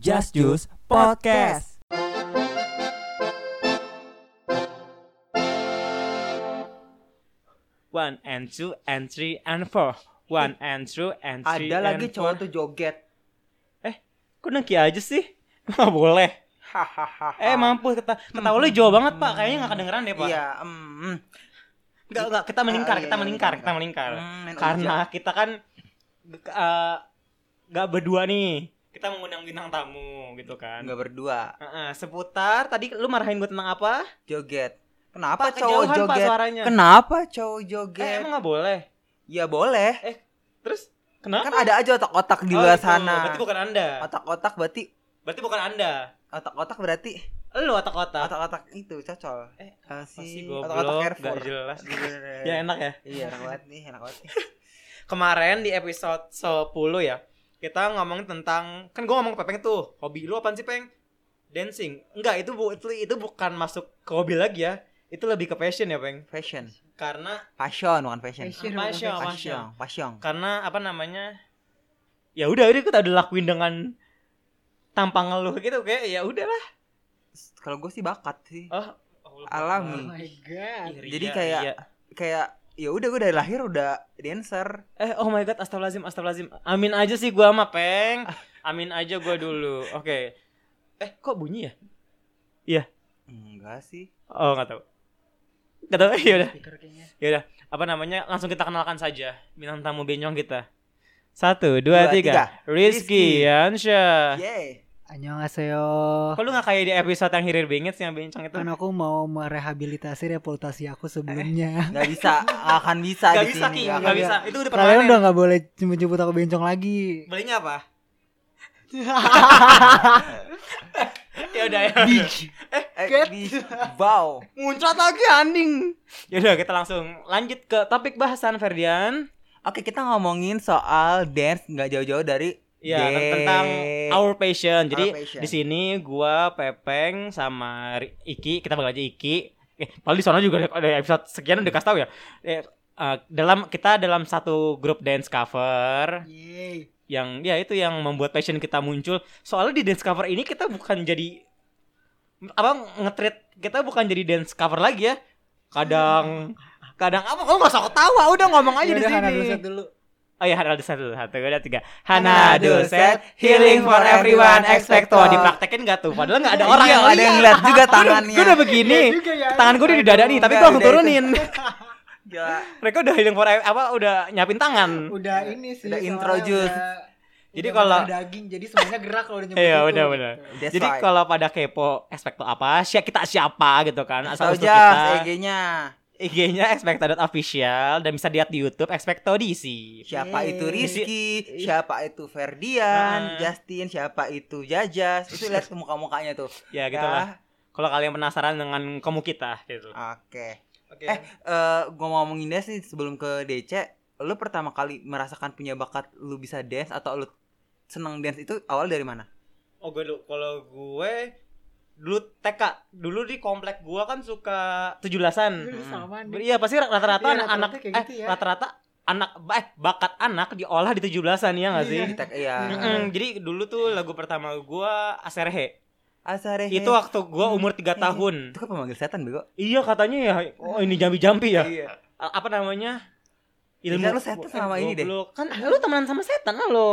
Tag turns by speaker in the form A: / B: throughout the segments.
A: Just Juice Podcast. One and two and three and four. One and two and three
B: Ada
A: and
B: lagi
A: four.
B: cowok tuh joget.
A: Kok nengki aja sih? Nggak boleh.
B: Hahaha.
A: Eh mampus kata ketawa lu jauh banget pak. Kayaknya nggak kedengeran deh pak.
B: Ah. Iya, mm, mm.
A: Nggak nggak kita meningkar
B: Ah, iya,
A: kita
B: iya,
A: meningkar
B: meningkar.
A: kita meningkar.
B: Hmm, main
A: Karena kita kan eh, nggak berdua nih. Kita mengundang bintang tamu gitu kan.
B: nggak berdua
A: Heeh, seputar tadi lu marahin gue tentang apa?
B: joget. Kenapa
A: Pak,
B: cowok
A: kejauhan, Pak,
B: joget?
A: suaranya.
B: Kenapa cowok
A: Eh,
B: joget?
A: emang nggak boleh.
B: ya boleh.
A: Terus kenapa?
B: Kan ada aja otak-otak di luar sana.
A: Oh, Berarti bukan Anda.
B: Otak-otak berarti
A: Berarti bukan Anda.
B: otak-otak berarti
A: Lu otak-otak.
B: otak-otak itu cocol.
A: Eh,
B: Ah,
A: apa sih,
B: si
A: goblok?
B: otak-otak Air
A: Nggak
B: Force.
A: jelas.
B: Gila.
A: Ya enak ya.
B: Iya, enak banget nih, enak banget. nih.
A: Kemarin di episode 10 ya, kita ngomong tentang kan gua ngomong ke Pepeng tuh, hobi lu apaan sih, Peng? Dancing. Enggak, itu bu, itu, itu bukan masuk ke hobi lagi ya. Itu lebih ke passion ya, Peng.
B: Fashion.
A: Karena
B: Passion bukan fashion.
C: Fashion.
A: passion, passion.
B: Passion, passion.
A: Karena apa namanya? Ya udah, udah kita udah lakuin dengan tampang ngeluh gitu kayak ya udahlah.
B: Kalau gue sih bakat sih.
A: Oh,
C: Oh
B: Alami.
C: my god.
A: Iri,
B: Jadi
A: iya,
B: kayak-
A: iya.
B: Kayak ya udah gue dari lahir udah dancer.
A: Eh, oh my god, astagfirullahaladzim, astagfirullahaladzim. Amin aja sih gua sama Peng. Amin aja gua dulu. Oke. Eh, kok bunyi ya?
B: Enggak sih.
A: Oh, nggak tahu. Nggak tahu. Ya udah,
C: Speaker kayaknya.
A: ya udah. Apa namanya? Langsung kita kenalkan saja bintang tamu benyong kita. Satu, dua,
B: Dua,
A: tiga. Rizky
B: Rizky.
A: Yansyah.
B: Yeay.
C: Annyeonghaseyo.
A: Kok lu nggak kayak di episode yang hirir bingit sih yang bencong itu?
C: Kan aku mau merehabilitasi reputasi aku
A: Eh,
C: sebelumnya.
B: Nggak bisa, nggak akan bisa
A: Gak
B: di
A: bisa,
B: sini.
A: Ki. Gak
B: nggak akan-
A: bisa. Itu udah
C: Kalian
A: permanen.
C: udah nggak boleh nyebut-nyebut aku bencong lagi.
A: Belinya apa? ya udah ya.
B: Eh,
C: Get.
B: di wow.
A: Muncrat lagi anjing. Ya udah kita langsung lanjut ke topik bahasan Ferdian.
B: Oke, kita ngomongin soal dance nggak jauh-jauh dari
A: Ya
B: dance.
A: tentang our passion. Jadi
B: Our passion.
A: di sini gua Pepeng sama Ri- Iki, kita bakal aja Iki. Eh, paling di sana juga ada- ada episode sekian udah kasih tahu ya. Eh, eh, dalam kita dalam satu grup dance cover
C: Yeay.
A: yang ya itu yang membuat passion kita muncul soalnya di dance cover ini kita bukan jadi apa ngetreat kita bukan jadi dance cover lagi ya kadang kadang apa kamu gak usah ketawa udah ngomong aja di
C: Hmm. Ya udah Hana
A: sini
C: Ruset dulu.
A: oh ya Hana set dulu satu dua tiga Hana
B: Hana
A: do
B: do
A: set
B: set,
A: healing for everyone expecto
B: expecto.
A: dipraktekin gak tuh padahal gak ada orang
B: Iya,
A: yang
B: nggak ada yang ngeliat juga tangannya. Iya,
A: gue udah begini
C: Iya juga ya.
A: tangan gue udah di dada nih tapi gue
B: Nggak,
A: langsung
B: udah itu.
A: turunin
B: Gila.
A: mereka udah healing for ev- apa udah nyapin tangan
C: Udah
A: Iya,
C: ini sih.
B: Udah
C: soalnya
B: introduce.
C: udah-
A: Jadi
C: udah
A: kalau-
C: makan daging jadi semuanya gerak kalau udah nyebut
A: Iya,
C: itu.
A: benar-benar.
B: That's
A: Jadi
B: right.
A: kalau pada kepo expecto apa, si- kita siapa gitu kan. Asal
B: Tahu
A: usul
B: jas
A: kita.
B: EG-nya.
A: IG-nya expecto.official dan bisa lihat di YouTube expecto DC. Iya.
B: Siapa
C: Yeay.
B: itu Rizky, siapa itu
A: Ah.
B: Ferdian, Justin, siapa itu Jajas. Itu lihat ke muka-mukanya tuh.
A: Ya gitu
B: Ya.
A: lah. Kalau kalian penasaran dengan kamu kita gitu.
B: Oke.
A: Oke.
B: Eh, eh gue mau ngomongin dance nih sebelum ke DC, lu pertama kali merasakan punya bakat lu bisa dance atau lu seneng dance itu awal dari mana?
A: Oh gue dulu- kalau gue dulu TK, dulu di komplek gue kan suka 17-an.
C: Dulu sama nih.
A: Iya pasti rata-rata
C: Iya,
A: anak-anak
C: rata-rata kayak
A: eh
C: gitu ya.
A: rata-rata anak eh bakat anak diolah di 17-an ya nggak sih?
C: Iya.
B: Kita iya.
A: Mm-mm. Jadi dulu tuh lagu pertama gue Aserhe.
B: Asare.
A: Itu waktu gua umur 3
B: Hehe.
A: tahun.
B: itu kan pemanggil setan bego.
A: Iya katanya ya, oh ini jambi-jambi ya.
B: Iya.
A: A- Apa namanya?
B: Iya, lu setan sama ini deh.
A: Goblok. Kan lu temenan sama setan lah lo.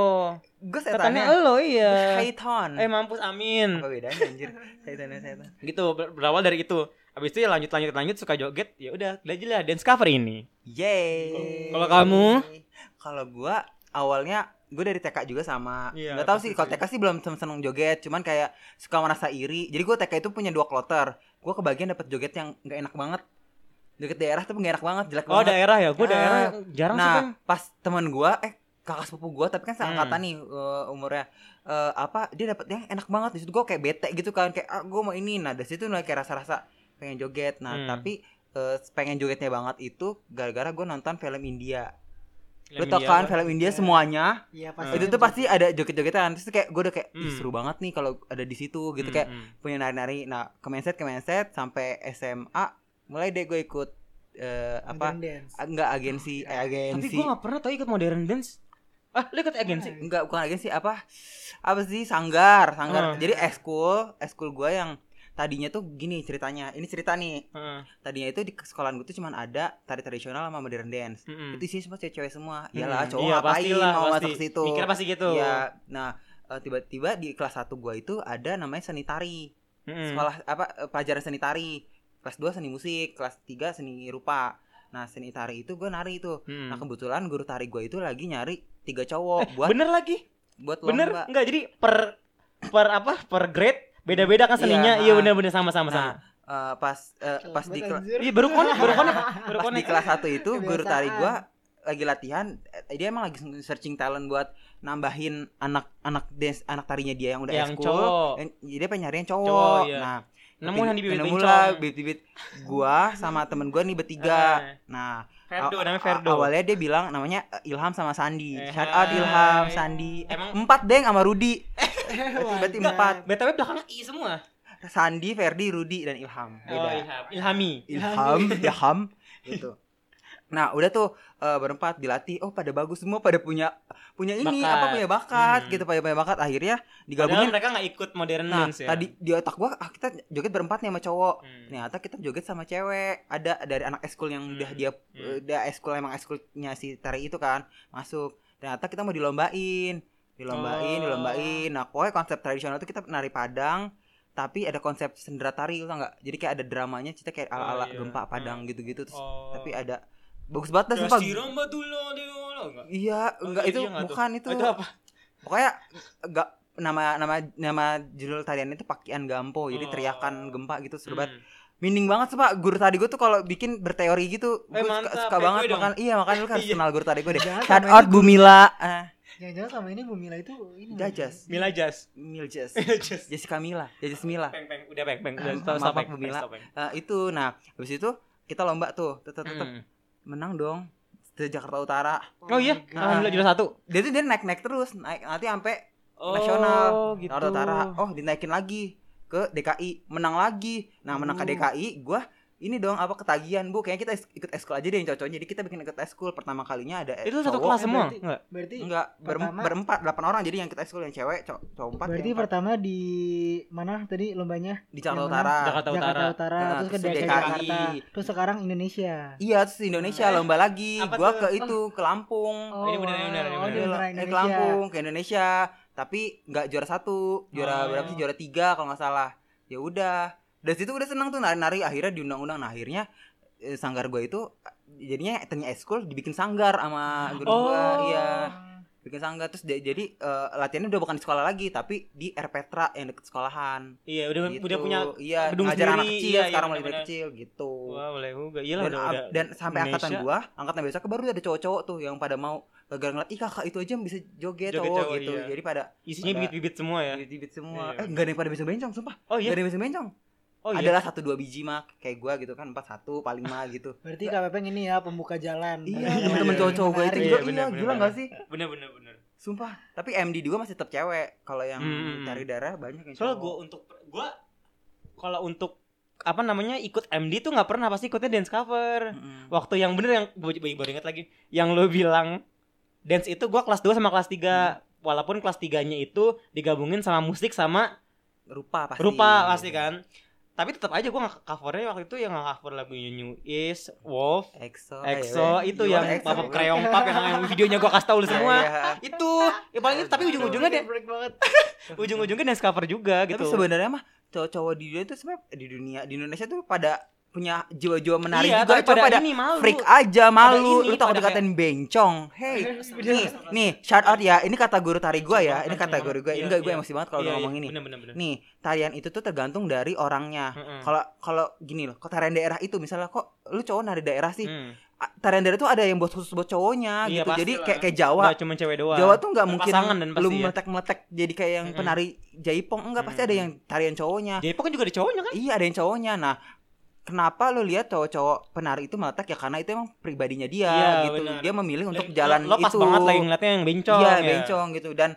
B: Gue
A: Setannya
B: setannya.
A: lo iya.
B: Python.
A: Eh mampus amin.
B: Apa bedanya anjir? Setannya setan.
A: Gitu ber- berawal dari itu. Habis itu ya lanjut lanjut lanjut suka joget, ya udah, belajar lah dance cover ini.
B: Yeay.
A: Kalau kamu?
B: Kalau gua awalnya gue dari TK juga sama
A: Iya,
B: nggak tahu
A: pasti
B: sih kalau
A: sih.
B: TK sih belum seneng joget cuman kayak suka merasa iri jadi gue TK itu punya dua kloter gue kebagian dapat joget yang nggak enak banget joget daerah tapi nggak enak banget jelek
A: Oh
B: banget
A: daerah ya, gua
B: Ah.
A: daerah jarang sih kan.
B: nah pas teman gue eh kakak sepupu gue tapi kan seangkatan
A: Hmm.
B: nih eh, umurnya Eh, apa dia dapat yang enak banget di situ gue kayak bete gitu kan kayak ah, gue mau ini nah dari situ mulai kayak rasa-rasa pengen joget nah
A: Hmm.
B: tapi eh, pengen jogetnya banget itu gara-gara gue nonton film India lu
A: Film
B: tau
A: India
B: kan
A: kan.
B: film India semuanya
C: Iya pasti.
B: itu tuh pasti ada joget-jogetan terus kayak gue udah kayak Ih,
A: Hmm.
B: seru banget nih kalau ada di situ gitu
A: Hmm,
B: kayak
A: hmm.
B: punya nari-nari nah kemenset kemenset sampai SMA mulai deh gue ikut eh, apa
C: Modern dance.
B: enggak agensi eh,
A: Tapi
B: agensi
A: gua gak pernah tau ikut modern dance. ah lu ikut agensi
B: Enggak, bukan agensi apa? Apa sih sanggar, sanggar.
A: Ah.
B: Jadi eskul, eskul gua yang tadinya tuh gini ceritanya. Ini cerita nih.
A: Heeh.
B: Tadinya itu di sekolahan gua tuh cuman ada tari tradisional sama modern dance.
A: Mm-mm.
B: Itu sih semua cewek-cewek semua.
A: Mm-mm.
B: Iyalah, cowok
A: Hmm. Iya,
B: ngapain
A: pastilah,
B: mau
A: pasti.
B: masuk situ.
A: Mikir pasti gitu.
B: Iya. Nah, eh, tiba-tiba di kelas 1 gua itu ada namanya seni tari.
A: Mm-mm.
B: Sekolah apa eh, pelajaran seni tari. Kelas 2 seni musik, kelas 3 seni rupa. Nah, seni tari itu gua nari itu.
A: Mm-mm.
B: Nah, kebetulan guru tari gua itu lagi nyari tiga cowok buat
A: bener lagi
B: buat
A: Eh, bener
B: lomba.
A: enggak jadi per per apa per grade beda-beda kan seninya
B: Iya,
A: iya
B: ah.
A: bener-bener sama-sama
B: Nah,
A: sama
B: eh, pas eh, pas di kela-
A: iya baru konek baru konek baru
B: pas
A: konek
B: di kelas 1 itu guru tari
C: Kebiasaan.
B: gua lagi latihan eh, dia emang lagi searching talent buat nambahin anak-anak dance anak tarinya dia yang udah
A: Yang
B: ekskul.
A: cowok.
B: Eh, Jadi dia pengen nyari yang cowok.
A: Cowok, iya.
B: Nah,
A: nemu yang di bibit
B: nemu
A: bencong.
B: lah bibit-bibit gua sama temen gua nih bertiga.
A: Eh,
B: Nah,
A: Ferdo
B: aw-
A: namanya
B: aw-
A: Ferdo
B: awalnya dia bilang namanya eh, Ilham sama Sandi.
A: Eh,
B: Shout out Ilham,
A: hai.
B: Sandi. Eh,
A: Emang-
B: Empat deng sama Rudi. Berarti empat.
A: BTW belakangnya I semua
B: Sandi, Ferdi, Rudi dan Ilham.
A: oh
B: Beda.
A: Ilham Ilhami
B: ilham ilham gitu nah udah tuh eh, berempat dilatih oh pada bagus semua pada punya punya ini
A: Bakat.
B: apa punya bakat
A: Hmm.
B: gitu pada punya bakat akhirnya
A: Padahal
B: digabungin
A: mereka nggak ikut modern
B: nah
A: dance ya
B: tadi di otak gua ah, kita joget berempat nih sama cowok
A: Hmm.
B: ternyata kita joget sama cewek ada dari anak eskul yang udah
A: Hmm.
B: dia
A: Hmm.
B: udah eskul emang eskulnya si tari itu kan masuk ternyata kita mau dilombain
A: Oh.
B: dilombain dilombain nah pokoknya konsep tradisional itu kita nari padang tapi ada konsep sendera tari lu tau nggak jadi kayak ada dramanya cerita kayak ala ala
A: Oh, iya.
B: gempa padang gitu gitu terus
A: Oh.
B: tapi ada bagus banget dah sumpah
A: Kasih ramba dulu dulu enggak.
B: iya
A: Oh,
B: enggak
A: iya,
B: itu
A: iya, nggak tuh.
B: bukan itu,
A: Oh, itu apa?
B: pokoknya enggak nama nama nama judul tarian itu pakaian gampo jadi
A: Oh.
B: teriakan gempa gitu seru banget
A: Hmm.
B: Mining banget sih pak guru tadi gue tuh kalau bikin berteori gitu
A: Eh,
B: gue suka,
A: mantap.
B: suka
A: Kayak
B: banget
A: gue dong.
B: makan iya makan lu kan harus
A: Iya.
B: kenal guru tadi gue deh.
C: Jangan
B: Shout
C: sama
B: out
C: ini-
B: Bu Mila, eh,
A: Hmm.
C: Jangan-jangan sama ini Bu Mila itu ini.
B: Jajas,
A: Mila Jas.
B: Miljas,
A: Mila Jas.
B: Jessica Mila, Jajas Mila.
A: Peng peng udah peng peng udah
B: Iya. Ah, Maaf,
A: stop stop
B: maaf,
A: peng
B: Bu
A: peng,
B: Mila.
A: stop, peng.
B: Eh, itu nah habis itu kita lomba tuh tetep tetep
A: Hmm.
B: menang dong ke Jakarta Utara.
A: Oh iya, alhamdulillah juara satu.
B: Dia tuh dia naik naik terus naik nanti sampai
A: Oh,
B: Nasional.
A: gitu.
B: Jakarta Utara. Oh dinaikin lagi ke DKI menang lagi. Nah
A: Oh.
B: menang ke
C: Uh.
B: DKI gue ini dong apa ketagihan bu kayaknya kita is- ikut eskul aja deh yang cocok jadi kita bikin ikut eskul pertama kalinya ada eh,
A: Itu satu
B: cowok,
A: kelas
C: eh,
A: semua?
C: berarti-
A: Enggak.
C: Berarti
B: Enggak, ber
C: Pertama-
B: berempat, delapan orang jadi yang kita ekskul yang cewek, cowok cowok empat.
C: berarti
B: yang empat.
C: pertama di mana tadi lombanya?
B: di Jakarta
C: yang menang
B: Utara.
A: Jakarta Utara.
C: Jakarta Utara,
B: Nah,
C: terus ke
B: terus
C: DKI
B: DKI.
C: Jakarta, terus sekarang Indonesia.
B: Iya, terus di Indonesia
A: Eh,
B: lomba lagi.
A: apa
B: Gua
A: tuh?
B: ke itu, ke Lampung.
A: ini beneran, ini beneran, ini
C: Oh,
B: Iya,
C: di
A: beneran.
C: beneran
B: eh, ke
C: Indonesia.
B: Lampung, ke Indonesia. Tapi nggak juara satu, juara
A: Oh.
B: berapa
C: iya.
B: sih? Juara tiga kalau nggak salah. Ya udah. Dari situ udah senang tuh nari-nari akhirnya diundang-undang. Nah, akhirnya eh, sanggar gua itu eh, jadinya ternyata eskul dibikin sanggar sama guru gua,
A: Oh.
B: iya. Bikin sanggar terus dia- jadi eh, latihannya udah bukan di sekolah lagi, tapi di Rpetra yang deket sekolahan.
A: Iya, udah
B: Gitu.
A: udah punya
B: iya,
A: gedung
B: ngajar anak
A: sendiri,
B: kecil
A: iya, iya,
B: sekarang mulai dari
A: benar-benar.
B: kecil gitu
A: Wah, boleh juga. Iyalah
B: dan,
A: udah
B: ab-
A: udah.
B: dan sampai
A: Indonesia.
B: angkatan gua angkatan besok baru ada cowok-cowok tuh yang pada mau gagal ngeliat ih kakak itu aja yang bisa joget,
A: Joget
B: cowok,
A: cowok,
B: gitu
A: iya.
B: jadi pada
A: Isinya
B: ada-
A: bibit-bibit semua ya.
B: bibit-bibit semua
A: Iya.
B: eh nggak ada yang pada bisa bencong sumpah
A: Oh
B: nggak
A: iya.
B: ada yang bisa bencong
A: Oh iya.
B: adalah satu dua biji mah kayak gua gitu kan empat satu paling mah gitu
C: Berarti Kak Pepeng ini ya pembuka jalan.
B: iya
A: Iya,
B: temen-temen
A: iya.
B: cowok-cowok gua itu
A: Menarik.
B: juga
A: Iya,
B: iya
A: benar,
B: gila
A: benar,
B: nggak sih
A: Bener bener bener.
B: sumpah tapi MD juga masih tetap cewek kalau yang
A: Hmm.
B: cari darah banyak yang
A: Soalnya gue untuk gue kalau untuk apa namanya ikut MD tuh nggak pernah pasti ikutnya dance cover.
B: Mm-mm.
A: Waktu yang bener yang gue baru ingat lagi yang lo bilang dance itu gue kelas 2 sama kelas 3
B: Hmm.
A: walaupun kelas 3-nya itu digabungin sama musik sama
B: rupa pasti
A: rupa pasti kan. Tapi tetap aja gue covernya waktu itu yang cover lagunya New Is, Wolf,
B: EXO eh, iya,
A: EXO itu yang
B: papa
A: pop kreong pop yang videonya gue kasih tau
B: Iya,
A: lu semua. Itu, ya paling itu tapi ujung-ujungnya deh,
C: break banget.
B: Eh,
A: ujung-ujungnya dance cover juga gitu.
B: Tapi sebenarnya mah cowok-cowok di dunia itu sebenarnya eh, di dunia di Indonesia tuh pada punya jiwa-jiwa menarik
A: iya,
B: juga
A: tapi
B: cuma
A: pada,
B: pada
A: ini malu.
B: freak aja malu
A: ini,
B: lu takut
A: pada Iya.
B: dikatain bencong hey nih nih shout out ya ini kata guru tari gua ya ini kata guru gua ini
A: Iya,
B: enggak gua
A: iya.
B: emosi banget kalau udah ngomong ini
A: Bener, bener, Hmm. bener.
B: nih tarian itu tuh tergantung dari orangnya
A: Mm-mm.
B: kalau kalau gini loh kalau tarian daerah itu misalnya kok lu cowok nari daerah sih
A: Hmm.
B: A- tarian daerah tuh ada yang buat khusus buat cowoknya
A: Iya,
B: gitu jadi
A: pastilah.
B: kayak kayak Jawa
A: Nggak cuma cewek doang.
B: Jawa tuh nggak mungkin
A: Berpasangan dan
B: lu
A: pasti ya.
B: meletek-meletek jadi kayak yang
A: Mm-mm.
B: penari jaipong enggak pasti ada yang tarian cowoknya.
A: Jadi kan juga ada cowoknya kan?
B: Iya ada yang cowoknya. Nah, kenapa lu lihat cowok-cowok penari itu meletek ya karena itu emang pribadinya dia
A: Iya,
B: gitu.
A: benar.
B: Dia memilih untuk
A: Lo-
B: jalan
A: lo pas
B: itu.
A: banget lagi ngeliatnya yang bencong.
B: Iya,
A: ya.
B: bencong gitu dan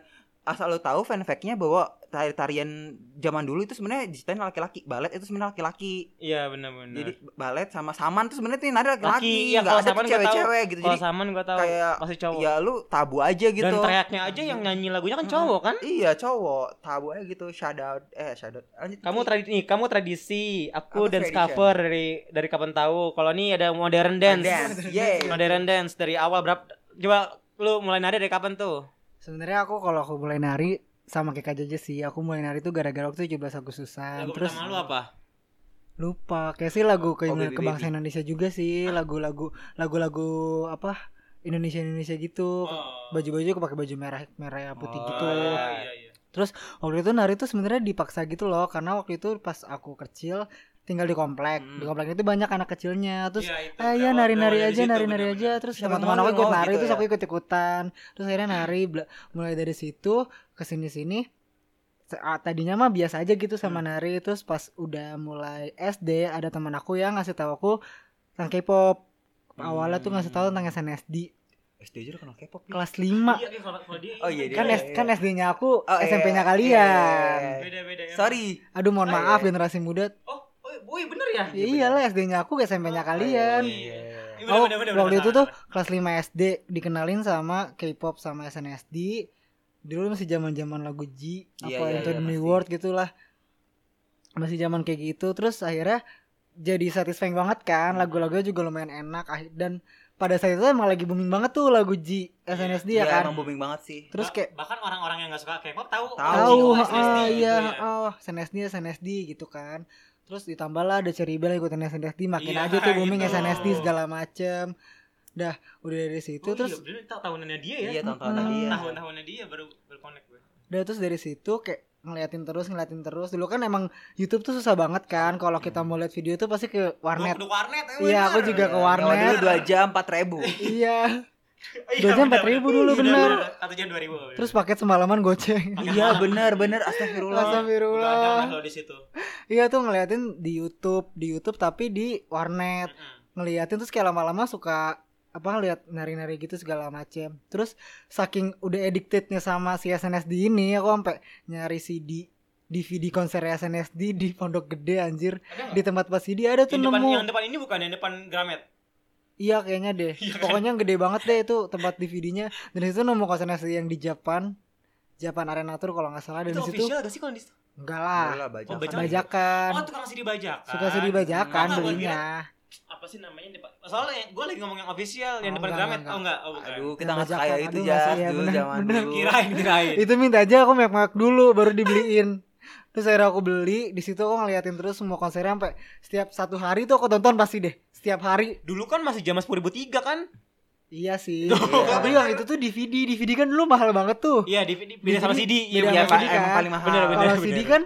B: asal lo tahu fanfactnya bahwa tari tarian zaman dulu itu sebenarnya diciptain laki-laki balet itu sebenarnya laki-laki
A: Iya benar-benar.
B: jadi balet sama saman tuh sebenarnya tuh yang ada laki-laki
A: ya,
B: nggak
A: kalau
B: ada
A: saman
B: tuh
A: gua tahu.
B: cewek-cewek gitu
A: Kalau
B: jadi
A: saman gua tahu
B: kayak
A: pasti cowok.
B: ya lu tabu aja gitu
A: Dan teriaknya aja yang nyanyi lagunya kan
B: Mm-mm.
A: cowok kan?
B: iya cowok tabu aja gitu shout out eh shout out Lanjut.
A: Kamu tradisi nih, kamu tradisi, aku
B: Aku
A: dance
B: tradition.
A: cover dari dari kapan tahu. Kalau ini ada modern dance.
B: dance yeah
A: Modern dance dari awal berapa? Coba lu mulai nari dari kapan tuh?
C: Sebenarnya aku kalau aku mulai nari sama kayak Kak Jaja sih. Aku mulai nari tuh gara-gara waktu 17 Agustusan. Nah, Terus
A: pertama lu apa?
C: lupa kayak sih lagu ke
B: Oh, Baby Ah.
C: kebangsaan Indonesia juga sih, lagu-lagu lagu-lagu apa Indonesia Indonesia gitu. Baju-baju aku pakai baju merah merah putih
B: Ah. Oh,
C: gitu.
B: iya, iya.
C: Waktu itu nari tuh sebenarnya dipaksa gitu loh karena waktu itu pas aku kecil tinggal di komplek.
B: Hmm.
C: Di komplek itu banyak anak kecilnya. Terus
A: Iya,
C: Eh iya nari-nari aja, nari-nari aja. Terus
B: Siapa
C: teman-teman
B: mau
C: aku
B: lu
C: ikut
B: mau
C: nari,
B: gitu
C: terus
B: ya?
C: aku ikut-ikutan. Terus akhirnya nari, bela- mulai dari situ ke sini-sini. Se- ah, Tadinya mah biasa aja gitu sama
B: Hmm.
C: nari, terus pas udah mulai SD ada teman aku yang ngasih tahu aku tentang K-pop. Awalnya tuh ngasih tahu
B: Hmm.
C: tentang SNSD
B: SD aja udah kenal K-pop ya?
C: kelas 5.
B: oh iya dia
C: Kan
B: iya,
C: S-
B: iya.
C: kan SD-nya aku,
B: Oh, iya,
C: SMP-nya
B: iya,
C: kalian.
B: iya, iya.
A: Beda-beda ya.
B: sorry
C: Aduh mohon
B: Oh, iya,
C: maaf
B: iya.
C: generasi muda.
A: Oh, oh, iya bener ya?
C: Ya iyalah SD-nya aku, SMP-nya kalian.
B: iya
A: Iya,
C: Oh,
A: bener-bener, bener-bener,
C: waktu itu
A: salah,
C: tuh kelas 5 SD dikenalin sama K-pop sama SNSD. Dulu masih zaman-zaman lagu G,
B: Iya,
C: apa
B: iya,
C: Into
B: iya,
C: the New
B: pasti.
C: World gitulah. Masih zaman kayak gitu. Terus akhirnya jadi satisfying banget kan, lagu-lagunya juga lumayan enak Ah, dan pada saat itu emang lagi booming banget tuh lagu G SNSD
B: iya
C: ya kan.
B: emang booming banget sih
C: Terus
A: Ba-
C: kayak
A: bahkan orang-orang yang gak suka K-pop tahu
B: Tahu,
C: tahu
A: oh,
C: oh,
A: SNSD
C: ah,
A: gitu
C: iya
A: ya.
C: oh SNSD SNSD gitu kan terus ditambahlah ada Cherry Bell ikutin SNSD makin
A: Iya,
C: aja tuh booming
A: gitu.
C: SNSD segala macem dah udah dari situ
A: Oh,
C: terus
A: iya, bener, ta- tahunannya dia ya
B: iya tontonan
C: Mm-mm.
B: dia
A: tahun-tahunnya dia baru baru connect gue
C: udah terus dari situ kayak ngeliatin terus ngeliatin terus dulu kan emang YouTube tuh susah banget kan kalau kita mau lihat video tuh pasti ke warnet
A: Duduk warnet eh,
C: Iya, aku
A: bener.
C: juga ke
B: Iya,
C: warnet.
B: nyawa dulu dua jam empat ribu
C: iya
A: Iya,
C: Dua jam
A: bener,
C: 4.000
A: bener.
C: dulu,
A: Iya,
C: bener.
A: Satu jam dua ribu
C: terus paket semalaman goceng
B: iya benar benar astagfirullah Ah.
A: Berulang
C: Astagfirullah
A: kalau di situ
C: Iya tuh ngeliatin di YouTube Di Youtube tapi di warnet
A: Mm-mm.
C: ngeliatin terus kayak lama-lama suka apa lihat nari-nari gitu segala macem terus saking udah addictednya sama si SNSD ini aku sampai nyari CD DVD konser SNSD di Pondok Gede anjir
A: Ada nggak?
C: di tempat pas CD ada tuh
A: Yang depan, yang
C: nemu
A: depan ini bukan yang depan Gramet
C: iya kayaknya deh
A: Iya kan?
C: pokoknya gede banget deh itu tempat DVD-nya dari situ nemu konser SNSD yang di Japan Japan Arena Tour kalau nggak salah dari
A: Itu
C: situ
A: official gak sih kalau di situ?
C: enggak lah
B: Bola, bajakan.
A: Oh, bajakan. Oh kan?
C: bajakan
A: tukang sih dibajakan
C: suka
B: Ah,
C: sedih
B: gua
C: bajakan
B: kira-
C: belinya
A: Apa sih namanya yang depan Soalnya gue lagi ngomong yang official Yang
C: Oh,
A: depan
C: enggak,
A: Gramet
C: enggak,
A: Oh enggak Oh bukan
B: aduh kita
C: Yang
B: nggak
C: bajakan.
B: kaya itu
C: Aduh,
B: jas
C: masih, iya,
B: dulu
C: bener,
B: zaman
C: bener.
B: dulu
A: Kirain kirain
C: itu minta aja aku mewek-mewek dulu baru dibeliin terus akhirnya aku beli di situ aku ngeliatin terus semua konsernya sampai setiap satu hari tuh aku tonton pasti deh setiap hari
A: Dulu kan masih zaman 10.003 kan
C: iya sih
A: Tuh,
C: tapi
A: kan.
C: yang itu tuh DVD DVD kan dulu mahal banget tuh
A: Iya di, di, beda sama
C: Jadi,
A: CD
C: beda
B: Iya,
A: bener.
C: sama
B: Pak,
C: CD
B: emang
C: kan.
B: paling mahal
A: Iya, Bener, bener.
C: kalau CD kan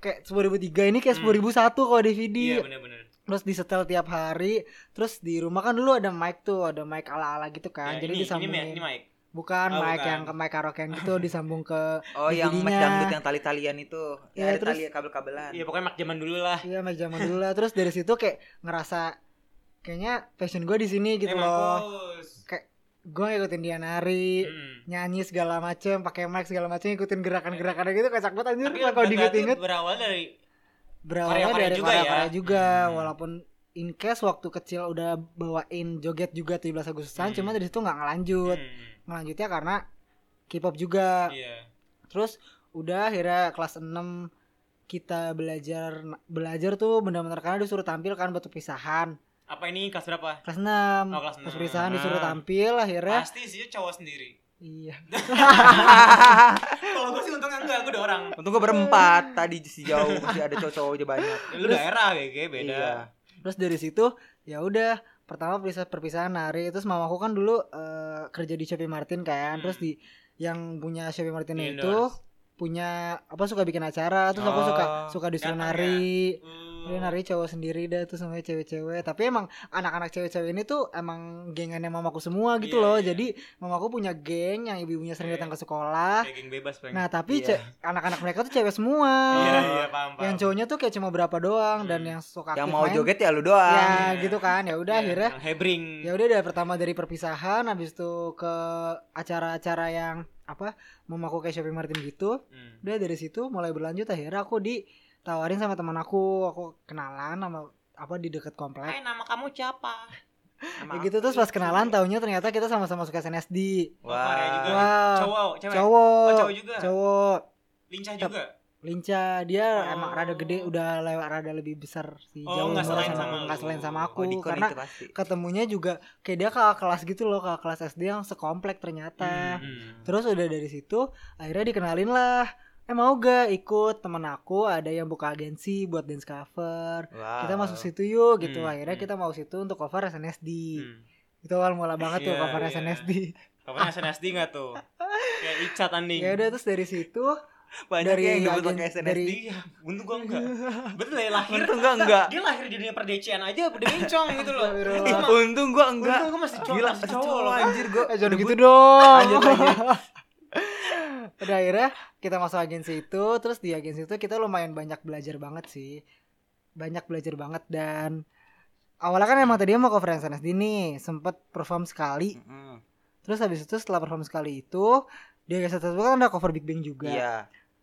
C: kayak sepuluh ribu tiga ini kayak
A: Hmm.
C: sepuluh ribu satu kalau DVD
A: Iya benar-benar
C: terus disetel tiap hari terus di rumah kan dulu ada mic tuh ada mic ala ala gitu kan
A: Ya,
C: jadi
A: ini, ini,
C: disambungin
A: mic- ini mic
C: bukan
A: Oh,
C: mic
A: bukan.
C: yang ke mic karaokean gitu disambung ke
B: oh yang mic
C: DVD-nya.
B: dangdut yang tali-talian itu ya,
C: Iya,
B: ada
C: terus-
B: tali kabel-kabelan
A: Iya pokoknya mak zaman dulu lah.
C: Iya mic zaman dulu lah. Terus dari situ kayak ngerasa kayaknya passion gue di sini gitu
A: Emang
C: loh.
A: pos.
C: Gue ngikutin dia nari,
A: Hmm.
C: nyanyi segala macem, pakai mic segala macem, ngikutin gerakan-gerakannya gitu kocak banget anjir
A: Tapi
C: lah kalau
A: berarti
C: diinget-inget.
A: berawal dari
C: Berawalnya
A: Korea-Korea
C: dari
A: juga
C: Korea-Korea juga,
A: ya. Hmm.
C: walaupun in case waktu kecil udah bawain joget juga 17 Agustusan,
A: Hmm.
C: cuma dari situ nggak ngelanjut.
A: Hmm,
C: Ngelanjutnya karena K-pop juga.
A: Iya.
C: Terus udah akhirnya kelas 6 kita belajar belajar tuh benar-benar karena disuruh tampil kan batu pisahan
A: Apa ini kelas berapa?
C: Hmm, kelas 6
A: Oh, kelas
C: Pas
A: 6.
C: perisahan disuruh
A: Ah.
C: tampil akhirnya
A: Pasti sih ya, cowok sendiri.
C: iya
A: Kalau gue sih untungnya enggak, gue udah orang.
B: untung gue berempat tadi si jauh masih ada cowok-cowok aja banyak
A: Ya, Lu daerah GG beda.
B: Iya.
C: terus dari situ ya udah pertama perpisah perpisahan nari terus mamaku kan dulu eh, kerja di Shopee Martin kan
A: Hmm.
C: terus di yang punya Shopee Martin
A: Di
C: Nah, itu
A: endorse.
C: punya apa suka bikin acara terus aku suka
B: Oh,
C: suka disuruh
A: gampang ya.
C: nari
A: Hmm,
C: Dia nari cowok sendiri dah tuh semuanya cewek-cewek. Tapi emang anak-anak cewek-cewek ini tuh emang gengannya mamaku semua gitu
A: Iya,
C: loh.
A: iya.
C: Jadi mamaku punya geng yang ibu-ibunya sering
A: Iya.
C: datang ke sekolah.
A: Kayak geng bebas pengen.
C: Nah, tapi
B: Iya.
C: ce- anak-anak mereka tuh cewek semua.
A: iya, iya, paham, paham.
C: Yang cowoknya tuh kayak cuma berapa doang dan
A: Hmm.
C: yang suka
B: Yang
C: aktif
B: mau
C: main,
B: joget ya lu doang.
C: Ya,
A: Iya.
C: gitu kan. Ya udah
A: Iya,
C: akhirnya
A: yang hebring.
C: ya udah dari pertama dari perpisahan habis itu ke acara-acara yang apa mamaku kayak shopping Martin gitu
A: Hmm.
C: udah dari situ mulai berlanjut akhirnya aku ditawarin sama teman aku aku kenalan sama apa di dekat komplek
A: Hai, nama kamu siapa?
C: ya gitu terus pas kenalan taunya ternyata kita sama-sama suka SNSD
A: Korea juga.
B: Wah.
C: wow
A: Cowok, cewek. Oh,
C: Eh, cowok
A: cowok juga.
C: cowok
A: Lincah juga.
C: lincah
A: Oh.
C: dia emang rada gede udah lewat rada lebih besar sih
A: Oh,
C: jauh
A: nggak
C: umurnya
A: selain sama
C: nggak
A: lu.
C: selain sama aku
B: Oh, Dikon
C: karena
B: itu pasti.
C: ketemunya juga kayak dia kakak kelas gitu loh kakak kelas SD yang sekomplek ternyata
A: Hmm.
C: Terus udah dari situ akhirnya dikenalin lah. Eh mau gak ikut temen aku ada yang buka agensi buat dance cover.
B: Wow.
C: Kita masuk situ yuk gitu.
A: Ah. Hmm,
C: Akhirnya
A: hmm.
C: kita mau situ untuk cover SNSD.
A: Hmm.
C: Itu awal mula banget tuh
A: Iya,
C: cover
A: iya.
C: SNSD.
A: Kapan SNSD nggak tuh? Kayak Icat anjing.
C: Ya udah terus dari situ
B: Banyak
C: dari
B: yang dulu
C: agen-
B: pakai SNSD.
C: dari-
A: Iya, untung gua enggak. Betul ya lahir.
B: Untung gua enggak.
A: Dia lahir di dunia perdecian aja udah bencong gitu loh.
C: Astagfirullah.
A: Emang-
B: Untung gua enggak.
A: Untung gua masih cowok,
B: Gila,
A: masih
B: cowok
A: cowok loh.
B: anjir gua.
C: eh, jangan
B: debut.
C: gitu dong.
B: Lanjut, lanjut.
C: udah akhirnya kita masuk agensi itu terus di agensi itu kita lumayan banyak belajar banget sih banyak belajar banget dan awalnya kan emang tadinya mau cover SNSD nih sempet perform sekali
B: Mm-mm.
C: Terus habis itu setelah perform sekali itu dia geser satu kan ada cover Big Bang juga.
B: Iya.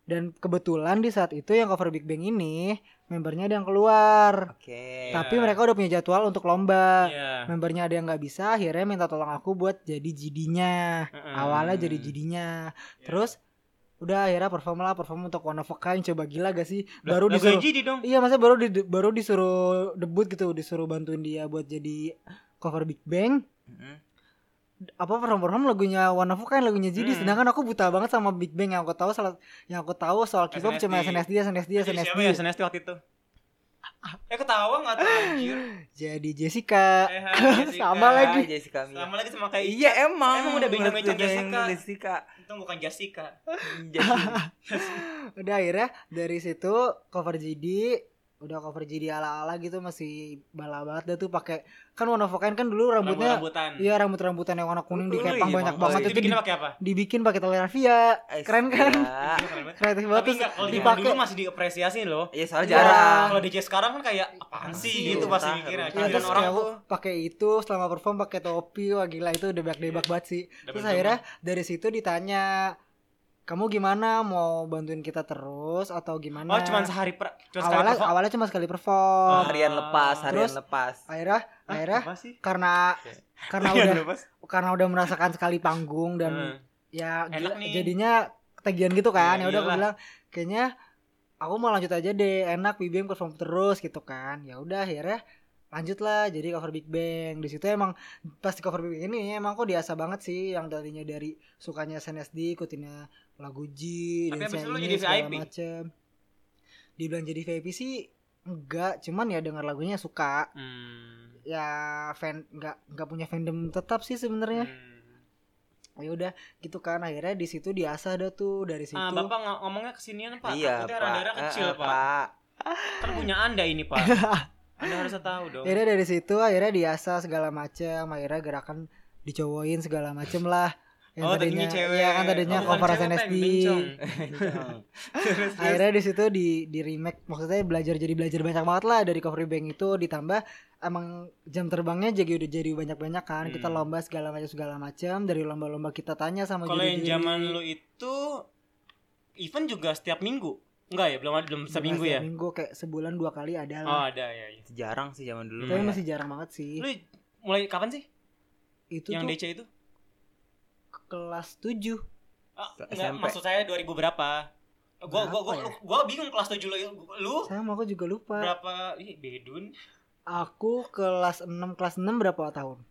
C: Dan kebetulan di saat itu yang cover Big Bang ini membernya ada yang keluar.
B: Oke.
A: Iya.
C: Tapi mereka udah punya jadwal untuk lomba.
A: Iya.
C: Membernya ada yang nggak bisa, akhirnya minta tolong aku buat jadi jidinya.
A: Heeh.
C: Awalnya jadi jidinya.
A: Hmm. Iya.
C: Terus udah akhirnya perform lah, perform untuk One of a Kind. Coba gila gak sih?
A: Lah,
C: Baru
A: lah
C: disuruh
A: gaji di dong.
C: Iya, masa baru di, baru disuruh debut gitu, disuruh bantuin dia buat jadi cover Big Bang.
B: Mm-mm.
C: apa perform perform lagunya One of kan lagunya Jadi
A: Hmm.
C: sedangkan aku buta banget sama Big Bang yang aku tahu salah yang aku tahu soal K-pop
A: SNSD.
C: cuma SNSD SNSD
A: Aduh,
C: SNSD
A: Siapa ya SNSD waktu itu? Eh ketawa nggak tuh anjir?
C: jadi Jessica
A: Eh, hai, Jessica.
C: Sama lagi.
B: Ah, Jessica Mia.
A: Sama lagi sama kayak
B: Iya emang.
A: Emang udah beda sama Icang Jessica.
B: Jessica.
A: Untung bukan Jessica.
B: Jessica.
C: udah akhirnya dari situ cover JD udah cover JD ala ala gitu masih bala banget dah tuh pakai kan One of Kind kan dulu rambutnya
A: rambutan.
C: iya rambut rambutan yang warna kuning dikepang
B: Iya,
C: banyak
B: emang.
C: banget
B: Iya.
C: itu di-
A: Oh, bikinnya pakai apa?
C: dibikin pakai tali rafia
B: Eh,
C: Keren kan?
B: iya.
A: Iya, keren banget.
C: kreatif banget
A: Tapi
C: terus
A: enggak, kalau zaman
C: dipakai
A: dulu masih diapresiasi loh.
B: Iya soalnya
C: Iya.
B: jarang.
A: Kalau DJ sekarang kan kayak apaan sih gitu
B: Iya,
A: pasti
B: entah,
A: mikirnya.
B: entah.
C: Iya,
A: Giliran
C: terus
A: orang
C: kayak
A: tuh
C: pakai itu selama perform pakai topi wah gila itu debak-debak
A: Iya.
C: banget sih terus
A: Debak-debak.
C: akhirnya dari situ ditanya kamu gimana mau bantuin kita terus atau gimana
A: Oh, cuman sehari per cuman sekali
C: Nah. awalnya
A: perform.
C: awalnya cuma sekali perform
A: Ah.
B: Harian lepas, harian
C: Terus-
B: lepas.
C: akhirnya
A: Hah,
C: akhirnya
A: apa sih?
C: karena
A: Oke.
C: karena
A: Iya, Hmm.
C: udah
A: lepas.
C: karena udah merasakan sekali panggung dan
A: Heeh.
C: ya
A: Enak
C: gila,
A: nih.
C: jadinya ketagihan gitu kan
A: Iya,
C: ya udah aku
A: iyalah.
C: bilang kayaknya aku mau lanjut aja deh enak Big Bang perform terus gitu kan ya udah akhirnya lanjut lah jadi cover Big Bang di situ emang pas di cover Big Bang ini emang aku biasa banget sih yang tadinya dari sukanya SNSD ikutinnya lagu G
A: Tapi
C: dan
A: abis itu lu
C: ini
A: jadi
C: segala
A: VIP.
C: macem dibilang jadi VIP sih enggak cuman ya dengar lagunya suka
A: Hmm.
C: ya fan enggak enggak punya fandom tetap sih sebenarnya
A: Hmm.
C: ya udah gitu kan akhirnya di situ diasah dah tuh dari situ
A: Ah, Bapak ngo- ngomongnya kesinian, Pak.
B: Iya,
A: Takutnya
B: Pak.
A: daerah kecil,
B: Eh, eh,
A: Pak. Kan punya Anda ini, Pak. Anda harus tahu dong.
C: akhirnya dari situ akhirnya diasah segala macam akhirnya gerakan dicowoin segala macam lah
A: oh,
C: yang tadinya
A: tadinya cewek.
C: ya kan tadinya
A: Oh, bukan
C: cover
A: cewek, Pak,
C: SNSD
A: yang bencong. Terus, terus.
C: akhirnya di situ di di remake maksudnya belajar jadi belajar banyak banget lah dari cover bank itu ditambah emang jam terbangnya jadi udah jadi banyak banyak kan kita
A: Hmm.
C: lomba segala macam segala macam dari lomba-lomba kita tanya sama
A: Kalau yang
C: juri-juri.
A: zaman lu itu event juga setiap minggu. Enggak ya, belum ada belum
C: Bukan
A: seminggu
C: setiap
A: ya.
C: minggu kayak sebulan dua kali ada
A: Oh,
C: lah
A: ada ya. ya.
B: Jarang sih zaman dulu.
C: tapi
A: lumayan.
C: masih jarang banget sih
A: Lu mulai kapan sih
C: itu
A: yang
C: tuh
A: DC itu?
C: kelas 7
A: Ah,
B: Ke-
A: enggak,
B: SMP.
A: maksud saya 2000 berapa? Gua gua gua
C: Berapa ya?
A: lu- gua bingung kelas 7 lu lu
C: Sama aku juga lupa.
A: berapa? Ih, bedun.
C: Aku kelas 6, kelas 6 berapa tahun?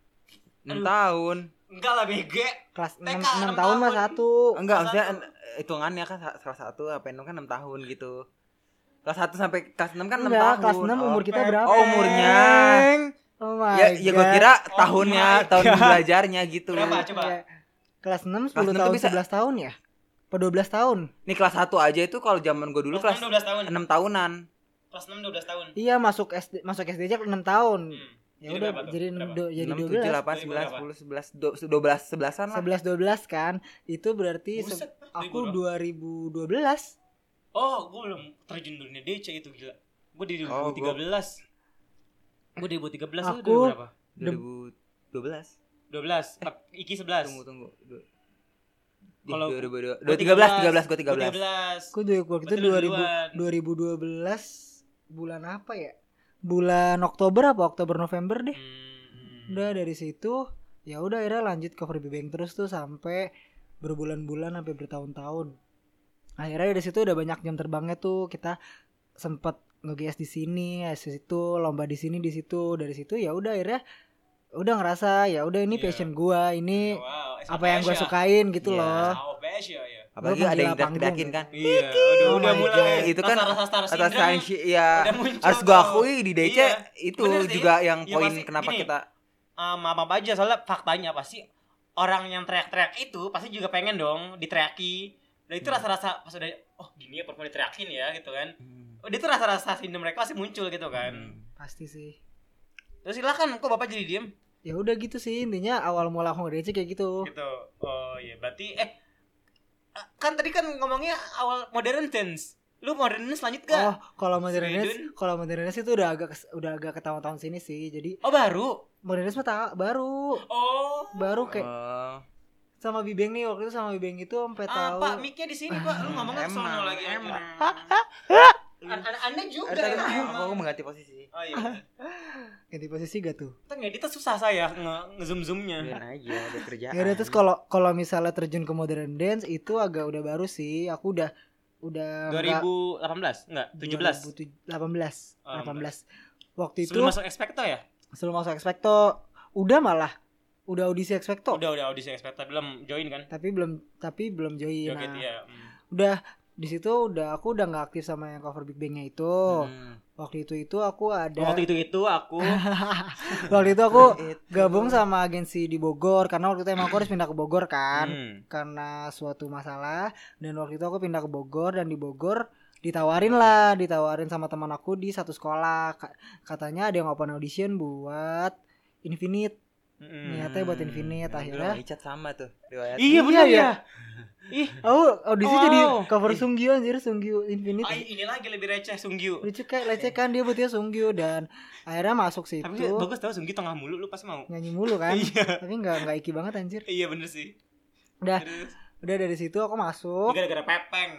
B: 6 tahun.
A: Enggak lah, BG.
C: Kelas
B: Eh,
C: 6,
A: TK,
C: 6
A: enam
C: tahun mah
A: tahun.
C: satu.
B: Enggak,
A: Kelas
B: maksudnya
A: satu.
B: eh, hitungannya kan sa- salah satu apa enam kan 6 tahun gitu. Kelas 1 sampai kelas 6 kan 6
C: Enggak,
B: tahun.
C: kelas 6 umur kita
A: Pep.
C: berapa?
B: Oh, umurnya.
C: Oh
B: Oh.
C: my
B: Ya, ya gue
C: God.
B: kira
A: Oh
B: tahunnya,
A: my
B: tahun
A: God.
B: belajarnya gitu.
A: Berapa coba?
C: Iya. Kelas 6 10
B: Kelas enam tuh
C: tahun
B: bisa.
C: 11 tahun ya? Apa 12 tahun?
B: Nih kelas 1 aja itu kalau zaman gue dulu
A: Kelas
B: kelas
A: 12 tahun.
B: 6 tahunan.
A: kelas 6 12 tahun.
C: Iya masuk SD masuk SD aja 6 tahun.
A: Hmm. Jadi
C: Ya udah
A: berapa tuh?
C: jadi
A: Berapa?
C: do, jadi
B: 6, 7,
C: 12
B: 8,
A: Jadi
B: 9,
A: berapa?
B: 10, 11, 12, 12 11-an lah
C: 11 12 kan. Itu berarti se-
A: Buset,
C: aku
A: 2000 doang.
C: 2012
A: Oh, gue belum terjun dunia DC itu gila. Gue di
B: Oh,
A: 2013. Gue 2013 lu
C: Aku-
A: udah berapa?
B: 2012
A: 12. Ap- Iki 11.
B: Tunggu tunggu Du- Ih,
A: Kalau-
B: 2022
A: Gua
B: 2013
A: Gua
B: 13 gue 13
C: aku juga waktu
A: Berarti
C: itu
A: lu
C: 2000 2012 bulan apa ya? Bulan Oktober apa Oktober November deh.
A: Hmm.
C: Udah dari situ ya udah akhirnya lanjut cover Bang terus tuh sampai berbulan-bulan sampai bertahun-tahun. Akhirnya dari situ udah banyak jam terbangnya tuh kita sempet nge-GS di sini, habis itu lomba di sini di situ, dari situ ya udah akhirnya udah ngerasa ya udah ini
A: Iya.
C: passion gua, ini
A: Wow,
C: apa yang gua
A: SOPS ya.
C: sukain gitu
B: Iya.
C: loh.
A: Ah, OPS ya, ya.
B: Apalagi
C: Gua
B: ada yang
C: penggila panggung. ya.
B: dak-dakin kan
A: Iya, udah,
C: Oh
A: udah
C: my
A: mulai.
B: God. Itu kan
A: rasa
B: atas Sanshi ya
A: Udah muncul
B: harus gue
A: tuh.
B: akui di DC
A: Iya.
B: itu
A: Bener sih.
B: juga yang
A: Iya,
B: poin
A: pasti.
B: kenapa
A: Gini.
B: kita
A: Ah, maaf apa aja soalnya faktanya pasti orang yang teriak-teriak itu pasti juga pengen dong diteriaki. Dan
B: Hmm.
A: itu rasa-rasa pas udah oh gini ya perempuan diteriakin ya gitu kan. Oh, itu rasa-rasa sindrom mereka pasti muncul gitu
B: Hmm.
A: kan.
C: Pasti sih.
A: Terus silakan kok Bapak jadi diem
C: Ya udah gitu sih intinya awal mula aku nge-DC kayak gitu.
A: gitu. Oh iya berarti eh kan tadi kan ngomongnya awal modern dance. Lu modern dance lanjut
C: Oh,
A: gak?
C: kalau modernis,
A: Sweden.
C: kalau modernis itu udah agak kes- udah agak ketahuan-tahun sini sih. Jadi
A: Oh, baru.
C: modernisme ta- baru
A: Oh.
C: baru
A: Eh,
C: kayak
B: Oh,
C: sama Bibeng nih waktu itu sama Bibeng itu sampai
A: Ah,
C: tahu Ah,
A: Pak, mic-nya di sini, Pak. Lu ngomongnya ke sono
B: Emang,
A: lagi.
B: emang.
A: An- an- Anda juga.
B: ya? Ada tadi
A: emang.
B: aku mengganti posisi.
A: Oh iya.
C: ganti posisi gak tuh.
A: Kita ngeditnya susah saya ya, nge zoom zoomnya.
C: Iya.
B: Biarin aja ada kerjaan.
C: Ya udah terus kalau kalau misalnya terjun ke modern dance itu agak udah baru sih. Aku udah udah nggak-
A: 2018 enggak 17
C: 2017, 18
A: Ah,
C: 18. Waktu itu
A: sebelum masuk Expecto ya
C: sebelum masuk Expecto udah malah udah audisi Expecto
A: udah udah audisi Expecto belum join kan
C: tapi belum tapi belum join.
A: joget
C: Nah,
A: ya
C: udah di situ udah aku udah nggak aktif sama yang cover Big Bang-nya itu. Waktu itu itu aku Oh. ada
A: Hmm. Oh,
C: Ah,
A: waktu itu itu aku
C: waktu itu aku gabung sama agensi di Bogor karena waktu itu emang aku harus pindah ke Bogor kan
A: Hmm.
C: karena suatu masalah dan waktu itu aku pindah ke Bogor dan di Bogor ditawarin lah ditawarin sama teman aku di satu sekolah Ka- katanya ada yang open audition buat Infinite
B: Hmm.
A: Mm-mm.
C: niatnya buat Infinite akhirnya
B: Icat sama tuh. Riwayat.
A: Hmm. iya
C: Iya,
A: benar
C: ya.
A: ya ih
C: oh audisi
A: Wow.
C: jadi cover Sunggyu anjir Sunggyu Infinite
A: ah, ini lagi lebih receh Sunggyu
C: lucu kayak leceh kan dia buatnya Sunggyu dan akhirnya masuk situ
A: tapi bagus tau Sunggyu tengah mulu lu pasti mau
C: nyanyi mulu kan
A: iya
C: tapi nggak nggak iki banget anjir
A: iya bener sih
C: Udah.
A: Terus,
C: udah dari situ aku masuk
A: ini gara-gara pepeng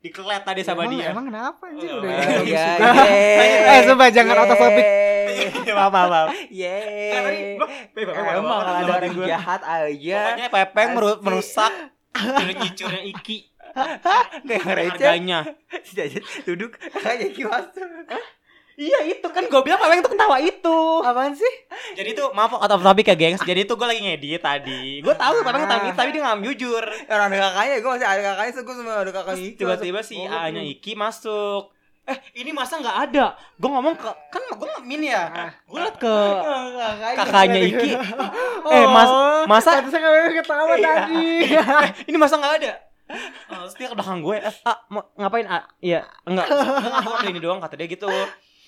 A: dikelet tadi sama
C: emang,
A: dia
C: Emang kenapa anjir
A: Oh,
C: udah
A: iya.
C: gitu?
A: iya.
C: Eh, sumpah, jangan out of topic.
A: maaf maaf maaf Eh, tadi, Bang,
B: Yeay.
A: Bang, Bang, Bang,
B: Emang
A: Bang,
B: kalau ada
A: Bang,
B: orang
A: gua.
B: jahat aja
A: Pokoknya pepeng meru-
B: Asli.
A: merusak nyicurnya Iki
B: kayak receh.
A: harganya.
B: Si Jajat duduk kayak kiwas.
A: Iya itu kan gue bilang pepeng tuh ketawa itu.
C: Apaan sih?
A: Jadi tuh maaf out of topic ya gengs. Jadi tuh gue lagi ngedit tadi. Gue tahu pepeng ketawa gitu tapi dia nggak jujur.
B: Orang ada kakaknya, gue masih ada kakaknya, so gue semua ada kakaknya. Iki
A: Tiba-tiba
B: masuk.
A: si
B: Oh,
A: A nya Iki masuk. Iya, Eh ini masa nggak ada? Gue ngomong ke kan gue min ya. Gue liat ke kakaknya Iki. Eh mas masa Iya.
C: Tadi saya nggak Oh, ketawa tadi.
A: Eh, ini masa nggak ada Eh, terus dia ke belakang gue eh, ah, mau ngapain ah iya enggak enggak aku ada ini doang kata dia gitu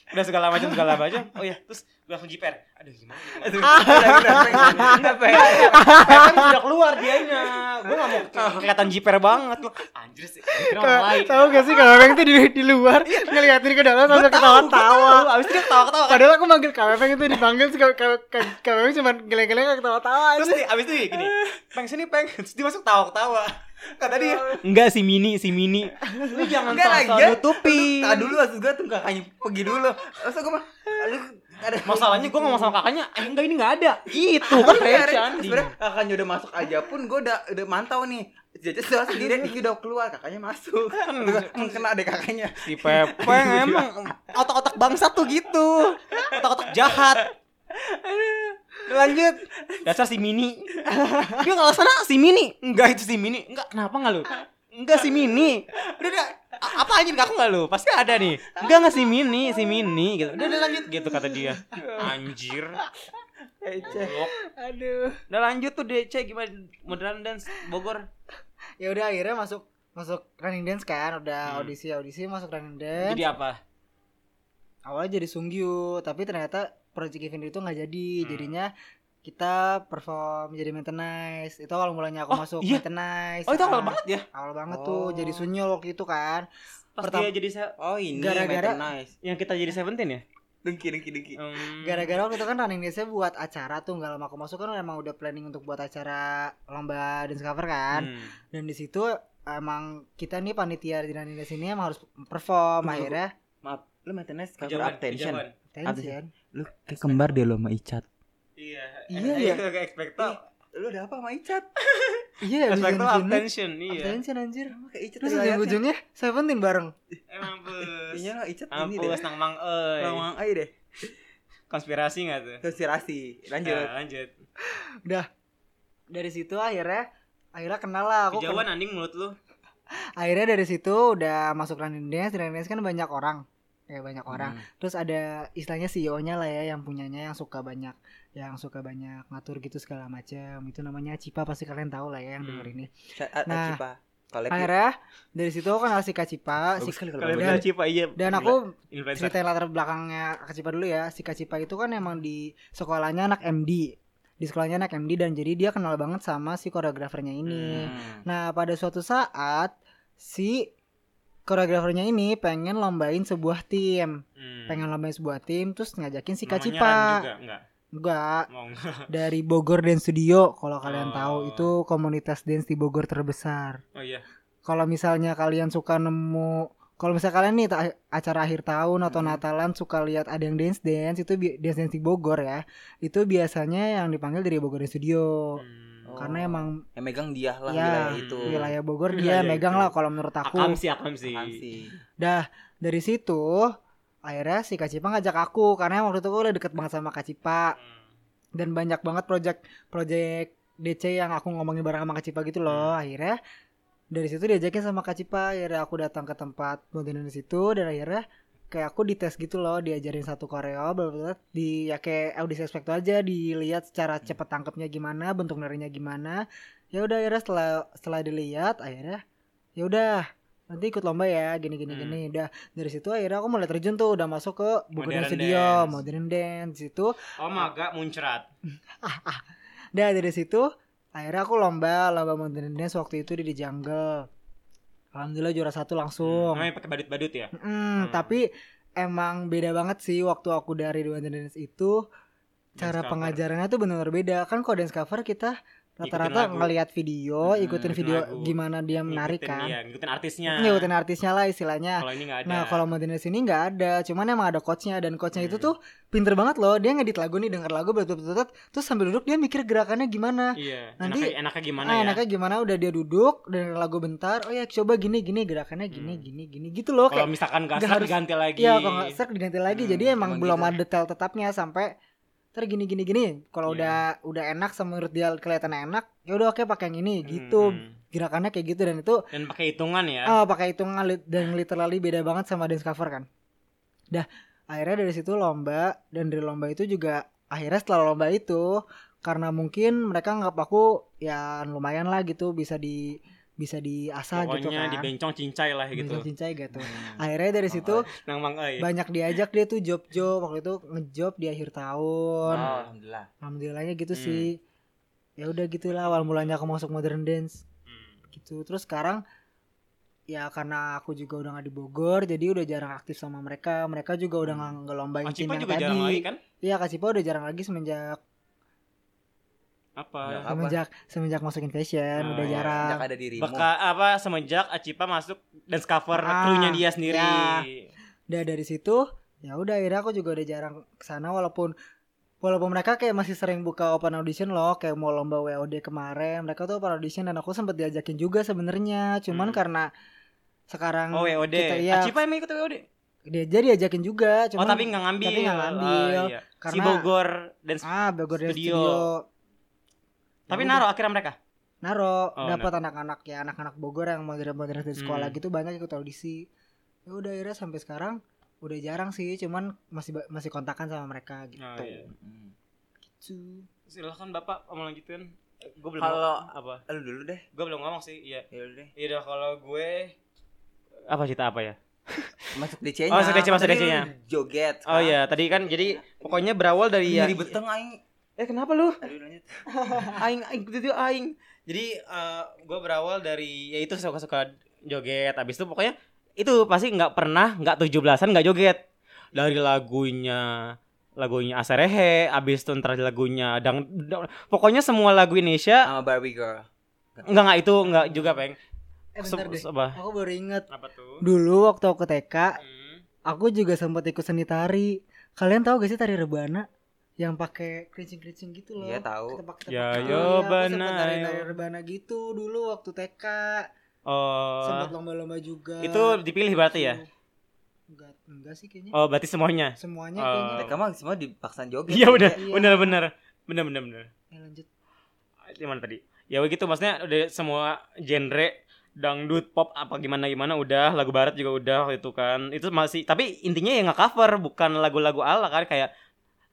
A: udah segala macam segala macam oh iya terus gue langsung jiper aduh gimana ya?
B: Aduh, udah, udah, udah, udah, udah, udah.
A: kan udah keluar dianya gue nggak mau ke- kelihatan jiper banget loh anjir sih gue kira orang lain
C: Tahu gak sih kalau Bang tuh di, di luar ngeliatin ke dalam sambil ketawa-tawa.
A: abis itu dia ketawa ketawa kan
C: Padahal aku manggil KWP itu dipanggil sih KWP cuma geleng-geleng ketawa-tawa.
A: terus dia- abis itu dia gini peng sini peng terus dia masuk ketawa ketawa kata dia enggak si mini si mini lu jangan
B: Enggak lagi. kan?
A: sok-sok nutupi
B: Kak dulu maksud gue tuh kakaknya pergi dulu. Masa gue mah lu ada
A: Masalahnya gue ngomong sama kakaknya, eh enggak ini enggak ada. Gitu kan
B: Sebenarnya-
A: receh anjing.
B: Sebenarnya kakaknya udah masuk aja pun gue udah udah mantau nih. Jaja sudah sendiri, Iki udah keluar, kakaknya masuk. Kan kena deh kakaknya.
A: Si Pepeng emang otak-otak bangsa tuh gitu. Otak-otak jahat. Lanjut. Dasar si Mini. Dia enggak sana si Mini. Enggak itu si Mini. Enggak kenapa enggak lu? Enggak si Mini. Udah udah A- apa anjir ngaku enggak lu? Pasti ada nih. Enggak enggak si Mini, si Mini gitu. Udah udah lanjut gitu kata dia. Anjir. Goblok.
C: Aduh.
A: Udah lanjut tuh DC gimana modern dance Bogor.
C: Ya udah akhirnya masuk masuk running dance kan udah
A: Hmm.
C: audisi audisi masuk running dance
A: Jadi apa?
C: awalnya jadi Sunggyu tapi ternyata project event itu nggak jadi
A: Hmm.
C: jadinya kita perform jadi maintenance itu awal mulanya aku
A: Oh,
C: masuk
A: iya.
C: maintenance
A: Oh itu awal
C: Ah,
A: banget Hmm. ya
C: awal banget
B: Oh.
C: tuh jadi Sunyo waktu itu kan
A: Pas
C: Pertama-
A: dia jadi se-
B: Oh ini
C: Gara-gara-
B: nice.
A: yang kita jadi Seventeen ya
B: Dengki dengki dengki.
A: Hmm.
C: gara-gara waktu itu kan running dance buat acara tuh nggak lama aku masuk kan emang udah planning untuk buat acara lomba dance cover kan
A: Hmm.
C: dan di situ emang kita nih panitia di running dance ini emang harus perform
B: Tunggu,
C: akhirnya
B: Maaf, lu maintenance cover
A: Kejauhan,
B: attention.
A: kejauhan.
C: tension
B: Lu kayak kembar deh lo sama Icat.
A: Iya.
C: Iya,
A: Eh,
C: iya.
A: itu kayak ekspektor.
B: Lu ada apa sama Icat?
C: iya abis
A: Ekspektor
C: dari sini,
A: attention, iya.
C: attention anjir
B: Sama kayak Icat.
C: terus
B: riwayatnya.
C: ujung-ujungnya Seventeen bareng
A: Emang bus.
B: Iya lo Icat ini deh.
A: Ampus Eh, nang mang euy.
B: Lawang aja deh.
A: Konspirasi enggak tuh?
B: Konspirasi.
A: Ya,
B: Lanjut.
A: lanjut.
C: dari situ akhirnya akhirnya kenal lah aku
A: Kejauhan anjing mulut lu.
C: akhirnya dari situ udah masuk running dance running dance kan banyak orang ya banyak
A: Hmm.
C: orang terus ada istilahnya CEO-nya lah ya yang punyanya yang suka banyak yang suka banyak ngatur gitu segala macam itu namanya Cipa pasti kalian tahu lah ya yang
A: Hmm.
C: denger ini Nah,
B: Nah, Cipa. Collab ya.
C: akhirnya dari situ aku kenal si Kak Cipa si-
B: Bagus sekali
A: Kalau
B: kalau
A: dia cipa iya.
C: dan
A: gila.
C: aku
A: influencer.
C: cerita latar belakangnya Kak Cipa dulu ya si Kak Cipa itu kan emang di sekolahnya anak MD di sekolahnya anak MD dan jadi dia kenal banget sama si koreografernya
A: Hmm,
C: ini nah pada suatu saat si koreografernya ini pengen lombain sebuah tim
A: Hmm.
C: pengen lombain sebuah tim terus ngajakin si
A: Namanya
C: Kak
A: Ran
C: Cipa
A: juga enggak.
C: enggak
A: Mau enggak.
C: dari Bogor Dance Studio kalau kalian
A: Oh.
C: tahu itu komunitas dance di Bogor terbesar.
A: Oh iya.
C: Kalau misalnya kalian suka nemu kalau misalnya kalian nih ta- acara akhir tahun atau
A: Hmm.
B: Mhm.
C: Natalan suka lihat ada yang dance dance itu bi- dance dance di Bogor ya. Itu biasanya yang dipanggil dari Bogor Dance Studio.
A: Hmm.
B: Oh.
C: Karena emang
B: Yang megang dia lah
C: Ya,
B: Iya, wilayah itu.
C: wilayah Bogor
A: Wilayah
C: dia megang
A: itu.
C: lah kalau menurut aku.
A: Akam sih, akam sih.
B: Apaan sih?
C: Dah dari situ akhirnya si Kacipa ngajak aku karena waktu itu aku udah deket banget sama Kacipa.
A: Hmm.
C: dan banyak banget project project DC yang aku ngomongin bareng sama Kacipa gitu
A: Hmm.
C: loh akhirnya dari situ diajakin sama Kacipa akhirnya aku datang ke tempat modern di situ dan akhirnya kayak aku dites gitu loh diajarin satu koreo bener di ya kayak audisi aspek aja dilihat secara
A: Hmm.
C: cepet tangkepnya gimana bentuk narinya gimana ya udah akhirnya setelah setelah dilihat akhirnya ya udah nanti ikut lomba ya gini gini
A: Hmm.
C: gini udah dari situ akhirnya aku mulai terjun tuh udah masuk ke Bogor
A: Modern
C: Dance Studio
A: Dance.
C: modern dance di situ
A: Oh maga muncrat.
C: Dah Nah, dari situ akhirnya aku lomba lomba modern dance waktu itu di, di jungle. Alhamdulillah juara satu langsung.
A: Namanya pakai badut-badut ya.
C: Mm, Tapi emang beda banget sih waktu aku dari modern dance itu cara
A: Dance cover.
C: pengajarannya tuh benar-benar beda. Kan kalau dance cover kita rata-rata
A: lagu.
C: ngelihat
B: Mm,
C: video, ikutin
A: ngikutin
C: video
A: lagu.
C: gimana dia menarik
A: Ngikutin,
C: kan.
A: Iya, ngikutin artisnya.
C: Ngikutin artisnya lah istilahnya.
A: Kalau ini enggak Oh, ada.
C: Nah kalau Modern Dance ini nggak ada, cuman emang ada coachnya dan coachnya itu
A: Hmm.
C: tuh pinter banget loh. Dia ngedit lagu nih, denger lagu, betul terus sambil duduk dia mikir gerakannya gimana.
A: Iya.
C: nanti-
A: enaknya, enaknya gimana
C: Ah,
A: ya?
C: enaknya gimana udah dia duduk dan lagu bentar oh ya coba gini gini gerakannya gini
A: Hmm.
C: gini gini gitu loh
A: Kalau
C: kayak
A: misalkan
C: nggak
A: gak serak
C: harus-
A: diganti lagi.
C: ya kalau nggak serak diganti lagi
B: Hmm,
C: jadi emang
B: emang
C: belum
B: gitu.
C: ada detail tetapnya sampai ter gini gini gini
A: Iya.
C: kalau udah udah enak sama menurut dia kelihatannya enak ya udah oke pakai yang ini gitu
A: Hmm.
C: gerakannya kayak gitu dan itu
A: Dan pakai hitungan ya.
C: ah pakai hitungan lit- dan literally beda banget sama dance cover kan dah akhirnya dari situ lomba dan dari lomba itu juga akhirnya setelah lomba itu karena mungkin mereka nganggap aku ya lumayan lah gitu bisa di bisa diasah gitu
A: Pokoknya
C: kan
A: dibencong cincai lah
C: Bisa
A: gitu.
C: cincai gitu
B: Hmm.
C: akhirnya
B: Oh,
C: dari situ
A: Nang mang euy.
C: banyak diajak dia tuh job-job waktu itu ngejob di akhir tahun
B: Oh, alhamdulillah.
C: alhamdulillahnya gitu
A: Hmm.
C: sih ya udah gitulah awal mulanya aku masuk modern dance
A: Hmm.
C: gitu terus sekarang ya karena aku juga udah nggak di Bogor jadi udah jarang aktif sama mereka mereka juga udah nggak ngelombain tim
A: Acipa
C: yang
A: Hmm. juga
C: tadi
A: jarang lagi kan?
C: iya Kak Cipa udah jarang lagi semenjak
A: Apa?
B: Ya, Apa?
C: semenjak semenjak masukin fashion
A: Oh,
C: udah
A: iya,
C: jarang
B: Sejak ada dirimu.
A: Beka apa semenjak Acipa masuk dan cover
C: Ah,
A: krunya dia sendiri.
C: ya. udah dari situ ya udah akhirnya aku juga udah jarang kesana walaupun walaupun mereka kayak masih sering buka open audition loh kayak mau lomba WOD kemarin mereka tuh open audition dan aku sempet diajakin juga sebenarnya cuman
A: Hmm.
C: karena sekarang
A: Oh WOD.
C: kita- iya.
A: Acipa emang ikut WOD.
C: dia jadi diajakin juga cuman
A: oh tapi nggak ngambil.
C: tapi nggak ngambil.
A: Oh, iya. Si
C: karena-
A: Bogor dan
C: ah Bogor Dance
A: Studio.
C: studio
A: tapi
C: udah.
A: naruh akhirnya mereka.
C: Naro
A: Oh,
C: dapat anak-anak ya anak-anak Bogor yang modern-modern dari
A: Hmm.
C: sekolah gitu banyak ikut audisi. Ya udah akhirnya sampai sekarang udah jarang sih, cuman masih ba- masih kontakan sama mereka gitu.
A: Oh, iya.
B: Hmm.
C: Gitu.
A: Silakan Bapak mau lanjutin. Gue belum
B: Kalau-
A: apa?
B: Eh, Lu dulu deh.
A: Gue belum ngomong sih. Iya.
B: Ya dulu deh.
A: Iya udah kalau gue apa cerita apa ya?
B: Masuk DC-nya.
A: Oh, masuk DC, masuk
B: Tadi lu
A: DC-nya.
B: Joget.
A: Oh iya, tadi kan jadi pokoknya berawal dari ya.
B: Iya. Jadi beteng aing.
A: Eh kenapa lu?
B: Aduh, lanjut.
A: aing aing gitu tuh aing jadi gue berawal dari ya itu suka suka joget abis itu pokoknya itu pasti nggak pernah nggak 17-an nggak joget dari lagunya lagunya Asarehe abis itu ntar lagunya dang, Dang- pokoknya semua lagu Indonesia
B: Sama Barbie girl.
A: nggak nggak itu nggak juga peng
C: Eh
A: Se-
C: bentar deh.
A: se- apa?
C: Aku baru inget
A: apa tuh Hmm.
C: dulu waktu aku TK, aku juga sempat ikut seni tari. Kalian tahu gak sih tari rebana yang pakai kerincing-kerincing gitu loh?
B: Iya, tahu.
C: Ketepak-ketepak
A: Ya, yo,
C: gitu. Iya, aku sempet
A: bana,
C: Tari-tari
A: yo.
C: rebana gitu dulu waktu TK.
A: oh
C: Sempat lomba-lomba juga.
A: Eh, itu dipilih berarti ya
C: Enggak, enggak sih kayaknya.
A: oh berarti semuanya
C: Semuanya
A: Oh.
C: kayaknya.
B: Mereka mah semua dipaksa joget.
A: iya udah
C: Iya.
A: bener bener bener bener bener
C: Eh, lanjut.
A: gimana tadi ya begitu maksudnya udah semua genre dangdut pop apa gimana gimana udah lagu barat juga udah waktu itu kan itu masih tapi intinya ya nggak cover bukan lagu-lagu ala kan kayak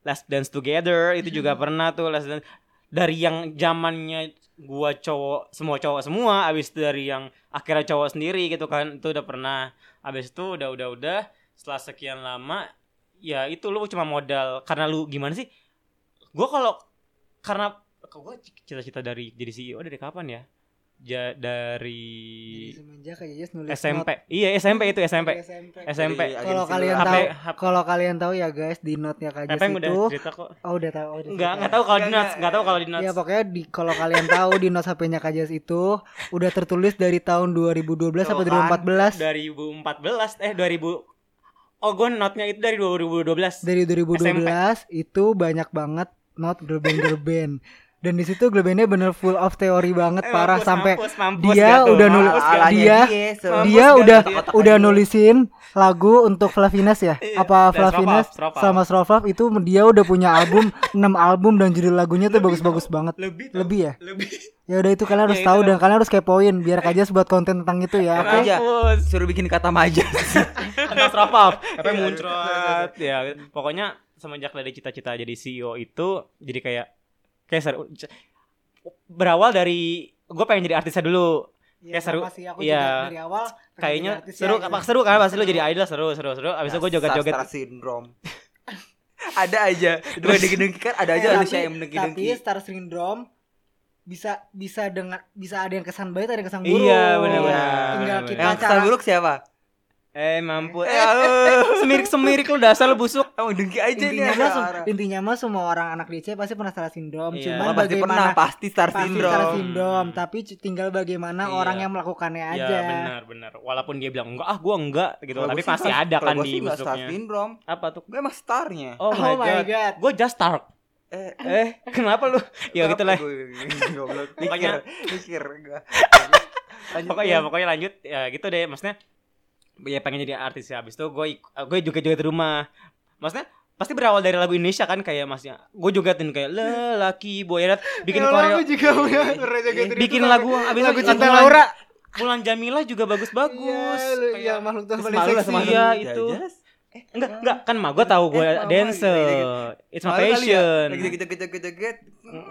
A: Last Dance Together itu juga pernah tuh Last Dance dari yang zamannya gua cowok semua cowok semua abis dari yang akhirnya cowok sendiri gitu kan itu udah pernah abis itu udah udah udah setelah sekian lama ya itu lu cuma modal karena lu gimana sih gua kalau karena gua cita-cita dari jadi CEO dari kapan ya Ja-
C: Jadi
A: dari
C: semenjak kayak Yes nulis
A: SMP
C: note.
A: iya SMP itu SMP
C: Dari SMP.
A: SMP
B: Jadi
C: Kalau
B: agensi
C: kalian
B: luar.
A: HP
C: tahu,
A: HP
C: Kalau kalian tahu ya guys di note-nya Kak
A: Pepeng
C: Jess
A: udah
C: itu
A: cerita kok
C: Oh udah tahu
A: Enggak,
C: udah cerita.
A: enggak tahu kalau di
B: Enggak,
A: nuts, enggak tahu kalau di nuts.
C: Ya pokoknya di kalau kalian tahu di notes HP-nya Kajas itu udah tertulis dari tahun 2012 sampai
B: Tuh kan.
C: 2014.
A: 2014 eh 2000 Oh, gue notnya itu dari 2012.
C: Dari 2012 itu banyak banget not gerben-gerben. Dan di situ gerbennya bener full of teori banget
A: Eh,
C: parah
A: mampus,
C: sampai
A: mampus, mampus
C: dia
A: gak tuh,
C: udah nulis-
A: mampus gak?
C: ala- dia-
B: so-
C: dia
A: mampus
C: udah
A: gak tuh?
C: udah nulisin lagu untuk Flavinas ya?
A: Iya, dan
C: Apa Flavinas
A: Strofav, Strofav.
C: sama Strofav itu dia udah punya album 6 album dan judul lagunya tuh bagus-bagus banget.
A: lebih tuh,
C: Lebih ya?
A: lebih.
C: Ya udah itu kalian
A: Ya,
C: harus
A: itu
C: tahu
A: lah.
C: dan kalian harus kepoin biar Kajas buat konten tentang itu ya.
B: Apa
C: Oke.
B: aja?
A: Mampus.
B: suruh bikin kata maja.
A: Katastrofal. Apa yang muncrat. ya, pokoknya semenjak dari cita-cita jadi CEO itu jadi kayak kayak seru- berawal dari gue pengen jadi artisnya dulu.
C: Iya,
A: Kayak seru.
C: sama sih, aku
A: Iya.
C: juga dari awal pengen
A: Kayaknya
C: jadi artis
A: seru,
C: ya,
A: apa
C: gitu.
A: seru kan pasti lu jadi idol seru, seru, seru. Abis itu
B: Nah,
A: gue joget-joget.
B: Sastra syndrome. ada aja. Dua dengki kan ada aja
C: Eh,
B: manusia yang
C: tapi
B: mendengki-dengki.
C: star syndrome bisa bisa dengar bisa ada yang kesan baik ada yang kesan
A: Iya,
C: buruk
A: benar-benar.
C: tinggal
A: Benar-benar.
C: kita
B: Yang
C: cara
B: kesan buruk siapa?
A: Eh mampu, eh semirik semirik lu dasar lu busuk.
B: Emang dengki aja nih.
C: intinya mah sem-
B: ada.
C: intinya mah semua orang anak DC pasti pernah star syndrome
A: Iya.
C: cuman
B: Orang pasti
C: bagaimana
B: pernah pasti star
C: pasti star
B: syndrome.
C: syndrome
A: Hmm.
C: tapi cu- tinggal bagaimana
A: Iya.
C: orang yang melakukannya aja
A: Ya benar benar. Walaupun dia bilang enggak ah gua enggak gitu,
B: Kalau
A: tapi
B: gua sih
A: pasti
B: nggak-
A: ada
B: kalau
A: kan
B: gua
A: di
B: sih nggak star
A: busuknya.
B: syndrome.
A: Apa tuh?
B: Gue emang starnya.
A: Oh, my god. Gue just Stark.
B: Eh,
A: Eh, kenapa lu? ya
B: apa
A: gitu lah.
B: gua- Goblok. Mikir,
A: Pokoknya-
B: mikir gua. Lanjut,
A: Pokoknya ya,
B: Bang.
A: pokoknya lanjut ya gitu deh maksudnya. Ya pengen jadi artis ya habis itu gue gue juga juga di rumah. Maksudnya pasti berawal dari lagu Indonesia kan kayak masnya gue jogetin kayak lelaki boy bikin
C: Ya Allah,
A: koreo Iya.
C: aku juga punya pernah joget itu
A: bikin
C: sampai-
A: lagu abis
C: lagu
A: itu
C: cinta
A: Mulan-
C: Laura
A: Mulan Jamila juga bagus-bagus
C: Iya, lu- yang
A: Kayak-
C: makhluk Tuhan paling
A: Malu lah
C: seksi
A: sama
B: Semalam
A: Iya,
B: jajas.
A: itu.
B: Eh,
A: Enggak,
B: malu.
A: enggak kan mah gue tahu gue
B: Eh, mama,
A: dancer.
B: gitu, gitu, gitu.
A: It's my
B: Malu kali ya?
A: passion.
B: Lagi joget-joget-joget-joget.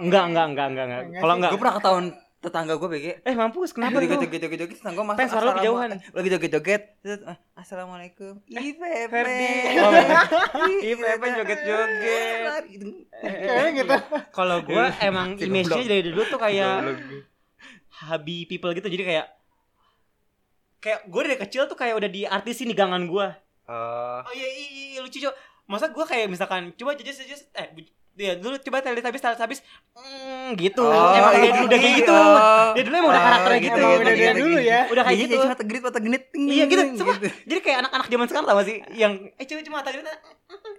A: Enggak, enggak, enggak, enggak, enggak.
C: Enggak
A: Kalau enggak
C: sih,
B: Gue gitu. pernah ketahuan tetangga Gitu, gue BG.
A: eh mampus kenapa
B: Lagi
A: tuh?
B: joget-joget-joget tetangga masuk.
A: Pen, suara lu
B: assalamu-
A: kejauhan. Eh,
B: Lagi joget-joget. gitu, terus, eh, Assalamualaikum. IPP.
A: Ferdi. IPP joget-joget.
C: Kayaknya gitu
A: Kalau gue emang
B: Si
A: image-nya
B: goblok.
A: dari dulu tuh kayak habi people gitu jadi kayak kayak gue dari kecil tuh kayak udah di artis ini gangan gue.
B: Eh,
A: Oh iya, iya, iya lucu cok. Masa gue kayak misalkan coba jajas jajas eh bu- ya dulu coba telit habis telit habis mm, gitu.
B: oh,
A: emang dari
B: iya,
A: dulu udah kayak
B: iya.
A: gitu. Dari dulu emang udah
B: Oh,
A: karakternya
B: gitu,
A: gitu.
B: gitu,
A: Emang udah dari
B: gitu, gitu.
A: dulu.
C: ya
A: Udah kayak
B: Iya,
A: gitu.
B: jadi mata genit, mata genit.
A: Iya, gitu, sumpah. Jadi kayak anak-anak zaman sekarang tau gak sih yang eh cewek cuma tadi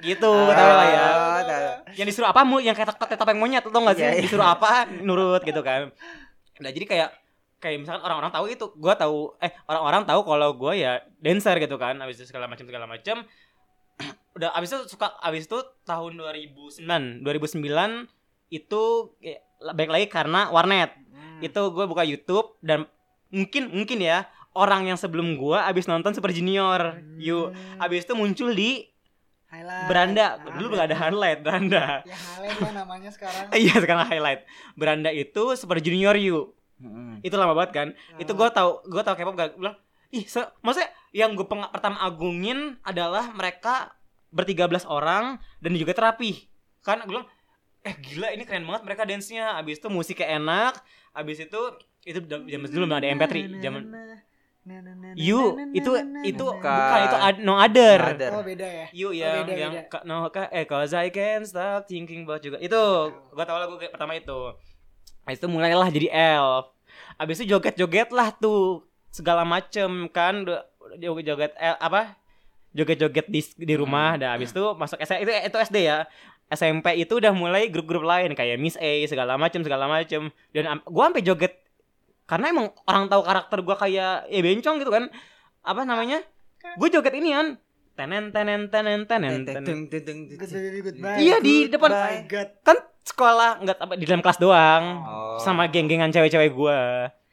A: gitu tau lah ya.
B: Ah, tau, tau.
A: Yang disuruh apa mu yang kayak tetap yang monyet tau gak sih?
B: Iya, iya.
A: Disuruh apa nurut gitu kan. Nah, jadi kayak kayak misalkan orang-orang tahu itu, gua tahu eh orang-orang tahu kalau gua ya dancer gitu kan, habis itu segala macam segala macam. Udah habis itu suka habis itu tahun 2009, 2009 itu eh, baik lagi karena warnet
C: Hmm.
A: itu gue buka YouTube dan mungkin mungkin ya orang yang sebelum gue abis nonton Super Junior
C: Hmm.
A: yuk abis itu muncul di
C: Highlight.
A: beranda
C: Nah,
A: dulu nggak ada highlight beranda
C: ya highlight lah namanya sekarang
A: iya sekarang highlight beranda itu Super Junior yuk
B: Mm-mm.
A: itu lama banget kan itu gue tau gue tau K-pop gak bilang ih se- maksudnya yang gue peng- pertama agungin adalah mereka bertiga belas orang dan juga terapi kan gue bilang eh gila ini keren banget mereka dance-nya abis itu musiknya enak abis itu itu da- zaman dulu belum ada MP3 zaman you itu itu
B: Bukan.
A: bukan itu ad- no other
B: Brother.
C: Oh beda ya.
A: You yang
C: beda,
A: yang
C: beda.
A: ka- no ka, eh cause I can't stop thinking about juga itu gua tau lagu kayak pertama itu Habis itu mulailah jadi elf Habis itu joget-joget lah tuh segala macem kan Udah- udah joget-joget el- apa joget-joget di di rumah
C: Hmm.
A: dah habis itu masuk S- itu itu SD ya SMP itu udah mulai grup-grup lain kayak Miss A segala macem segala macem dan am- gua sampai joget karena emang orang tahu karakter gua kayak ya bencong gitu kan apa namanya gue joget ini kan tenen tenen tenen tenen tenen
B: Teng, teng, teng, teng,
C: Good
B: teng.
C: baby, goodbye.
A: Iya, di depan.
C: Goodbye, God.
A: kan sekolah nggak apa di dalam kelas doang
B: Oh.
A: sama geng-gengan cewek-cewek gue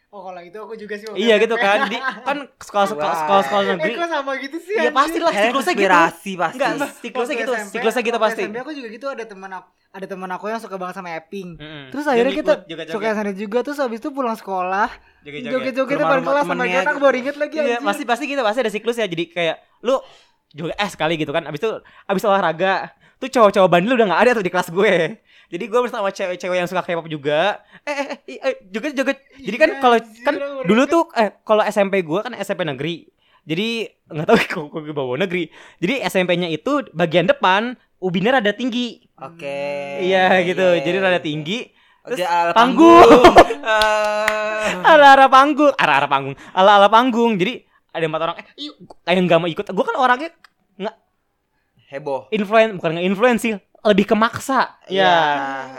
C: Oh kalau itu aku juga sih. waktu
A: iya gitu
C: SMP.
A: kan di kan sekolah sekolah sekolah sekolah negeri
C: Eh kok sama gitu sih?
A: Iya,
C: anjing?
A: pasti lah.
B: Kayaknya
A: Siklusnya gitu.
B: konspirasi pasti.
A: enggak
C: Waktu
A: siklusnya gitu
C: SMP,
A: siklusnya gitu
C: waktu
A: pasti
C: SMP aku juga gitu ada teman aku ada teman aku yang suka banget sama Epping.
A: Mm-mm.
C: Terus
A: Dia
C: akhirnya
A: ngikut,
C: kita
A: joget-joget,
C: suka sana juga terus habis itu pulang sekolah
A: joget-joget.
C: joget-joget
B: Ke
C: depan
B: rumah-rumah
C: kelas sama
B: temennya
C: kita aku
B: gitu.
C: baru inget lagi
A: Iya,
C: anjing.
A: pasti pasti gitu, pasti ada siklus ya. Jadi kayak lu juga eh sekali gitu kan. Abis itu abis olahraga, tuh cowok-cowok bandel udah nggak ada tuh di kelas gue. Jadi gue bersama cewek-cewek yang suka K-pop juga. Eh, eh, eh, eh juga juga. Jadi kan
C: Iya,
A: kalau
C: anjing,
A: kan
C: orang
A: dulu
C: mereka.
A: tuh eh kalau SMP gue kan SMP negeri. Jadi nggak tahu kok kok gue bawa negeri. Jadi SMP-nya itu bagian depan ubinnya rada tinggi.
B: Oke.
A: Iya gitu. Jadi rada tinggi.
B: Terus
A: Terus
B: panggung.
A: panggung.
B: Eh,
A: ala-ala panggung, ala-ala panggung, ala-ala panggung. Jadi ada empat orang, eh, yuk, kayak nggak mau ikut. Gue kan orangnya
B: heboh. Iya.
A: influen, bukan nggak influence sih, lebih kemaksa. Ya.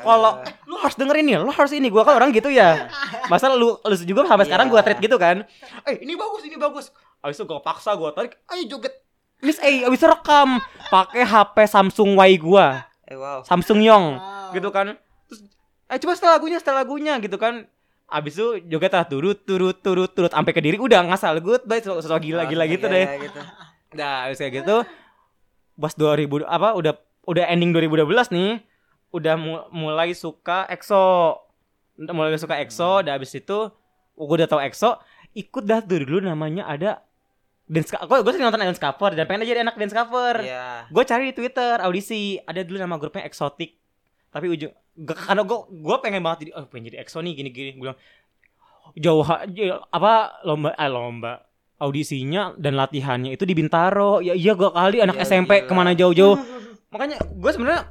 A: Kalau eh, lu harus dengerin nih, lu harus ini. Gue kan orang gitu ya. Masa lu lu juga sampai sekarang
B: Iya.
A: gue treat gitu kan? Eh ini bagus, ini bagus. Abis itu gue paksa, gue tarik, ayo joget. Miss A, abis itu rekam pakai HP Samsung Y gue,
B: eh wow.
A: Samsung Yong
C: Wow.
A: gitu kan terus eh coba setel lagunya setel lagunya gitu kan abis itu joget lah turut turut turut turut sampai ke diri udah ngasal good bye sesuatu sesuatu gila gila gitu
B: Iya,
A: deh
B: iya, gitu.
A: nah abis kayak gitu pas 2000 apa udah udah ending 2012 nih udah mu- mulai suka EXO udah mulai suka EXO udah abis itu gue udah tau EXO ikut dah tuh dulu namanya ada dance gue gue sering nonton dance cover dan pengen aja jadi anak dance cover
B: Iya.
A: gue cari di Twitter audisi ada dulu nama grupnya Exotic tapi ujung gak, karena gue gue pengen banget jadi oh pengen jadi EXO nih gini gini gue bilang jauh ha- j- apa lomba eh, lomba audisinya dan latihannya itu di Bintaro ya iya gue kali anak
B: Ya,
A: SMP
B: gila.
A: kemana jauh-jauh makanya gue sebenarnya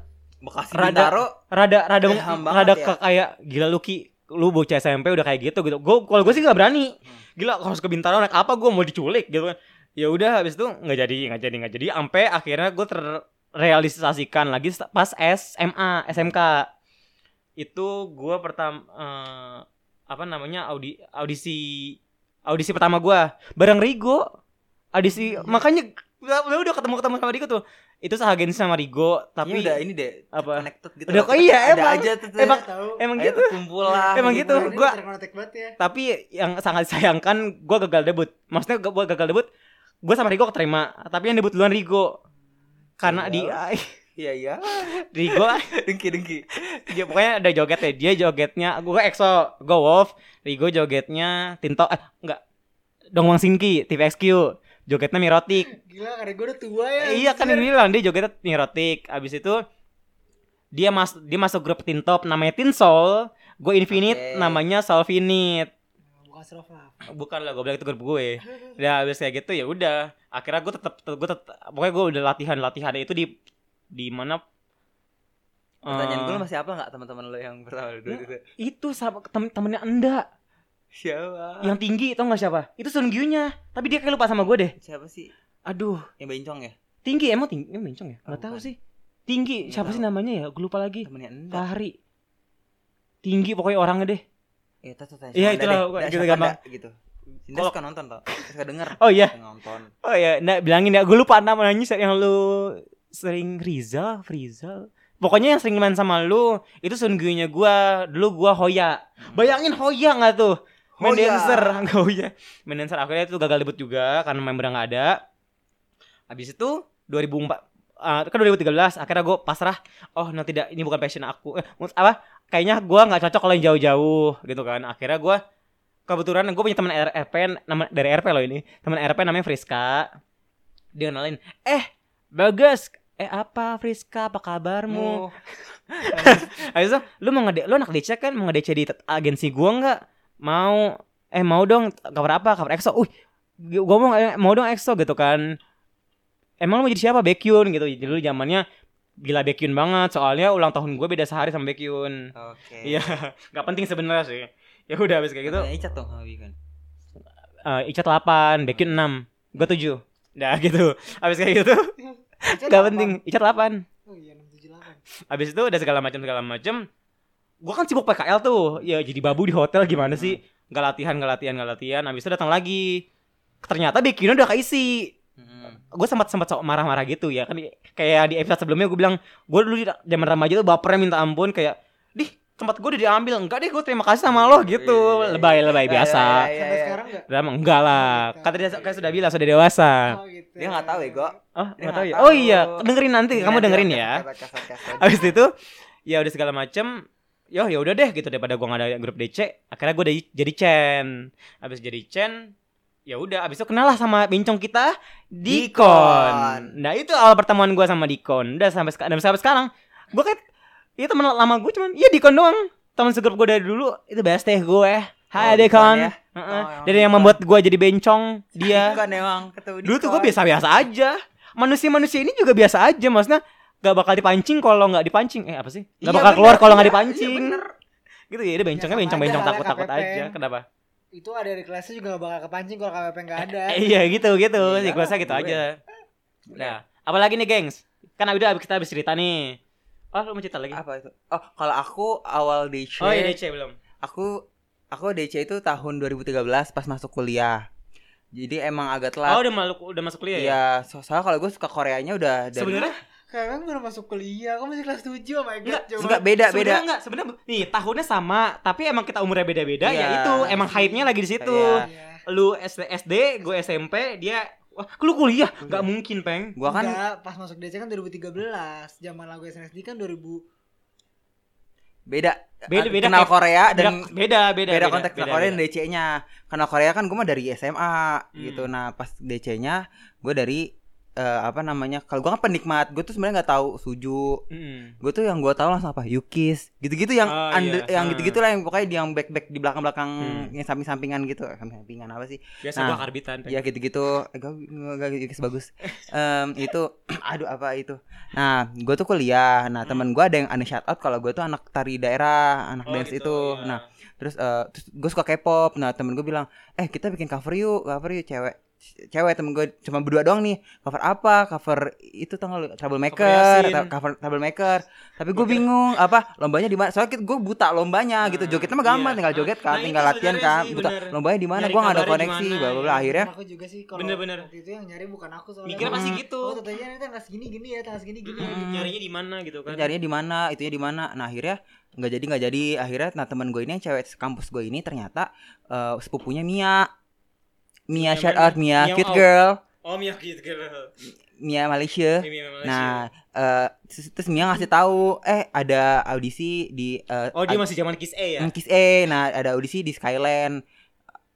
B: Bekasi
A: Rada-
B: Bintaro.
A: rada rada
B: Eh, ham banget
A: rada
B: ya.
A: ke kayak gila lu ki lu bocah SMP udah kayak gitu gitu gue kalau gue sih nggak berani
B: Hmm.
A: gila harus ke Bintaro naik apa gue mau diculik gitu kan ya udah habis itu nggak jadi nggak jadi nggak jadi sampai akhirnya gue terrealisasikan lagi st- pas SMA SMK itu gue pertama eh, apa namanya audi audisi audisi pertama gue bareng Rigo audisi
B: Hmm.
A: makanya udah udah ketemu ketemu sama Rigo tuh itu seagensi sama Rigo tapi
B: Tapi Iya, udah ini deh.
A: apa
B: Connected gitu.
A: Udah,
B: loh.
A: kok iya,
B: Ada
A: emang.
B: aja tuh. tuh.
A: Emang-
C: tahu.
A: emang
B: Ayo
A: gitu
B: tuh
C: Iya,
B: kumpulan.
A: Emang gitu,
C: Ini
A: gua-
C: terkonek banget ya.
A: tapi yang sangat disayangkan gue gagal debut maksudnya gue gagal debut gue sama Rigo keterima tapi yang debut duluan Rigo karena di
B: Iya iya.
A: Rigo
B: Dengki dengki.
A: dia pokoknya ada joget ya dia jogetnya gue EXO gue Wolf Rigo jogetnya Tinto eh enggak Dongwang Sinki TVXQ jogetnya Mirotic
C: Gila karena gue udah tua ya.
B: Eh,
A: iya kan
C: anjir.
A: ini bilang dia jogetnya neurotik abis itu dia mas dia masuk grup tin top namanya tin soul gue infinite
B: Oke.
A: namanya solvinite
C: Bukan Asrof lah.
A: bukan lah gue bilang itu grup gue udah abis kayak gitu ya udah akhirnya gue tetap gue tetap pokoknya gue udah latihan latihan itu di di mana
B: Pertanyaan gue
A: eh,
B: lu masih apa nggak teman-teman lo yang pertama dulu
A: Hmm.
B: itu?
A: itu sama temen temennya enda
B: Siapa?
A: yang tinggi tau nggak siapa itu Sun nya tapi dia kayak lupa sama gue deh
B: Siapa sih?
A: aduh
B: Yang bencong ya?
A: tinggi emang tinggi emang bencong ya nggak
B: Bukan.
A: tahu sih tinggi
B: Nggak
A: siapa sih
B: tahu.
A: namanya ya gue lupa lagi
B: Temennya Enda.
A: Fahri tinggi pokoknya orangnya deh
B: Iya, tuh tuh.
A: Iya, itulah, pokoknya gitu, gampang.
B: Gitu. Sinda
A: Kalau-
B: suka nonton tau. Suka denger.
A: oh iya
B: Suka nonton.
A: oh iya nah, bilangin ya gue lupa namanya siapa yang lu sering Rizal Rizal pokoknya yang sering main sama lu itu sungguhnya gue dulu gue Hoya
B: Hmm.
A: bayangin Hoya nggak tuh main
B: Hoya.
A: dancer nggak Hoya main dancer akhirnya itu gagal debut juga karena membernya nggak ada habis itu 2004 eh, kan 2013 akhirnya gue pasrah oh no tidak ini bukan passion aku eh, maksud- apa kayaknya gue nggak cocok kalau yang jauh-jauh gitu kan akhirnya gue kebetulan gue punya teman RP nama dari RP loh ini teman RP namanya Friska dia kenalin eh bagus eh apa Friska apa kabarmu
B: Mu.
A: Habis itu lu mau ngede lu anak DC kan mau ngedece di tet- agensi gua nggak mau eh mau dong cover apa cover EXO uh gua mau eh, mau dong EXO gitu kan emang lu mau jadi siapa Baekhyun gitu jadi dulu zamannya gila Baekhyun banget soalnya ulang tahun gue beda sehari sama Baekhyun
B: Oke.
A: iya nggak penting sebenarnya sih ya udah habis kayak gitu
B: Katanya Icat dong Hawi kan.
A: eh Ica 8 Baekhyun 6 gue 7 nah gitu habis kayak gitu nggak penting Ica 8
C: Oh iya, 678.
A: Abis itu udah segala macam segala macam. Gua kan sibuk PKL tuh. Ya jadi babu di hotel gimana sih?
B: Hmm.
A: Gak latihan, gak latihan, gak latihan. Abis itu datang lagi. Ternyata bikinnya udah keisi.
B: Hmm.
A: Gue sempat sempat sok marah-marah gitu ya kan kayak di episode sebelumnya gue bilang gue dulu di zaman remaja tuh bapernya minta ampun kayak dih tempat gue udah diambil enggak deh gue terima kasih sama lo gitu
B: Iya, iya,
A: lebay lebay
B: iya,
A: biasa
B: iya, iya,
C: Sampai
B: iya.
C: sekarang enggak?
A: drama enggak lah kata dia kayak sudah bilang sudah dewasa
C: Oh gitu.
B: Dia nggak tahu iya. ya, Go.
A: oh
B: Dia
A: nggak tahu ya
B: nggak
A: oh iya
B: tahu.
A: dengerin nanti kamu dengerin ya Abis itu ya udah segala macem Yo ya udah deh gitu daripada gua nggak ada grup DC, akhirnya gua jadi, jadi Chen. Abis jadi Chen, ya udah abis itu kenal lah sama bencong kita Dikon.
B: Dikon.
A: Nah itu awal pertemuan gua sama Dikon. Udah sampai sekarang sampai sekarang gua kayak ya teman lama gua cuman iya Dikon doang. Teman segrup gua dari dulu itu best deh gue. Hai
B: Oh,
A: Dikon.
B: Dikon ya.
A: Heeh.
B: Oh,
A: dari yang
B: Dikon.
A: membuat gua jadi bencong dia.
B: Bukan emang ketemu
A: Dulu tuh gue
B: Dikon.
A: biasa-biasa aja. Manusia-manusia ini juga biasa aja, maksudnya gak bakal dipancing kalau nggak dipancing. Eh apa sih? Gak
B: Iya,
A: bakal
B: bener,
A: keluar kalau
B: iya,
A: nggak
B: iya,
A: dipancing.
B: bener. Iya,
A: gitu ya, dia bencongnya
C: sama
A: bencong-bencong
C: aja,
A: takut-takut
C: KPP.
A: aja. Kenapa?
C: Itu ada di kelasnya juga gak bakal kepancing kalau KWP enggak ada.
A: Eh, iya gitu gitu,
B: Iya,
A: siklusnya gitu
B: gue.
A: aja. Nah, apalagi nih, gengs? Kan udah abis- kita habis cerita nih. Oh, lu mau cerita lagi?
B: apa itu? Oh, kalau aku awal DC,
A: Oh, iya DC belum.
B: aku aku DC itu tahun 2013 pas masuk kuliah. Jadi emang agak
A: Oh,
B: telat.
A: udah maluk udah masuk kuliah ya?
B: Iya, so- soalnya kalau gue suka Koreanya udah dari
A: Sebenarnya
C: Kalian baru masuk kuliah, kamu masih kelas 7 oh my god.
A: Enggak,
C: coba.
B: enggak beda beda.
A: sebenarnya enggak, sebenarnya nih tahunnya sama, tapi emang kita umurnya beda-beda
B: Iya.
A: ya itu. Emang hype-nya lagi di situ.
B: Iya.
C: Iya.
A: lu SD, SD gue SMP, dia wah, lu kuliah, nggak mungkin peng.
B: Gua kan
C: Enggak, pas masuk DC kan 2013, zaman lagu SNSD kan 2000.
B: beda.
A: Beda beda
B: kenal Korea dan
A: beda, beda beda
B: beda, konteks
A: beda,
B: Korea dan
A: beda.
B: DC-nya. Karena Korea kan gue mah dari SMA
A: Hmm.
B: gitu. Nah, pas DC-nya gue dari eh, apa namanya? Kalau gue kan penikmat, gue tuh sebenarnya nggak tahu suju.
A: Mm.
B: Gue tuh yang gue tahu langsung apa? Yukis. Gitu-gitu yang
A: Oh,
B: under-
A: iya.
B: yang
A: Hmm.
B: gitu-gitu lah yang pokoknya dia yang back-back di belakang-belakang
A: Hmm.
B: yang samping-sampingan gitu. Eh, Samping-sampingan apa sih?
A: Biasa
B: Nah.
A: gua karbitan. Peng.
B: Ya gitu-gitu. Eh, Gak gak- Yukis bagus. Em, itu aduh apa itu. Nah, gue tuh kuliah. Nah, temen gue ada yang aneh shout out kalau gue tuh anak tari daerah, anak
A: Hmm. Oh,
B: dance
A: gitu,
B: itu.
A: iya.
B: Nah, terus, eh terus gue suka K-pop nah temen gue bilang eh kita bikin cover yuk cover yuk cewek cewek temen gue cuma berdua doang nih cover apa cover itu tanggal troublemaker
A: Yasin.
B: ta- cover troublemaker tapi gue
A: Gua kira-
B: bingung apa lombanya di mana soalnya gue buta lombanya gitu
A: Hmm,
B: jogetnya mah gampang
A: iya.
B: tinggal joget
A: Nah,
B: kan
A: itu
B: tinggal latihan
A: sebenarnya
B: kan
A: sih,
B: buta
A: bener.
B: lombanya di mana
A: Nyari
B: gue gak ada
A: kabarnya
B: koneksi
A: gimana,
B: bla bla bla
A: iya.
B: akhirnya
C: Aku juga sih kalau
A: Bener-bener.
C: waktu itu yang nyari bukan aku soalnya.
A: Mikirnya pasti
B: Mm.
A: gitu.
C: Oh, tentunya nanti tanggal segini gini ya, tanggal segini gini.
B: Mm.
A: Nyarinya di mana gitu kan?
B: carinya di mana itunya di mana nah akhirnya nggak jadi nggak jadi akhirnya nah teman gue ini yang cewek kampus gue ini ternyata eh, sepupunya Mia Mia
A: Mia
B: shout
A: mana?
B: out Mia
A: Mia
B: cute
A: out.
B: girl
A: Om ya gitu girl.
B: Mia Malaysia
A: Mimi memang sih.
B: Eh, nah eh, terus, terus Mia ngasih tahu eh ada audisi di eh,
A: Oh, dia
B: ad-
A: masih zaman Kiss A ya?
B: Kiss A nah ada audisi di Skyland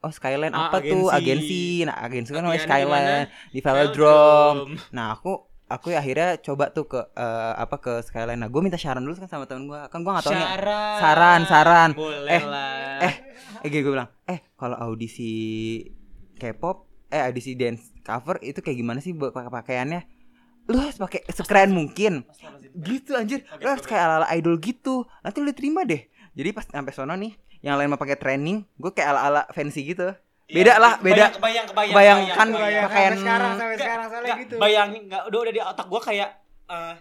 B: oh Skyland
A: Ah,
B: apa tuh
A: agensi.
B: agensi nah agensi kan namanya
A: Latihannya
B: Skyland di Velodrome
A: Velodrome.
B: Nah aku aku akhirnya coba tuh ke eh, apa ke Skyline. Nah gue minta saran dulu kan sama temen gue. Kan gue nggak tahu nih.
A: Saran.
B: Saran saran.
A: Boleh
B: Eh,
A: lah.
B: eh. Eh gue bilang eh kalau audisi K-pop eh audisi dance cover itu kayak gimana sih buat pakai pakaiannya? Lu harus pakai sekeren mungkin. Gitu anjir.
A: Oke,
B: Lu harus
A: oke.
B: kayak ala-ala idol gitu. Nanti lu diterima deh. Jadi pas sampai sono nih yang lain mau pakai training, gue kayak ala-ala fancy gitu. Beda lah, beda.
A: Kebayang, kebayang,
B: Bayangkan
C: Bayangin,
B: pakaian-
C: sampai sekarang sampai
A: Nggak,
C: sekarang soalnya
A: Nggak,
C: gitu.
A: Bayangin nggak udah udah di otak gua kayak eh,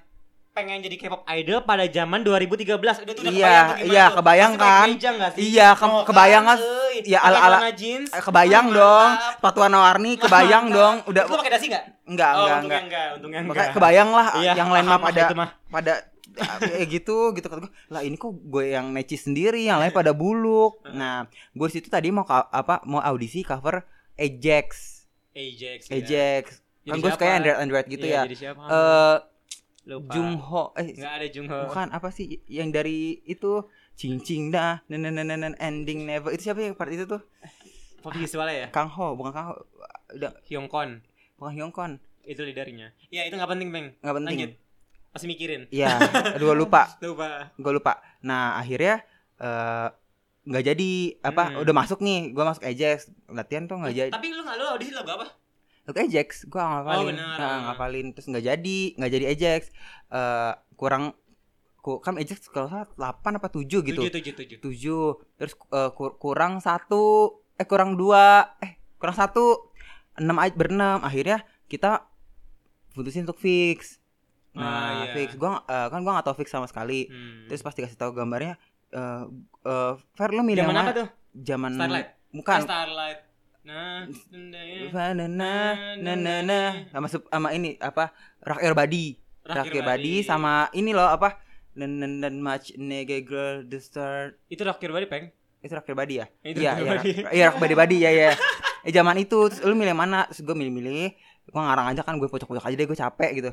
A: pengen jadi K-pop idol pada zaman 2013. Udah tuh udah
B: Iya,
A: kebayang tuh gimana
B: iya,
A: tuh.
B: kebayang
A: Pasti naik
B: kan.
A: meja nggak sih?
B: Iya, ke-
A: Oh,
B: kebayang kan,
A: euy.
B: ya,
A: Pakai
B: ala-ala-
A: celana jeans.
B: Eh, Kebayang
A: Mantap.
B: dong, sepatu warna warni kebayang dong.
A: Mantap.
B: Udah
A: Itu lu pakai dasi enggak?
B: enggak enggak
A: untungnya
B: enggak.
A: enggak, untungnya enggak.
B: Makanya kebayang lah
A: Iya,
B: yang lain
A: paham
B: mah
A: lah
B: pada
A: itu mah.
B: pada eh, gitu gitu kata gue lah ini kok gue yang neci sendiri yang lain pada buluk nah gue situ tadi mau ka- apa mau audisi cover Ajax
A: Ajax. ya.
B: Ajax
A: Jadi
B: kan gue
A: siapa?
B: suka Android Android gitu
A: Iya,
B: ya
A: Jadi siapa?
B: eh
A: Lupa.
B: Jungho eh
A: Enggak ada Jungho.
B: bukan apa sih Nah, yang dari itu Cing Cing dah nenen ending never itu siapa yang ya, part itu tuh
A: Popeye Iswala ya?
B: Kang Ho, bukan Kang Ho. Udah,
A: Hyongkon.
B: bukan Hyongkon.
A: Itu leadernya. Ya, itu nggak penting, Bang.
B: Enggak penting.
A: Lanjut. Masih mikirin.
B: Iya, aduh gua lupa.
A: Lupa.
B: gue lupa nah akhirnya eh, nggak jadi apa
A: Hmm.
B: udah masuk nih gue masuk Ajax latihan tuh nggak jadi
A: Tapi lu nggak lu audisi lagu apa?
B: Masuk Ajax gue ngapalin
A: Oh, benar.
B: Nah, ngapalin terus nggak jadi nggak jadi Ajax Eh, kurang ku- kan Ajax kalau salah 8 apa 7 gitu 7
A: Tujuh, tujuh, tujuh.
B: terus eh, kur- kurang satu eh kurang dua eh kurang satu 6 berenam akhirnya kita putusin untuk fix
A: Ah, iya.
B: nah fix gua eh, kan gue nggak tau fix sama sekali
A: Hmm.
B: Terus pas dikasih tahu gambarnya eh eh, Fer lu milih
A: Zaman apa
B: yang mana? Hmm, kan.
A: tuh?
B: Zaman
A: Starlight. Eh,
B: bukan.
A: Starlight. Nah, nah,
B: Fa- na- na- na- na- na. sama sub- sama ini apa? Rock Your Body. Rock Your Body sama ini loh apa? Dan dan dan match nege girl the star
A: itu Rock Your Body, Peng.
B: itu Rock Your Body ya?
A: Itu
B: Iya,
A: Rock Your
B: iya.
A: Body.
B: Rock- Iya, Rock Body Body ya ya. Eh zaman itu terus lu milih yang mana? Terus gue milih-milih. Gue ngarang aja kan gue pojok-pojok aja deh gue capek gitu.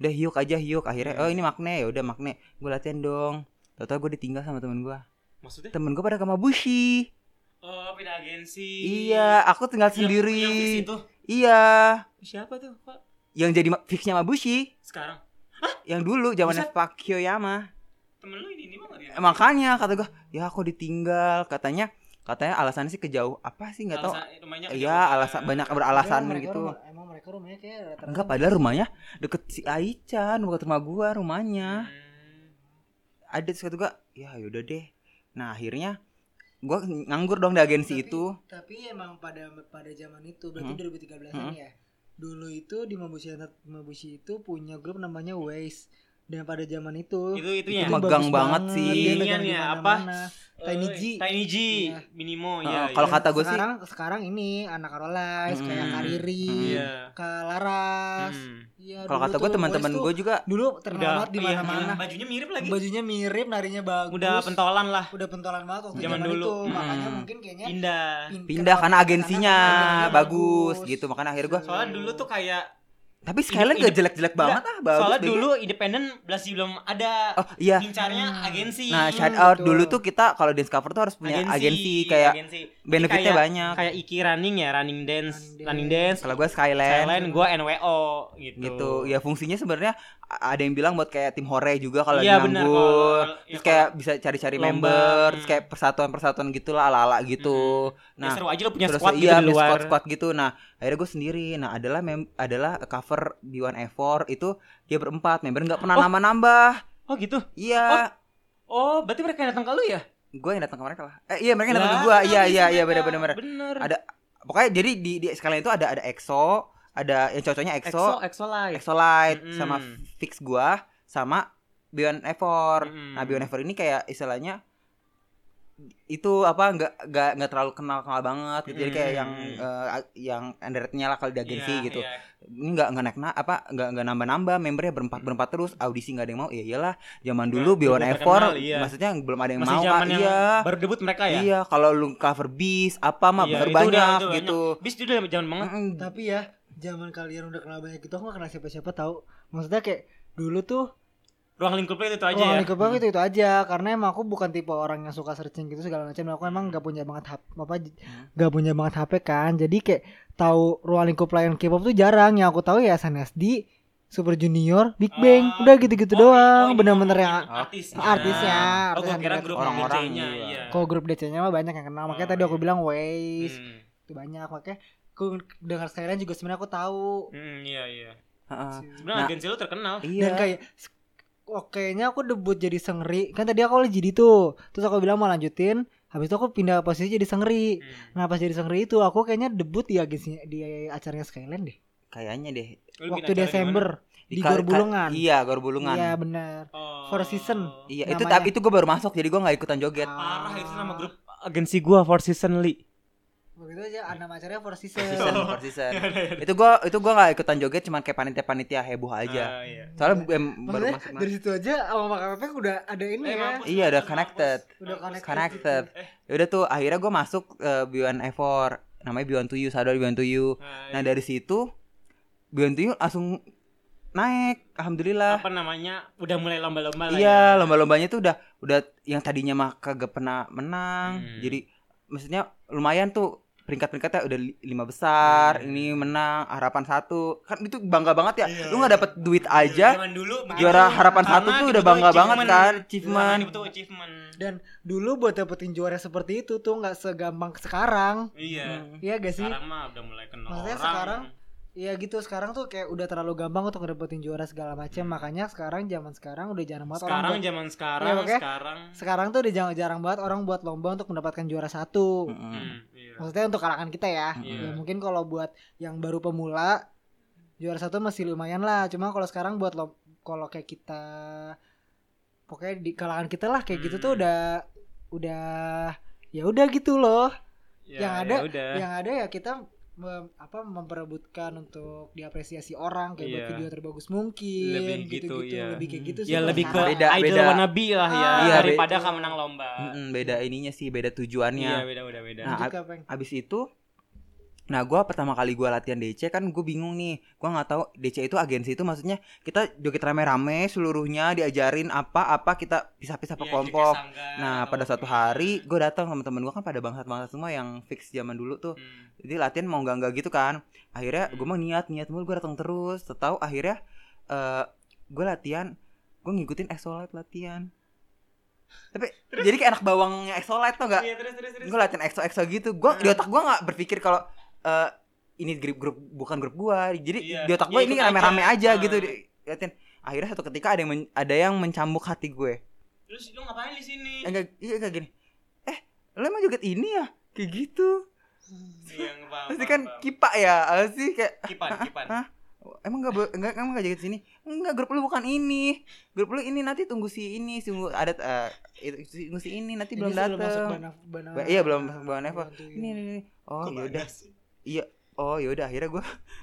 B: Udah hiuk aja hiuk akhirnya
A: Hmm.
B: oh ini makne ya udah makne gue latihan dong tau-tau gue ditinggal sama temen gue
A: Maksudnya?
B: temen gue pada ke Mabushi
A: Oh, pindah agensi.
B: Iya, aku tinggal
A: Yang- yang fix
B: sendiri.
A: itu.
B: Iya,
A: Siapa tuh, Pak?
B: yang jadi ma- fixnya Mabushi,
A: Sekarang.
B: yang dulu zamannya Pak Kiyoyama.
A: Temen lu ini ini banget ya?
B: Eh, Makanya kata gua, ya aku ditinggal. Katanya, katanya alasannya sih kejauh. Apa sih nggak tahu?
A: Alasan- rumahnya
B: Iya,
A: kejauhan.
B: alasan banyak beralasan
C: Emang mereka
B: gitu.
C: rumah- emang mereka rumahnya kayak rata-rata
B: Enggak, padahal rumahnya deket si Aichan, bukan rumah gua, rumahnya.
A: Hmm.
B: Ada terus kata gua, ya yaudah deh. Nah akhirnya gua nganggur dong di agensi
C: Tapi-
B: itu.
C: tapi emang pada pada zaman itu berarti
B: Hmm.
C: 2013an ya dulu itu di Mabushi Mabushi itu punya grup namanya Waze dan pada zaman itu
A: Hmm. Itu itunya.
B: Itu megang
C: bagus
B: banget sih.
C: dia
A: Inian
C: megang di
A: ya,
C: mana-mana. Tiny
A: Eh,
C: G.
A: Tiny G.
C: Iya.
A: Minimo
B: Heeh,
A: ya.
B: kalau
A: iya.
C: Dan
B: kata gua sih-
C: sekarang sekarang ini anak Karolais kayak
A: Hmm.
C: Kariri
A: Iya.
C: Kak Laras
A: Hmm.
C: Iya,
B: Kalau
C: dulu
B: kata gua
C: tuh
B: teman-teman
C: Waze tuh
B: gua juga
C: dulu
A: Udah,
C: terkenal banget di
A: iya,
C: mana-mana
A: iya. Bajunya mirip lagi.
C: bajunya mirip narinya bagus
A: Udah pentolan lah.
C: udah pentolan banget waktu
A: Zaman
C: zaman,
A: dulu.
C: itu makanya
B: Hmm.
C: mungkin kayaknya
A: Indah.
C: pin-
B: pindah
C: kenapa-
B: karena agensinya
C: agensinya
B: bagus gitu. Makanya akhirnya gua
A: Soalnya dulu tuh kayak
B: Tapi Skyline
A: Ide-
B: gak jelek-jelek banget ah, bagus.
A: soalnya
B: deh.
A: dulu independen masih belum ada.
B: Oh iya.
A: Incarnya
C: Hmm.
A: agensi. Hmm.
B: Nah, shout
C: betul.
B: out dulu tuh kita kalau dance cover tuh harus punya agensi,
A: iya,
B: kayak
A: agensi.
B: benefitnya
A: kayak-
B: banyak.
A: kayak Iki running ya, running dance,
C: Running
A: running dance.
C: dance.
B: Kalau gue Skyline,
A: Thailand gue NWO gitu.
B: gitu. Ya fungsinya sebenarnya a- ada yang bilang buat kayak tim hore juga kalau
A: Iya,
B: lagi
A: benar,
B: nganggur.
A: kalau-
B: Terus
A: ya,
B: kayak bisa cari-cari
A: lomba,
B: member, terus
A: hmm.
B: kayak persatuan-persatuan gitulah ala-ala gitu.
A: Ya,
B: Nah,
A: seru aja lo punya
B: terus
A: squad
B: iya,
A: gitu di
B: punya
A: luar.
B: squad-squad gitu. Nah, akhirnya gue sendiri. Nah, adalah mem adalah cover B1F4 itu dia berempat, member nggak
A: Oh.
B: pernah nambah-nambah.
A: Oh gitu.
B: Iya.
A: Oh, berarti mereka yang datang ke lu ya?
B: gue yang datang ke mereka lah eh, iya mereka yang datang ke
A: Lah,
B: gue iya
A: habis
B: iya iya
A: mereka.
B: benar benar benar.
A: Bener.
B: Ada- pokoknya jadi di di sekalian itu ada ada EXO ada yang cocoknya
A: EXO,
B: EXO
A: EXO Live.
B: EXO Lite
A: Mm-mm.
B: sama Fix gue sama Beyond Effort
A: Mm-mm.
B: nah Beyond Effort ini kayak istilahnya itu apa nggak nggak nggak terlalu kenal kenal banget gitu jadi kayak
A: Mm.
B: yang eh, yang underrated-nya lah kalau di agensi
A: Iya,
B: gitu
A: iya.
B: ini nggak nggak naik na apa nggak nggak nambah nambah membernya berempat berempat terus audisi nggak ada yang mau ya iyalah zaman dulu
A: Nggak, Mm. Iya, belum
B: B1
A: terkenal,
B: Effort
A: iya.
B: maksudnya belum ada yang
A: Masih
B: mau
A: zaman
B: Kak.
A: yang
B: iya
A: baru debut mereka ya?
B: Iya, kalau lu cover bis apa mah
A: Iya,
B: baru
A: itu udah-
B: banyak
A: itu banyak. Hmm?
B: gitu.
A: Bis itu udah jangan banget.
B: Mm-mm.
C: tapi ya zaman kalian udah kenal banyak gitu aku gak kenal siapa-siapa tahu maksudnya kayak dulu tuh
A: Ruang lingkupnya itu aja
C: Wah,
A: ya.
C: Nickelback itu itu aja karena emang aku bukan tipe orang yang suka searching gitu segala macam aku emang gak punya banget hap apa j-
A: Hmm.
C: gak punya banget HP kan jadi kayak tahu ruang lingkup lain K-pop tuh jarang yang aku tahu ya SNSD Super Junior Big Bang
A: Ah.
C: udah gitu-gitu
A: Oh,
C: doang
A: oh, ini
C: bener-bener yang
A: ngomongin artisnya. Oh, gua
C: artisnya, artis
A: kira
C: underrated.
A: grup
B: Orang-orang
A: DJ-nya,
B: juga.
A: iya.
C: kok grup DC-nya mah banyak yang kenal makanya
A: Oh,
C: tadi aku
A: iya.
C: bilang Waze
A: Hmm.
C: itu banyak makanya aku dengar sekalian juga sebenarnya aku tahu
A: Hmm, iya iya.
B: Heeh.
A: Sebenarnya
B: Nah.
A: agensi lu terkenal.
B: Iya.
C: dan kayak s- oh, kayaknya aku debut jadi sengri kan tadi aku jadi tuh terus aku bilang mau lanjutin habis itu aku pindah posisi jadi sengri
A: Hmm.
C: nah pas jadi sengri itu aku kayaknya debut di agensinya di acaranya Skyland deh
B: Kayaknya deh
A: Lu bikin
C: waktu
A: acara di mana?
C: Desember di
B: ka-
C: Gor
B: ka-
C: Bulungan.
B: Iya, Gor Bulungan.
C: iya benar
A: Oh.
C: Four Season.
B: Iya, itu
C: Namanya.
B: tapi itu gue baru masuk jadi gue nggak ikutan joget.
C: Ah.
A: Parah itu nama grup agensi gua Four Season Li.
C: begitu aja nama acaranya Four
B: Season,
C: Seasons
B: per
A: Iya,
B: season. itu gue itu gue nggak ikutan joget cuman kayak panitia-panitia heboh aja.
A: Ah, iya.
B: Soalnya bu- em, baru
C: maksudnya
B: masuk.
C: dari situ aja sama Kak Pepe udah ada ini
A: Eh,
C: ya
A: mampus,
B: Iya, udah
A: mampus,
B: connected.
A: mampus.
C: udah connected,
B: Connected.
C: gitu.
A: Eh.
B: Ya udah tuh akhirnya gue masuk eh, B1 F4 namanya B1 to You, Sadar B1 to You. Nah,
A: Nah,
B: dari situ B1 to You langsung naik, alhamdulillah.
A: apa namanya? Udah mulai lomba-lomba lah.
B: Iya,
A: ya.
B: lomba-lombanya tuh udah udah yang tadinya mah kagak pernah menang.
A: Hmm.
B: Jadi maksudnya lumayan tuh peringkat-peringkatnya udah li- lima besar, ini menang harapan satu. Kan itu bangga banget ya. Lu nggak dapet duit
A: Iya,
B: aja,
D: Zaman dulu begitu.
B: juara harapan
D: Karena
B: satu tuh udah
D: dibutuh
B: bangga banget
D: achievement.
B: kan,
D: Karena
B: achievement.
A: Iya.
D: dibutuh achievement.
C: Dan dulu buat dapetin juara seperti itu tuh nggak segampang sekarang.
D: Iya.
C: Iya gak sih?
D: Sekarang mah udah mulai kenal
C: Maksudnya
D: orang.
C: sekarang- Iya gitu sekarang tuh kayak udah terlalu gampang untuk ngedapetin juara segala macam. Makanya sekarang zaman sekarang udah jarang banget
D: sekarang
C: orang buat,
D: zaman sekarang
C: Iya, makanya-
D: sekarang.
C: sekarang tuh udah jarang, jarang banget orang buat lomba untuk mendapatkan juara satu.
B: Mm-mm.
D: Hmm, iya.
C: Maksudnya untuk kalangan kita ya.
D: Iya.
C: Ya mungkin kalau buat yang baru pemula juara satu masih lumayan lah. Cuma kalau sekarang buat lo kalau kayak kita pokoknya di kalangan kita lah kayak gitu tuh
D: Hmm.
C: udah udah ya udah gitu loh.
D: Ya,
C: yang ada-
D: ya udah.
C: Yang ada ya kita mem- apa memperebutkan untuk diapresiasi orang kayak buat
D: Iya.
C: video terbagus mungkin
D: Lebih gitu, iya.
C: lebih kayak gitu sih
A: Ya
C: kalau
A: lebih ke
C: sekarang.
B: Hmm. Beda,
A: idol
B: beda.
A: wannabe lah ya
C: Ah,
B: Iya,
A: daripada
C: beda.
A: kamu menang lomba.
B: Mm-mm, beda ininya sih, beda
D: Iya,
B: tujuannya.
D: beda beda beda.
B: Nah,
C: Lanjut, Kak Peng.
B: Abis itu Nah gua pertama kali gua latihan DC kan gue bingung nih gua nggak tahu DC itu agensi itu maksudnya kita joget rame-rame seluruhnya diajarin apa-apa kita pisah-pisah per
D: Iya,
B: kelompok
D: kayak sangga
B: Nah
D: atau
B: pada satu
D: gimana.
B: hari gue datang teman-teman gue kan pada bangsat-bangsat semua yang fix zaman dulu tuh
D: Hmm.
B: Jadi latihan mau nggak nggak gitu kan Akhirnya gue mau niat niat mulu gue datang terus Tahu akhirnya eh gue latihan Gue ngikutin exolite latihan Tapi jadi kayak anak bawangnya exolite tau gak
D: Iya, terus terus terus.
B: Gue latihan exo exo gitu Gue di otak gue nggak berpikir kalau eh ini grup grup bukan grup gue Jadi
D: Iya.
B: di
D: Ya,
B: otak gue
D: ikut
B: ini
D: aja.
B: rame-rame aja,
D: Nah.
B: gitu di- latihan Akhirnya satu ketika ada yang men- ada yang mencambuk hati gue
D: Terus lu ngapain di sini?
B: enggak iya enggak gini eh lo emang joget ini ya kayak gitu
D: Iya, nggak apa-apa,
B: pasti kan
D: nggak apa-apa.
B: kipa ya apa sih kayak
D: kipan, kipan.
B: ah, emang enggak bo- enggak emang enggak joget sini enggak grup lu bukan ini grup lu ini nanti tunggu si ini tunggu ada eh, itu- tunggu si ini nanti
C: Ini
B: belum
C: sebelum masuk
B: datang
C: Bana- Bana-
B: Ba- iya, belum masuk Bana Eva.
C: Bantu
B: ini, ini, ini. oh
D: Kok
B: yaudah
D: bagas sih?
B: oh yaudah akhirnya gue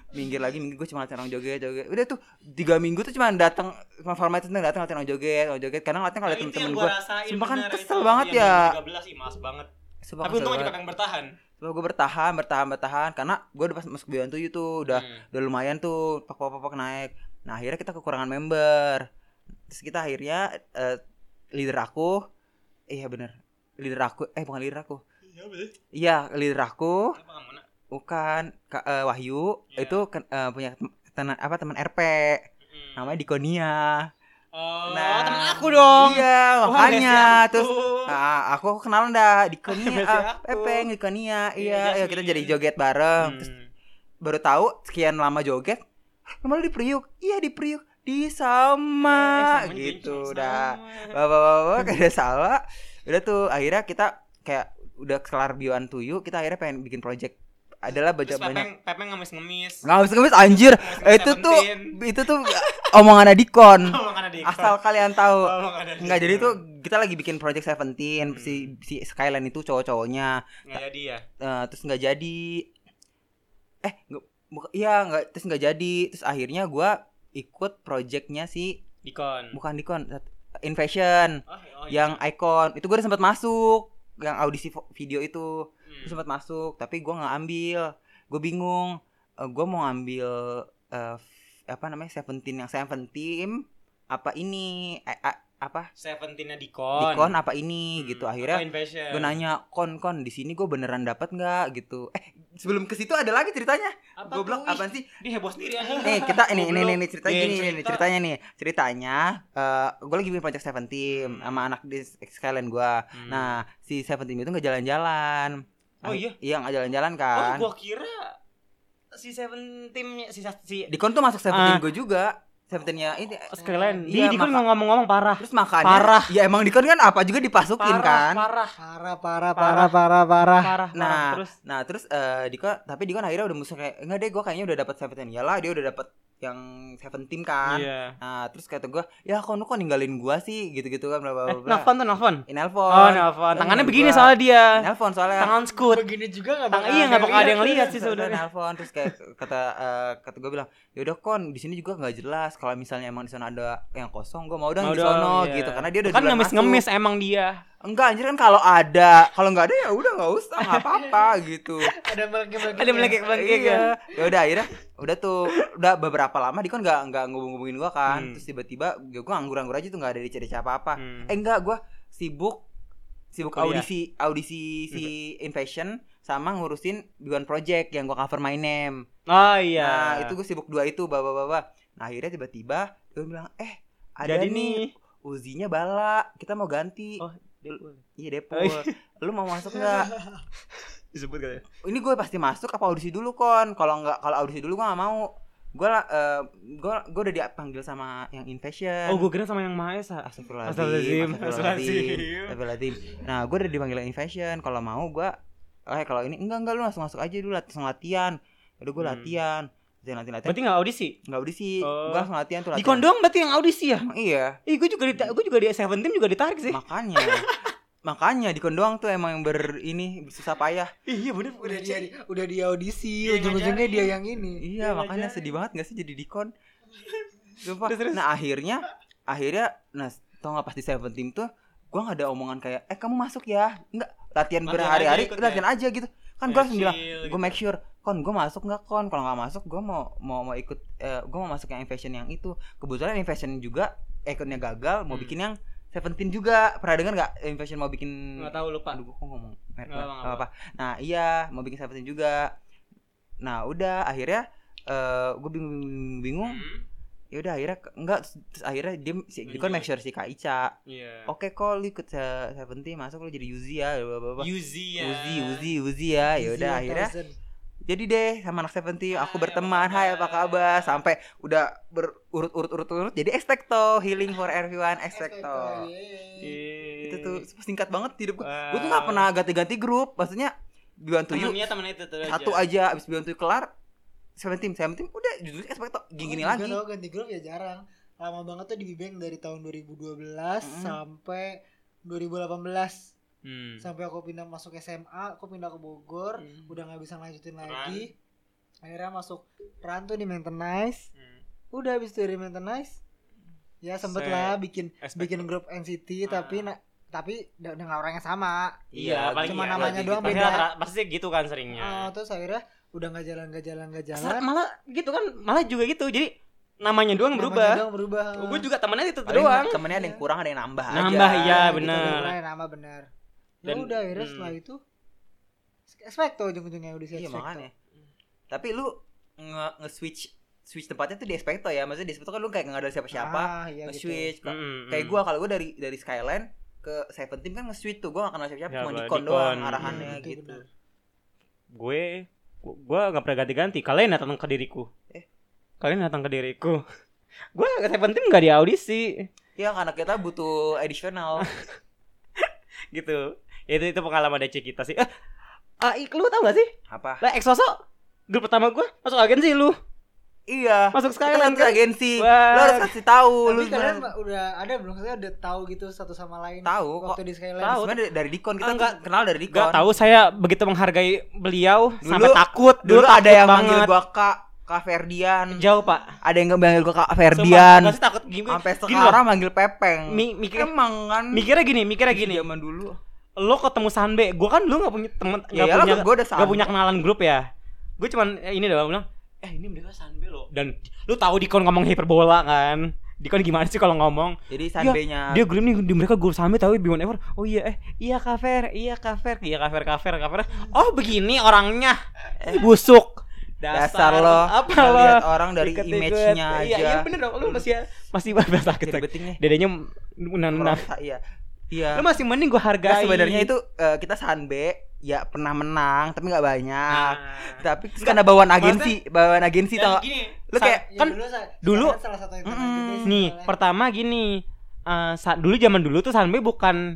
B: minggir lagi minggir gue cuma latihan orang joget joget udah tuh tiga minggu tuh cuma datang cuma format itu datang latihan orang joget orang joget kadang latihan kalau
D: Nah,
B: ada
D: itu yang
B: temen-temen
D: gua
B: gue
D: rasain
B: Sumpah kan
D: benar,
B: kesel
D: itu
B: banget
D: yang
B: ya.
D: 13 ih malas banget. Tapi untung aja kakak bertahan.
B: Coba gue bertahan, bertahan, bertahan Karena gue udah pas masuk Beyond Tujuh tuh Udah
D: Hmm.
B: udah lumayan tuh Pak-pak-pak naik Nah akhirnya kita kekurangan member Terus kita akhirnya eh, Leader aku Iya bener Leader aku Eh bukan leader aku
D: Iya, betul.
B: Iya leader aku
D: Apa kamu nak?
B: Bukan Ka- eh, Wahyu
D: Iya.
B: Itu ken- eh, punya tem- tenan- apa teman RP
D: Hmm.
B: Namanya Dikonia
D: Oh,
B: Nah,
D: temen aku dong. ya? Hmm.
B: Iya
D: Wah,
B: makanya
D: udah siap
B: Terus
D: tuh.
B: Ah, aku aku kenalan dah Dikonia
D: Biasa
B: ah,
D: aku.
B: Pepeng Dikonia Iya,
D: Iya,
B: ayo kita jadi
D: Jasmine.
B: joget bareng Ah, Terus
D: Hmm.
B: baru tahu sekian lama joget nama lu di Priuk iya di Priuk di sama,
D: Eh, sama
B: gitu
D: juga,
B: udah
D: sama.
B: bapak bapak kada salah udah tuh akhirnya kita kayak udah kelar bioan tuyu kita akhirnya pengen bikin project adalah baca
D: Terus
B: banyak
D: Pepeng, Pepeng ngemis-ngemis.
B: nggak usah ngemis anjir
D: Ngemis-ngemis
B: Eh, itu tuh
D: Seventeen.
B: itu tuh omongan adikon
D: Oh, makan adik.
B: asal kalian tahu
D: Oh, makan adik.
B: Enggak jadi tuh kita lagi bikin project
D: Hmm.
B: Seventeen si si Skyline itu cowok-cowoknya
D: Nggak jadi ya.
B: Eh, terus nggak jadi eh nggak buka- iya nggak terus nggak jadi terus akhirnya gua ikut projectnya si
D: Dikon.
B: bukan Dikon Invasion
D: Oh, oh, iya.
B: yang Icon itu gua udah sempat masuk yang audisi vo- video itu
D: Hmm.
B: Gua sempat masuk tapi gua nggak ambil gue bingung Eh, gua mau ambil eh, f- apa namanya Seventeen yang Seventeen apa ini Eh, a- apa
D: Seventeen-nya Dikon.
B: Dikon apa
D: Hmm,
B: ini gitu akhirnya
D: Atau Invasion.
B: gue nanya kon kon di sini gue beneran dapat nggak gitu eh sebelum ke situ ada lagi ceritanya
D: Apa
B: goblok
D: tuh? Ih,
B: apa sih
D: Dia heboh sendiri anjing.
B: nih kita ini ini
D: Goblok.
B: ini, ini ceritanya
D: Iya,
B: gini
D: cerita.
B: ini ceritanya nih ceritanya eh gue lagi bikin project Seventeen
D: Hmm.
B: sama anak di sekalian gue
D: Hmm.
B: nah si Seventeen itu nggak jalan-jalan
D: Oh, iya?
B: iya nggak jalan-jalan
D: Oh,
B: kan
D: gua kira si Seven timnya si si
B: Dikon tuh masuk
A: Ah.
B: Seventeen gue juga Seventeennya ini
A: Sekalian.
B: Iya,
A: Dia Dikon
B: maka-
A: ngomong-ngomong parah.
B: terus makannya
A: Parah.
B: ya emang Dikon kan apa juga dipasukin kan
A: parah,
C: parah parah parah parah parah
A: parah, parah.
B: Nah,
A: Terus
B: Nah terus eh Diko tapi Diko akhirnya udah musuh kayak enggak deh gue kayaknya udah dapat seventeen ya lah dia udah dapat yang seventeen kan.
A: Iya.
B: Nah terus kata gue ya kok lu kok ninggalin gue sih gitu-gitu kan bla
A: Eh,
B: bla bla. bla.
A: nelfon tuh nelfon.
B: Eh, nelfon.
A: Oh, nelfon. Tangannya
B: Gua-
A: begini soalnya dia.
B: Nelfon soalnya.
A: Tangan scoot.
C: begini juga nggak
A: Tang
C: bakal
A: iya nggak bakal ada yang
C: lihat.
A: lihat sih
B: Terus udah
A: sebenarnya.
B: nelfon terus kayak kata eh, kata gue bilang ya udah kon di sini juga nggak jelas kalau misalnya emang di sana ada yang kosong gue mau
A: Mau
B: dong di
A: dong,
B: sono
A: iya.
B: gitu karena dia udah
A: Kan
B: duluan
A: ngemis-ngemis
B: masuk.
A: emang dia.
B: enggak anjir kan kalau ada kalau nggak ada ya udah nggak usah nggak apa-apa gitu
C: iya, ada melengkung
A: Ada melengkek-melengkek ya.
B: ya udah akhirnya udah tuh udah beberapa lama Dikon nggak nggak ngubung ngubungin gua kan ya
A: Hmm.
B: Ah. terus tiba-tiba gue nganggur nganggur aja tuh Eh, nggak ada di cerita apa apa
A: Hmm.
B: eh enggak gua sibuk sibuk
A: Kuliah. Hmm.
B: audisi audisi si Invasion sama ngurusin Biwan Project yang gua cover my name.
A: Oh iya.
B: Nah, itu gue sibuk dua itu bawa bawa. Nah, akhirnya tiba-tiba gue bilang, "Eh, ada
A: Jadi
B: nih
A: nih.
B: Uzinya bala, kita mau ganti.
A: Oh,
B: Iya Deadpool.
A: Oh, iya.
B: Lu mau masuk nggak?
A: Disebut katanya.
B: Ini gue pasti masuk apa audisi dulu kon? Kalau nggak kalau audisi dulu gue nggak mau. Gue eh gue gue udah dipanggil sama yang Invasion.
A: Oh, gue kira sama yang Maha Esa. Astagfirullahaladzim.
B: Astagfirullahaladzim Astagfirullahaladzim Astagfirullahaladzim Nah gue udah dipanggil in fashion Kalau mau gue Eh kalau ini Enggak enggak lu langsung masuk aja dulu Langsung latihan Udah gue
A: Hmm.
B: latihan Latihan latihan latihan
A: Berarti nggak audisi?
B: Enggak audisi
A: Oh.
B: Gue langsung latihan tuh
A: Di
B: latihan
A: kondom berarti yang audisi ya?
B: Emang Iya
A: Ih, gue juga di gue juga di Seventeen juga ditarik sih.
B: Makanya Makanya di kondoang tuh emang yang ber ini susah payah.
A: Iya bener
C: udah dia udah dia audisi
A: Dia yang
C: ujung-ujungnya
A: ngajarin.
C: dia yang ini
B: Iya
A: Iya,
B: makanya
A: ngajarin.
B: sedih banget gak sih jadi dikon. Sumpah.
A: Terus, terus.
B: Nah akhirnya akhirnya nah tau gak pasti Seventeen tuh gue gak ada omongan kayak eh kamu masuk ya enggak
A: Latihan
B: latihan berhari-hari
A: aja ikut ya. gitu.
B: latihan aja gitu kan gue langsung
A: Iya,
B: bilang gue make sure kon gue masuk nggak kon kalau nggak masuk gue mau mau mau ikut gue mau masuk yang fashion yang itu kebetulan yang fashion juga ekornya gagal mau
A: Hmm.
B: bikin yang Seventeen juga pernah dengar nggak yang fashion mau bikin
A: Nggak tahu lupa.
B: Aduh, kok ngomong
A: Nggak
B: merek banget.
A: apa,
B: Nggak
A: nggak
B: apa-apa. Nah, iya, mau bikin Seventeen juga. Nah, udah akhirnya eh gue bingung-bingung.
A: Hmm?
B: Ya udah akhirnya ke- enggak terus- terus akhirnya dia si dia kan
A: Lanjut.
B: make sure si Kak Ica.
A: Iya.
B: Oke, kok lu ikut Se- Seventeen masuk lu jadi Yuzi ya, bla bla bla.
A: Yuzi ya.
B: Uzi, Uzi, Uzi ya. Ya udah
C: Iya,
B: akhirnya jadi deh sama anak
A: iya,
B: Seventeen aku
A: Hai, apa
B: berteman. Hai, apa kabar?
A: kabar?
B: Sampai udah berurut-urut-urut-urut jadi Expecto, healing for everyone Expecto.
A: iya.
B: Itu tuh singkat banget hidup gue. Gue tuh gak pernah ganti-ganti grup Maksudnya Biwan Tuyu
A: Eh, Temennya temen itu tuh
B: Satu aja Abis Biwan Tuyu kelar Seventeen Seventeen udah Jujur expecto Gini-gini lagi
C: Tahu, ganti grup ya jarang. Lama banget tuh di Bibeng dari tahun 2012
B: Mm.
C: sampai 2018
A: Hmm. Iya.
C: sampai aku pindah masuk SMA, aku pindah ke Bogor, udah nggak bisa lanjutin lagi. Akhirnya masuk Rantu di maintenance.
A: Hmm.
C: Udah habis dari maintenance. Ya
A: Se-
C: sempet lah bikin
A: Expecto.
C: bikin grup NCT
A: Ah.
C: tapi na- tapi da- dengan orang yang sama.
A: Iya, paling
C: Cuma
A: iya.
C: namanya doang
A: Pasti
C: beda.
A: rata- pasti gitu kan seringnya.
C: Oh,
B: Ah,
C: terus akhirnya udah nggak jalan nggak jalan nggak jalan.
A: Sa- malah gitu kan, malah juga gitu. Jadi namanya doang
C: namanya
A: berubah.
C: doang berubah.
A: Gue juga temennya itu
B: Eh, Paling
A: doang.
B: Temennya ada yang kurang Ada yang nambah aja
A: iya. Nambah, iya.
C: gitu,
A: benar.
C: benar, nama benar. Ya
A: Dan-
C: udah akhirnya
A: hmm.
C: setelah itu Expecto ujung-ujungnya udah
B: Iya
C: Expecto.
B: makanya Tapi lu nge- Nge-switch Switch tempatnya tuh di Expecto ya Maksudnya di Expecto kan lu kayak gak ada siapa-siapa
C: Ah, iya gitu.
B: Nge-switch Ka-
A: Mm,
B: Kayak
A: mm.
B: gue kalau gue dari dari Skyline ke Seventeen kan nge-switch tuh Gue gak kenal siapa-siapa
A: Ya,
B: Cuma
A: gua
B: Dikon
A: Dikon.
B: doang
A: Hmm,
B: arahannya
C: Iya, itu
B: gitu
C: benar.
A: gue gue nggak pernah ganti-ganti. Kalian datang ke diriku.
B: Eh.
A: Kalian datang ke diriku. gue ke Seventeen nggak di audisi
B: Iya karena kita butuh additional
A: gitu. Itu itu pengalaman DC kita sih. Eh, ah, ik, lu tau gak sih?
B: Apa?
A: Lah Exoso grup pertama gue masuk agensi lu,
B: Iya
A: masuk
B: Kita
A: Skyland
B: ikut
A: kan.
B: agensi Lu harus
A: Wah,
B: kasih tahu lu
C: Tapi kalian
B: sebenarnya
C: ma- udah ada belum? Saya udah tahu gitu satu sama lain.
B: tahu kok.
C: Waktu di Skyline.
A: Tahu.
B: Sebenarnya dari, dari Dikon kita
A: Ah, enggak.
B: kenal dari Dikon.
A: Gak tahu saya begitu menghargai beliau
B: Dulu-
A: sampai takut
B: Dulu ada
A: takut
B: yang
A: banget.
B: manggil gua Kak, Kak Ferdian.
A: jauh pak
B: Ada yang manggil gua Kak Ferdian.
A: Sumpah, gua sih takut gini
B: Sampai
A: gini
B: sekarang manggil Pepeng.
A: loh, mi- mikir,
B: Emang kan
A: mikirnya gini mikirnya gini
B: zaman dulu.
A: lo ketemu Sanbe gue kan dulu gak punya temen gak
B: Ya iyalah
A: punya
B: gua udah
A: gak
B: sama.
A: punya kenalan grup ya gue cuman eh, ini doang bilang eh ini mereka Sanbe lo dan lu tahu Dikon ngomong hiperbola kan Dikon gimana sih kalau ngomong
B: Jadi sanbenya
A: dia grup nih di mereka grup Sanbe tapi Bimon Ever oh iya eh iya kafer iya kafer iya kafer kafer kafer oh begini orangnya Ih, busuk
B: dasar lo.
A: apa lo
B: lihat orang dari
A: Ikut-ikut.
B: image-nya aja.
A: iya, iya bener dong lu masih masih bahas
B: Jadi
A: sakit
B: betingnya.
A: dadanya menang menang
B: merasa, Iya. Iya.
A: lu masih mending gue
B: Nah,
A: hargai
B: sebenarnya itu eh, kita sanbe ya pernah menang tapi nggak banyak.
A: Nah.
B: Tapi karena bawaan agensi, bawaan agensi
A: Dan
B: tau.
A: gini,
B: Lu
A: sa-
B: kayak-
C: Ya,
A: kan
C: dulu, saya-
A: dulu-
C: Skyline salah satu yang
B: Mm-mm.
C: terkenal juga sih
A: nih
C: Skyline.
A: pertama gini eh, sa- dulu zaman dulu tuh Sanbe bukan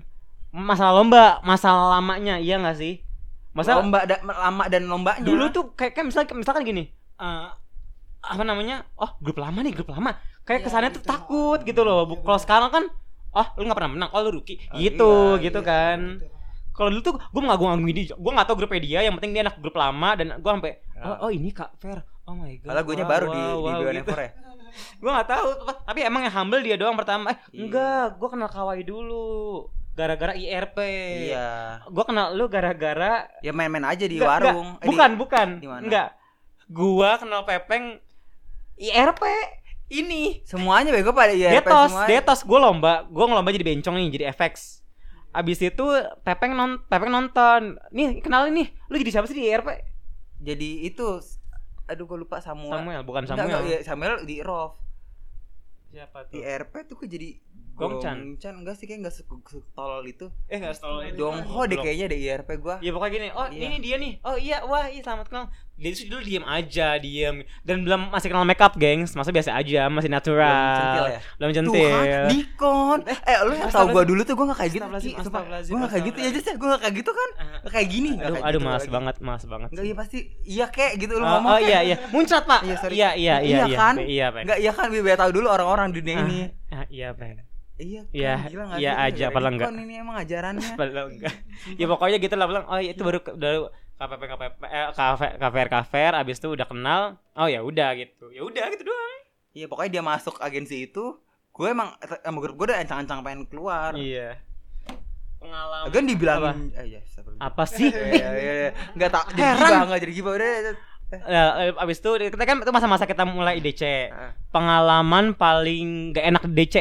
A: masalah lomba masalah lamanya iya nggak sih masalah
B: lomba da- lama dan lombanya.
A: dulu tuh kayak kayak misalkan misalkan gini eh, apa namanya oh grup lama nih grup lama kayak
C: Iya,
A: kesannya tuh
C: gitu.
A: takut gitu loh Bu-
C: Iya,
A: kalau
C: bener.
A: sekarang kan oh lu nggak pernah menang oh lu rookie
B: Oh,
A: gitu
B: iya,
A: gitu
B: iya,
A: kan
C: Gitu.
A: kalau dulu tuh gue mengagum-agumi dia gue nggak tau grupnya dia yang penting dia anak grup lama dan gue sampai oh, oh ini kak Fer oh my god
B: Kalau gue
A: wah,
B: Iya. baru di
A: wah,
B: di
A: wah,
B: Beyond
A: gitu.
B: Ever ya.
A: gue nggak tahu tapi emang yang humble dia doang pertama eh
B: Iya.
A: enggak gue kenal Kawai dulu gara-gara IRP
B: Iya.
A: gue kenal lu gara-gara
B: Ya main-main aja di
A: Enggak,
B: warung. Eh, di-
A: bukan bukan
B: di mana?
A: enggak gue kenal Pepeng IRP ini
B: semuanya bego pada ya.
A: Detos Detos gue lomba gue ngelomba jadi bencong nih jadi FX Abis itu Pepeng non Pepeng nonton. Nih kenalin nih, lu jadi siapa sih di IRP?
B: Jadi itu aduh gue lupa Samuel.
A: Samuel, bukan
B: Enggak, enggak,
A: Samuel.
B: iya, Samuel di Rof.
A: Siapa
B: Di RP tuh gue jadi
A: Gongchan.
B: Gongchan enggak sih kayak enggak se- setolol itu.
A: Eh nggak tahu itu.
B: Dongho deh kayaknya di IRP gua.
A: Ya pokoknya gini, oh
B: Iya.
A: ini dia nih, oh iya, wah iya selamat kenal Dia itu dulu diem aja, diem Dan belum masih kenal makeup gengs, masa biasa aja, masih
B: Belum centil
A: natural
B: ya?
A: Belum
B: Tuhan,
A: centil,
B: Nikon. Eh, eh lu yang tau gua dulu tuh gua gak kayak gitu.
A: Astagfirullahaladzim,
B: Ki. Sumpah,
A: astagfirullahaladzim,
B: Gua gak kayak gitu ya, Jess. ya. Gua gak kayak gitu kan. Nggak kayak gini. nggak
A: Aduh,
B: kayak
A: aduh
B: gitu
A: malas
B: lagi.
A: banget, malas banget
B: Enggak, iya pasti. Iya kek gitu
A: Oh,
B: lu ngomong.
A: oh, iya iya, muncrat pak
B: Iya, sorry.
A: Iya iya iya
B: Iya kan?
A: Iya Peng.
B: Enggak, iya kan biar biar tahu dulu orang-orang di dunia
A: Ah,
B: ini.
A: ah, Iya Peng
B: Iya, kan,
A: Iya,
B: gila
A: iya
B: nggak sih?
A: aja,
B: Gara-gara
A: padahal
B: Nikon
A: nggak.
B: Ini emang ajarannya.
A: Belum enggak Ya pokoknya gitu lah, bilang, oh iya, itu baru baru KPP KPP eh, KV- KVR KVR abis itu udah kenal oh ya udah gitu ya udah gitu doang
B: Iya, pokoknya dia masuk agensi itu, gue emang sama grup gue udah ancang-ancang pengen keluar.
A: iya pengalaman
B: Kan dibilangin aja,
A: apa sih
B: Iya, iya, iya. Enggak tak jadi
A: Heran.
B: gibah, enggak jadi gibah udah. udah.
A: Nah, eh, abis itu kita kan itu masa-masa kita mulai IDC.
B: Ah,
A: Pengalaman paling gak enak di DC.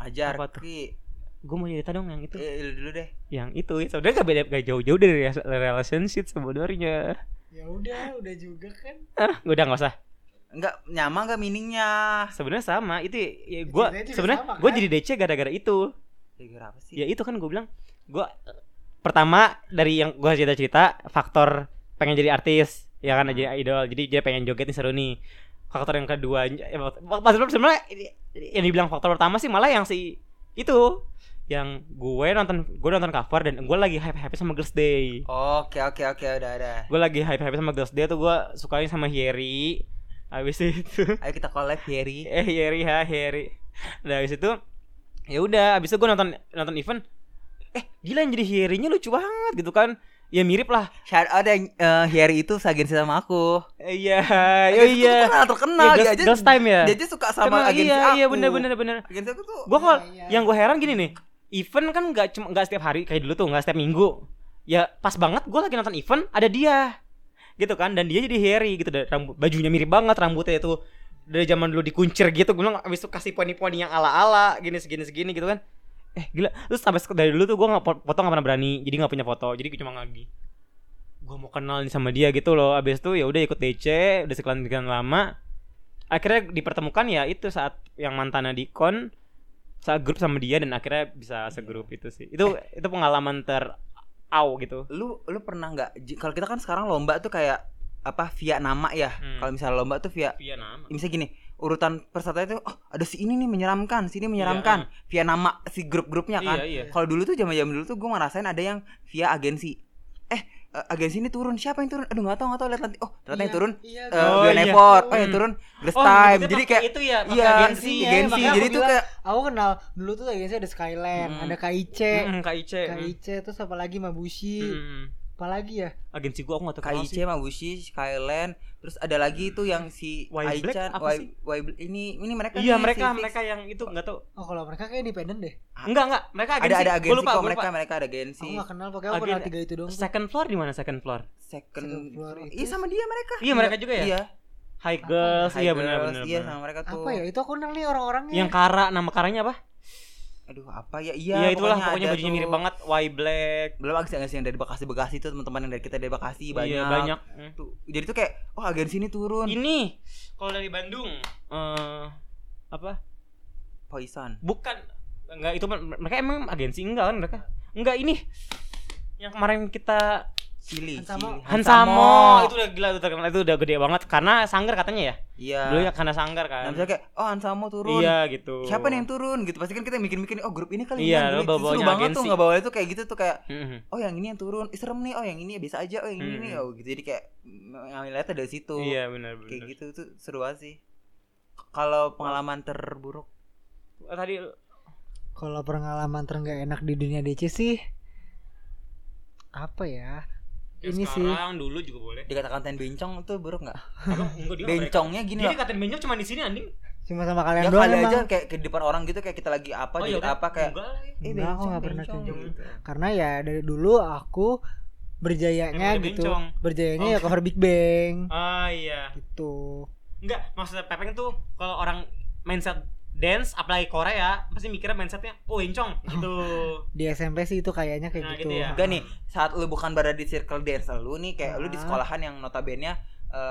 B: Ajar
A: Apa tuh?
B: Ki.
A: Gue mau cerita dong yang itu.
B: Eh, lu dulu deh.
A: Yang itu ya, sebenarnya gak beda gak jauh-jauh dari res- relationship sebenarnya.
C: Ya udah, udah juga kan.
A: Ah, udah nggak usah.
B: Enggak nyama enggak miningnya.
A: Sebenarnya sama itu ya gue
C: Ceritanya juga
A: sebenarnya
C: sama, kan?
A: gue jadi DC gara-gara itu.
B: Gara apa sih?
A: Ya itu kan gue bilang gue pertama dari yang gue cerita-cerita faktor pengen jadi artis ya kan jadi idol jadi dia pengen joget nih seru nih faktor yang kedua eh, fakt- maksud lu sebenarnya ini- yang dibilang faktor pertama sih malah yang si itu yang gue nonton gue nonton cover dan gue lagi hype hype sama Girls Day
B: Oke, oke, oke, udah, udah.
A: gue lagi hype hype sama Girls Day tuh gue sukanya sama Yeri habis itu
B: Ayo kita collab Harry.
A: eh Yeri ha Yeri nah habis itu ya udah habis itu gue nonton nonton event eh gila yang jadi Yerinya lucu banget gitu kan ya mirip lah
B: Shout out yang eh, Harry itu seagensi sama aku.
A: Eh, iya oh iya
B: Itu terkenal, terkenal.
A: Iya,
B: dia
A: Girls-
B: aja.
A: Girls Time ya
B: Dia aja suka sama
A: Kenal,
B: agensi
A: iya,
B: aku.
A: iya bener bener bener
B: Agensi aku tuh
A: gue kok
C: Iya, iya.
A: yang gue heran gini nih event kan nggak cuma nggak setiap hari kayak dulu tuh nggak setiap minggu ya pas banget gue lagi nonton event ada dia gitu kan dan dia jadi Harry gitu dan rambut bajunya mirip banget rambutnya itu dari zaman dulu dikuncir gitu gue bilang abis itu kasih poni-poni yang ala-ala gini segini segini gitu kan eh gila terus sampai sek- dari dulu tuh gue nggak po- foto nggak pernah berani jadi nggak punya foto jadi cuma lagi gue mau kenal nih sama dia gitu loh abis itu ya udah ikut DC udah sekian sekian lama akhirnya dipertemukan ya itu saat yang mantannya Dikon saat grup sama dia dan akhirnya bisa segrup itu sih itu itu pengalaman ter au gitu
B: lu lu pernah nggak j- kalau kita kan sekarang lomba tuh kayak apa via nama ya
A: Hmm.
B: kalau misalnya lomba tuh via
A: iya nama
B: misalnya gini urutan peserta itu oh ada si ini nih menyeramkan si ini menyeramkan via nama si grup-grupnya kan
A: ah. iya
B: kalau dulu tuh zaman zaman dulu tuh gue ngerasain ada yang via agensi eh eh, agensi ini turun siapa yang turun aduh nggak tahu nggak tahu lihat nanti oh ternyata yang turun
C: Iya,
B: eh
A: Oh,
B: Glenn
A: iya.
B: Effort. oh yang
A: Hmm.
B: turun Grace Time jadi kayak
A: itu ya pakai
B: iya
A: agensi
B: agensi agensi
C: ya,
B: gitu. jadi
C: makanya aku
B: tuh
C: bilang,
B: kayak
C: Aku kenal dulu tuh agensi ada Skyland,
B: Hmm.
C: ada KIC,
A: Mm, KIC mm.
C: KIC terus apa lagi Mabushi,
A: Mm.
C: apa lagi ya?
A: agensi gua aku nggak tahu kenal
B: KIC
A: sih.
B: Mabushi Skyland terus ada lagi itu yang si
A: Why Black
B: Aichan
A: apa
B: Why-
A: sih?
B: Why Black- ini ini mereka
A: iya
B: nih,
A: mereka
B: si- si-
A: mereka yang itu nggak tahu
C: Oh, kalau mereka kayak independen deh.
A: enggak enggak mereka agensi
B: Ah. ada ada
A: Gua
B: agensi
A: lupa,
B: kok
A: gua
B: mereka
A: lupa.
B: mereka ada agensi
C: Aku gak kenal pokoknya aku
A: Agen-
C: kenal tiga itu doang. tuh.
A: second floor di mana second floor
B: second,
C: Second floor itu-
B: iya sama dia mereka
A: Iya, mereka juga ya?
B: iya
A: high girls
B: High
A: iya benar
B: Girls,
A: benar
B: iya
A: benar.
B: sama mereka tuh
C: Apa ya? Itu aku kenal nih orang-orangnya.
A: yang Kara nama karanya apa
B: aduh apa ya iya
A: iya itulah pokoknya
B: ada
A: bajunya
B: tuh.
A: mirip banget why black
B: belum agensi agensi yang dari Bekasi Bekasi tuh teman-teman yang dari kita dari Bekasi banyak
A: iya banyak Iya. Mm.
B: Tuh, jadi tuh kayak oh agensi ini turun
A: ini kalau dari Bandung eh apa
B: Poison
A: bukan enggak itu mer- mereka emang agensi enggak kan mereka enggak ini yang kemarin kita
B: Sili
C: Hansamo.
B: Sili.
A: Hansamo itu udah gila itu terkenal itu udah gede banget karena sanggar katanya ya
B: iya
A: dulu ya karena sanggar
B: Nah,
A: kan
B: misalnya kayak oh Hansamo turun
A: iya gitu
B: siapa nih yang turun gitu pasti kan kita mikir-mikir oh grup ini kali
A: Iya, lu
B: ini yang turun. Itu seru
A: bawa-bawanya
B: banget tuh
A: agensi.
B: nggak bawanya tuh kayak gitu tuh kayak
A: Mhm.
B: oh yang ini yang turun Ih, serem nih oh yang ini biasa aja oh yang ini
A: Hmm.
B: nih oh gitu jadi kayak mm, ngambilnya dari situ
A: iya benar
B: kayak
A: benar
B: gitu tuh seru banget sih K- kalau pengalaman terburuk
A: Oh, tadi
C: Kalau pengalaman terenggak enak di dunia DC sih apa ya? Ini sih.
A: sekarang dulu juga boleh
B: dikatakan ten bencong tuh buruk nggak
A: Abang, enggak dia nggak boleh.
B: bencongnya gini
A: dia
B: loh
A: dikatain bencong cuma di sini anjing
C: Cuma sama
B: ya
C: kalian doang
B: kali
C: emang.
B: aja kayak ke depan orang gitu kayak kita lagi apa dikit
A: Oh, iya udah.
B: apa kayak
A: Enggak lah ya.
B: eh
C: Enggak, aku
B: bencong
C: nggak pernah
B: bencong
C: kayak gitu.
B: gitu
C: Karena ya dari dulu aku
A: Emang
C: berjayanya
A: ada
C: gitu.
A: bencong.
C: Berjayanya
A: Oh.
C: ya cover Big Bang
A: ah iya
C: gitu.
A: enggak maksudnya pepeng tuh kalau orang mindset dance apalagi Korea pasti mikirnya mindsetnya oh encong gitu
C: di SMP sih itu kayaknya kayak
A: Nah,
C: gitu.
A: gitu ya.
B: Enggak nih, saat lu bukan berada di circle dance lu nih kayak lu di
C: Ah.
B: sekolahan yang notabene eh,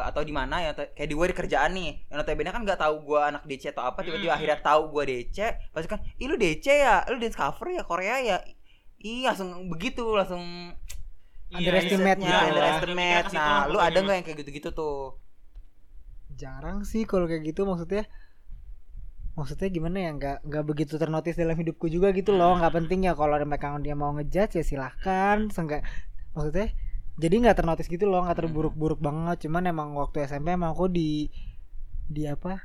B: atau di mana ya kayak di gue di kerjaan nih yang notabene kan nggak tahu gua anak DC atau apa tiba-tiba
A: Hmm.
B: akhirnya tahu gua DC pasti kan ih lu DC ya lu dance cover ya Korea ya Ih langsung begitu langsung
A: Iya,
C: Underestimate
B: mindsetnya,
C: gitu ya.
B: underestimate. Nah, lu ada nggak yang kayak gitu-gitu tuh?
C: Jarang sih kalau kayak gitu maksudnya maksudnya gimana ya nggak nggak begitu ternotis dalam hidupku juga gitu loh
A: Nah.
C: nggak penting ya kalau mereka dia mau ngejudge ya silahkan Seenggak- maksudnya jadi nggak ternotis gitu loh nggak terburuk-buruk banget cuman emang waktu SMP emang aku di di apa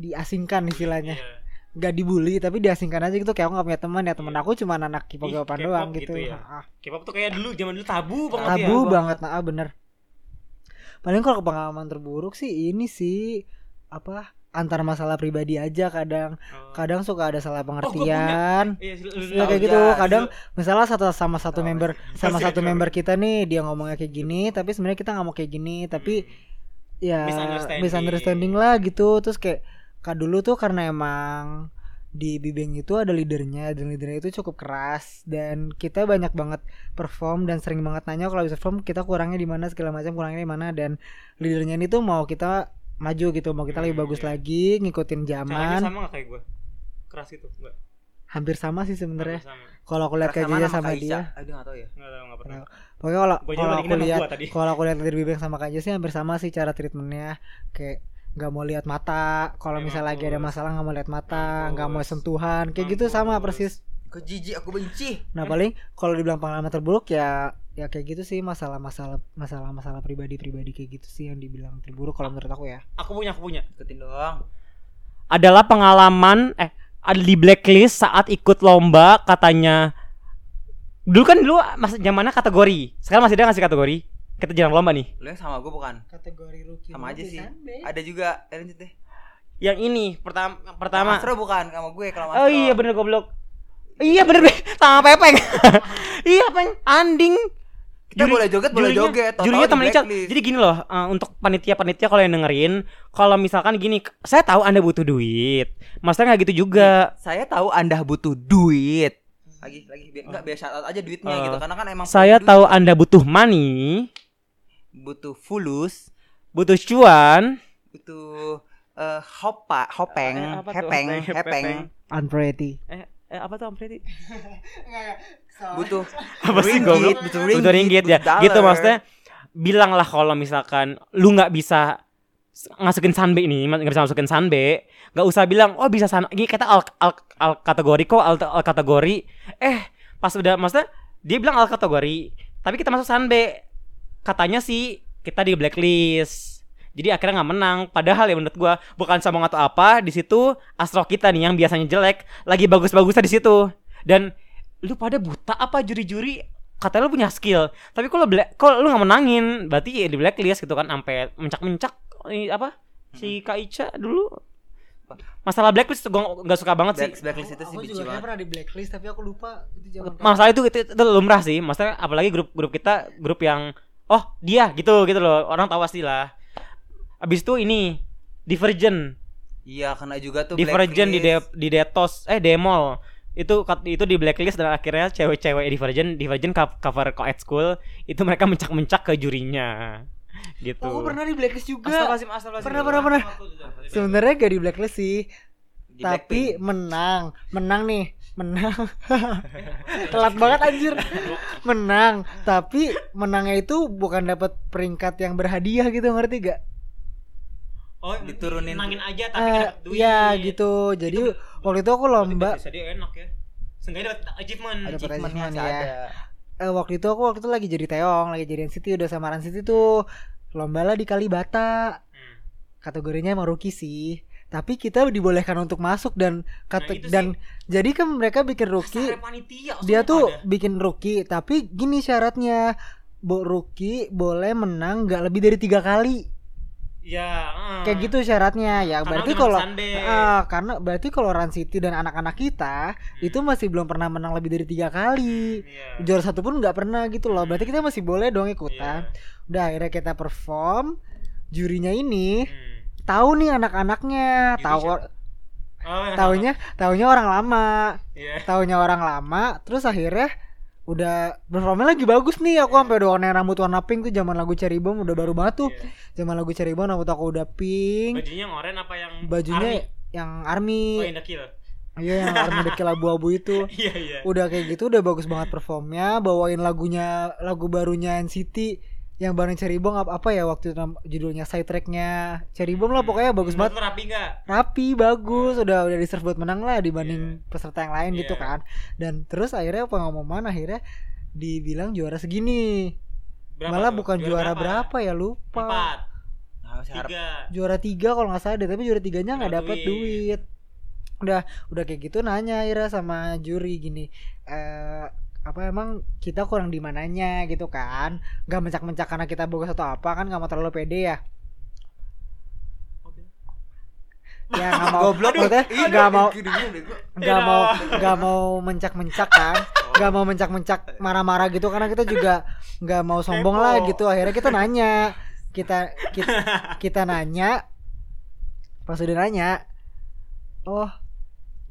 C: diasingkan istilahnya
A: Iya.
C: nggak dibully tapi diasingkan aja gitu kayak aku nggak punya teman ya teman
A: Iya.
C: aku cuma anak K-pop-K-popan
A: Ih,
C: doang
A: K-pop
C: gitu,
A: gitu ya.
C: Ah,
A: K-pop tuh kayak dulu zaman dulu tabu banget ya.
C: tabu banget nah ah, bener paling kalau pengalaman terburuk sih ini sih apa antar masalah pribadi aja kadang
A: Oh.
C: kadang suka ada salah
A: punya.
C: pengertian
A: Iya, lu- lu- ya. Iya, lu-
C: Ya,
B: Tahu
C: kayak gitu
B: jas.
C: kadang misalnya satu sama satu
B: Tahu.
C: member sama
A: Masih
C: satu
A: ada.
C: member kita nih dia ngomongnya kayak gini tapi sebenarnya kita nggak mau kayak gini tapi ya
A: Misunderstanding.
C: misunderstanding. lah gitu terus kayak kak dulu tuh karena emang di Bibeng itu ada leadernya dan leadernya itu cukup keras dan kita banyak banget perform dan sering banget nanya kalau bisa perform kita kurangnya di mana segala macam kurangnya di mana dan leadernya ini tuh mau kita maju gitu mau kita lebih
A: Hmm,
C: bagus
A: iya.
C: lagi ngikutin
A: caranya
C: zaman
A: sama nggak kayak gue keras gitu nggak
C: hampir sama sih sebenarnya
A: sama
C: kalau aku lihat
B: Keras
C: kajanya sama
B: Kak Ica?
C: dia
B: Aduh nggak tahu ya.
A: nggak tahu nggak pernah
C: pokoknya kalau
A: Gua
C: Nah, kalau
A: juga
C: aku
A: sama
C: lihat
A: gua tadi
C: kalau aku lihat dari Bibeng sama Kak Jess sih hampir sama sih cara treatmentnya kayak nggak mau lihat mata
B: Iya,
C: kalau
A: Ya,
C: misalnya lagi ada
A: mampus.
C: masalah nggak mau lihat mata nggak mau
A: Mampus.
C: sentuhan kayak gitu sama
A: Mampus.
C: persis
B: Kok jijik aku benci.
C: nah paling kalau dibilang pengalaman terburuk ya ya kayak gitu sih masalah-masalah masalah-masalah pribadi-pribadi kayak gitu sih yang dibilang terburuk kalau menurut aku ya
A: aku punya aku punya
B: Ikutin doang.
A: adalah pengalaman eh ada di blacklist saat ikut lomba katanya dulu kan dulu masa zamannya kategori sekarang masih ada nggak sih kategori kita jarang lomba nih
B: Lu yang sama gua bukan?
C: kategori rookie kan,
B: Sama aja sih. Ada juga eh, lanjut deh.
A: yang ini pertama pertama
B: Astro bukan sama gue kalau Astro.
A: oh iya bener goblok iya bener deh sama pepeng iya peng anding
B: Kita boleh joget, boleh
A: jurinya-
B: joget. Tau-tau
A: Jurinya
B: di
A: teman Ical.
B: blacklist.
A: Jadi gini loh, eh, untuk panitia-panitia kalau yang dengerin, kalau misalkan gini, k- saya tahu Anda butuh duit. Maksudnya nggak gitu juga.
B: Saya tahu Anda butuh duit. Lagi lagi bi- enggak biasa aja duitnya
A: Eh,
B: gitu karena kan emang
A: Saya
B: duit
A: tahu Anda butuh money,
B: butuh fulus,
A: butuh cuan,
B: butuh eh hopa, hopeng,
A: Eh, apa tuh?
B: hepeng,
A: Hopeng,
B: hepeng,
A: hepeng.
C: unpretty
A: eh, apa tuh Om Preti?
B: butuh
A: Apa sih
B: ringgit,
A: goblok?
B: butuh
A: Butuh ringgit ya.
B: butuh
A: Gitu
B: dollar.
A: maksudnya bilanglah kalau misalkan lu nggak bisa s- masukin sanbe ini nggak bisa masukin sanbe nggak usah bilang oh bisa san ini kita al, al, al kategori kok al, al kategori eh pas udah maksudnya dia bilang al kategori tapi kita masuk sanbe katanya sih kita di blacklist jadi akhirnya nggak menang padahal ya menurut gua bukan sombong atau apa di situ astro kita nih yang biasanya jelek lagi bagus-bagusnya di situ dan lu pada buta apa juri-juri katanya lu punya skill tapi kalau black kalau lu nggak menangin berarti ya di blacklist gitu kan sampai mencak-mencak eh, apa
B: Hmm.
A: si Kak Ica dulu masalah blacklist tuh gua nggak suka banget sih
B: Black, blacklist itu sih
C: aku
B: benci
C: juga
B: banget.
C: pernah di blacklist tapi aku lupa itu zaman
A: masalah itu, itu itu lumrah sih maksudnya apalagi grup grup kita grup yang oh dia gitu gitu loh orang tahu pasti lah abis itu ini Divergent
B: Iya, kena juga tuh
A: Divergent di
B: blacklist.
A: de- di Detos eh Demol itu kat- itu di blacklist dan akhirnya cewek-cewek Divergent Divergent co- cover Coed School itu mereka mencak-mencak ke jurinya gitu
C: aku Oh, pernah di blacklist juga
A: Astagfirullahaladzim, astagfirullahaladzim.
C: Pernah, pernah, pernah. sebenarnya gak di blacklist sih
B: Di Blackpink.
C: tapi menang menang nih menang telat banget anjir menang tapi menangnya itu bukan dapat peringkat yang berhadiah gitu ngerti gak
A: Oh,
B: Diturunin.
A: menangin aja tapi
C: Eh,
A: dapat duit.
C: Iya gitu jadi waktu itu aku
A: Berarti
C: lomba
A: bisa dia enak ya. Seenggaknya dapat achievement.
C: Ada
A: Achievement.
B: Achievement-nya
C: advertisement
B: masih
C: ya.
B: ada.
C: eh, waktu itu aku waktu itu lagi jadi Teong lagi jadi NCT udah sama Ran City tuh lomba lah di Kalibata
A: Hmm.
C: kategorinya emang rookie sih tapi kita dibolehkan untuk masuk dan kate-
A: Nah, itu sih.
C: dan jadi kan mereka bikin rookie
A: Dasar panitia,
C: dia
A: semua
C: tuh
A: ada.
C: bikin rookie tapi gini syaratnya Bo rookie boleh menang nggak lebih dari tiga kali
A: ya, eh.
C: kayak gitu syaratnya ya
A: Karena
C: berarti
A: udah Hmm.
C: kalau
A: Sunday.
C: Ah, karena berarti kalau Run City dan anak-anak kita itu masih belum pernah menang lebih dari tiga kali
A: Iya.
C: juara satu pun nggak pernah gitu loh berarti kita masih boleh dong ikutan
A: Iya.
C: udah akhirnya kita perform jurinya ini
A: Hmm.
C: tahu nih anak-anaknya
A: Juri
C: tahu
A: Oh, yang sama.
C: Taunya taunya orang lama.
A: Iya.
C: Taunya orang lama, terus akhirnya udah performnya lagi bagus nih
A: Iya.
C: aku sampai udah warna rambut warna pink tuh zaman lagu Cherry Bomb udah baru banget tuh zaman lagu Cherry Bomb rambut aku udah pink
A: Iya. Bajunya yang oranye apa yang
C: bajunya yang
A: army? Oh,
C: army
A: yang dekil.
C: iya yang army dekil abu-abu itu
A: Iya, iya.
C: udah kayak gitu udah bagus banget performnya bawain lagunya lagu barunya NCT yang bareng Cherry Bomb apa, apa ya waktu itu nam- judulnya side tracknya Cherry Bomb lah pokoknya bagus
A: Menurut
C: banget
A: lu rapi enggak?
C: rapi bagus udah udah reserve buat menang lah dibanding peserta yang lain gitu
A: Iya.
C: kan dan terus akhirnya pengumuman akhirnya dibilang juara segini malah bukan juara berapa ya lupa
A: Empat,
B: Nah, harap-
A: tiga.
C: juara tiga kalau nggak salah deh tapi juara tiganya nggak
A: Juara
C: dapet
A: duit.
C: duit udah udah kayak gitu nanya Ira sama juri gini eh apa emang kita kurang di mananya gitu kan nggak mencak mencak karena kita bagus atau apa kan nggak mau terlalu pede ya ya nggak mau
B: Goblok.
C: maksudnya
A: iya,
B: Ih,
C: nggak mau
B: gini, gini, bego.
C: nggak
A: Tidak.
C: mau nggak mau mencak mencak kan nggak mau mencak mencak marah marah gitu karena kita juga nggak mau sombong
A: Kepo.
C: lah gitu akhirnya kita nanya kita kita kita nanya pas udah nanya oh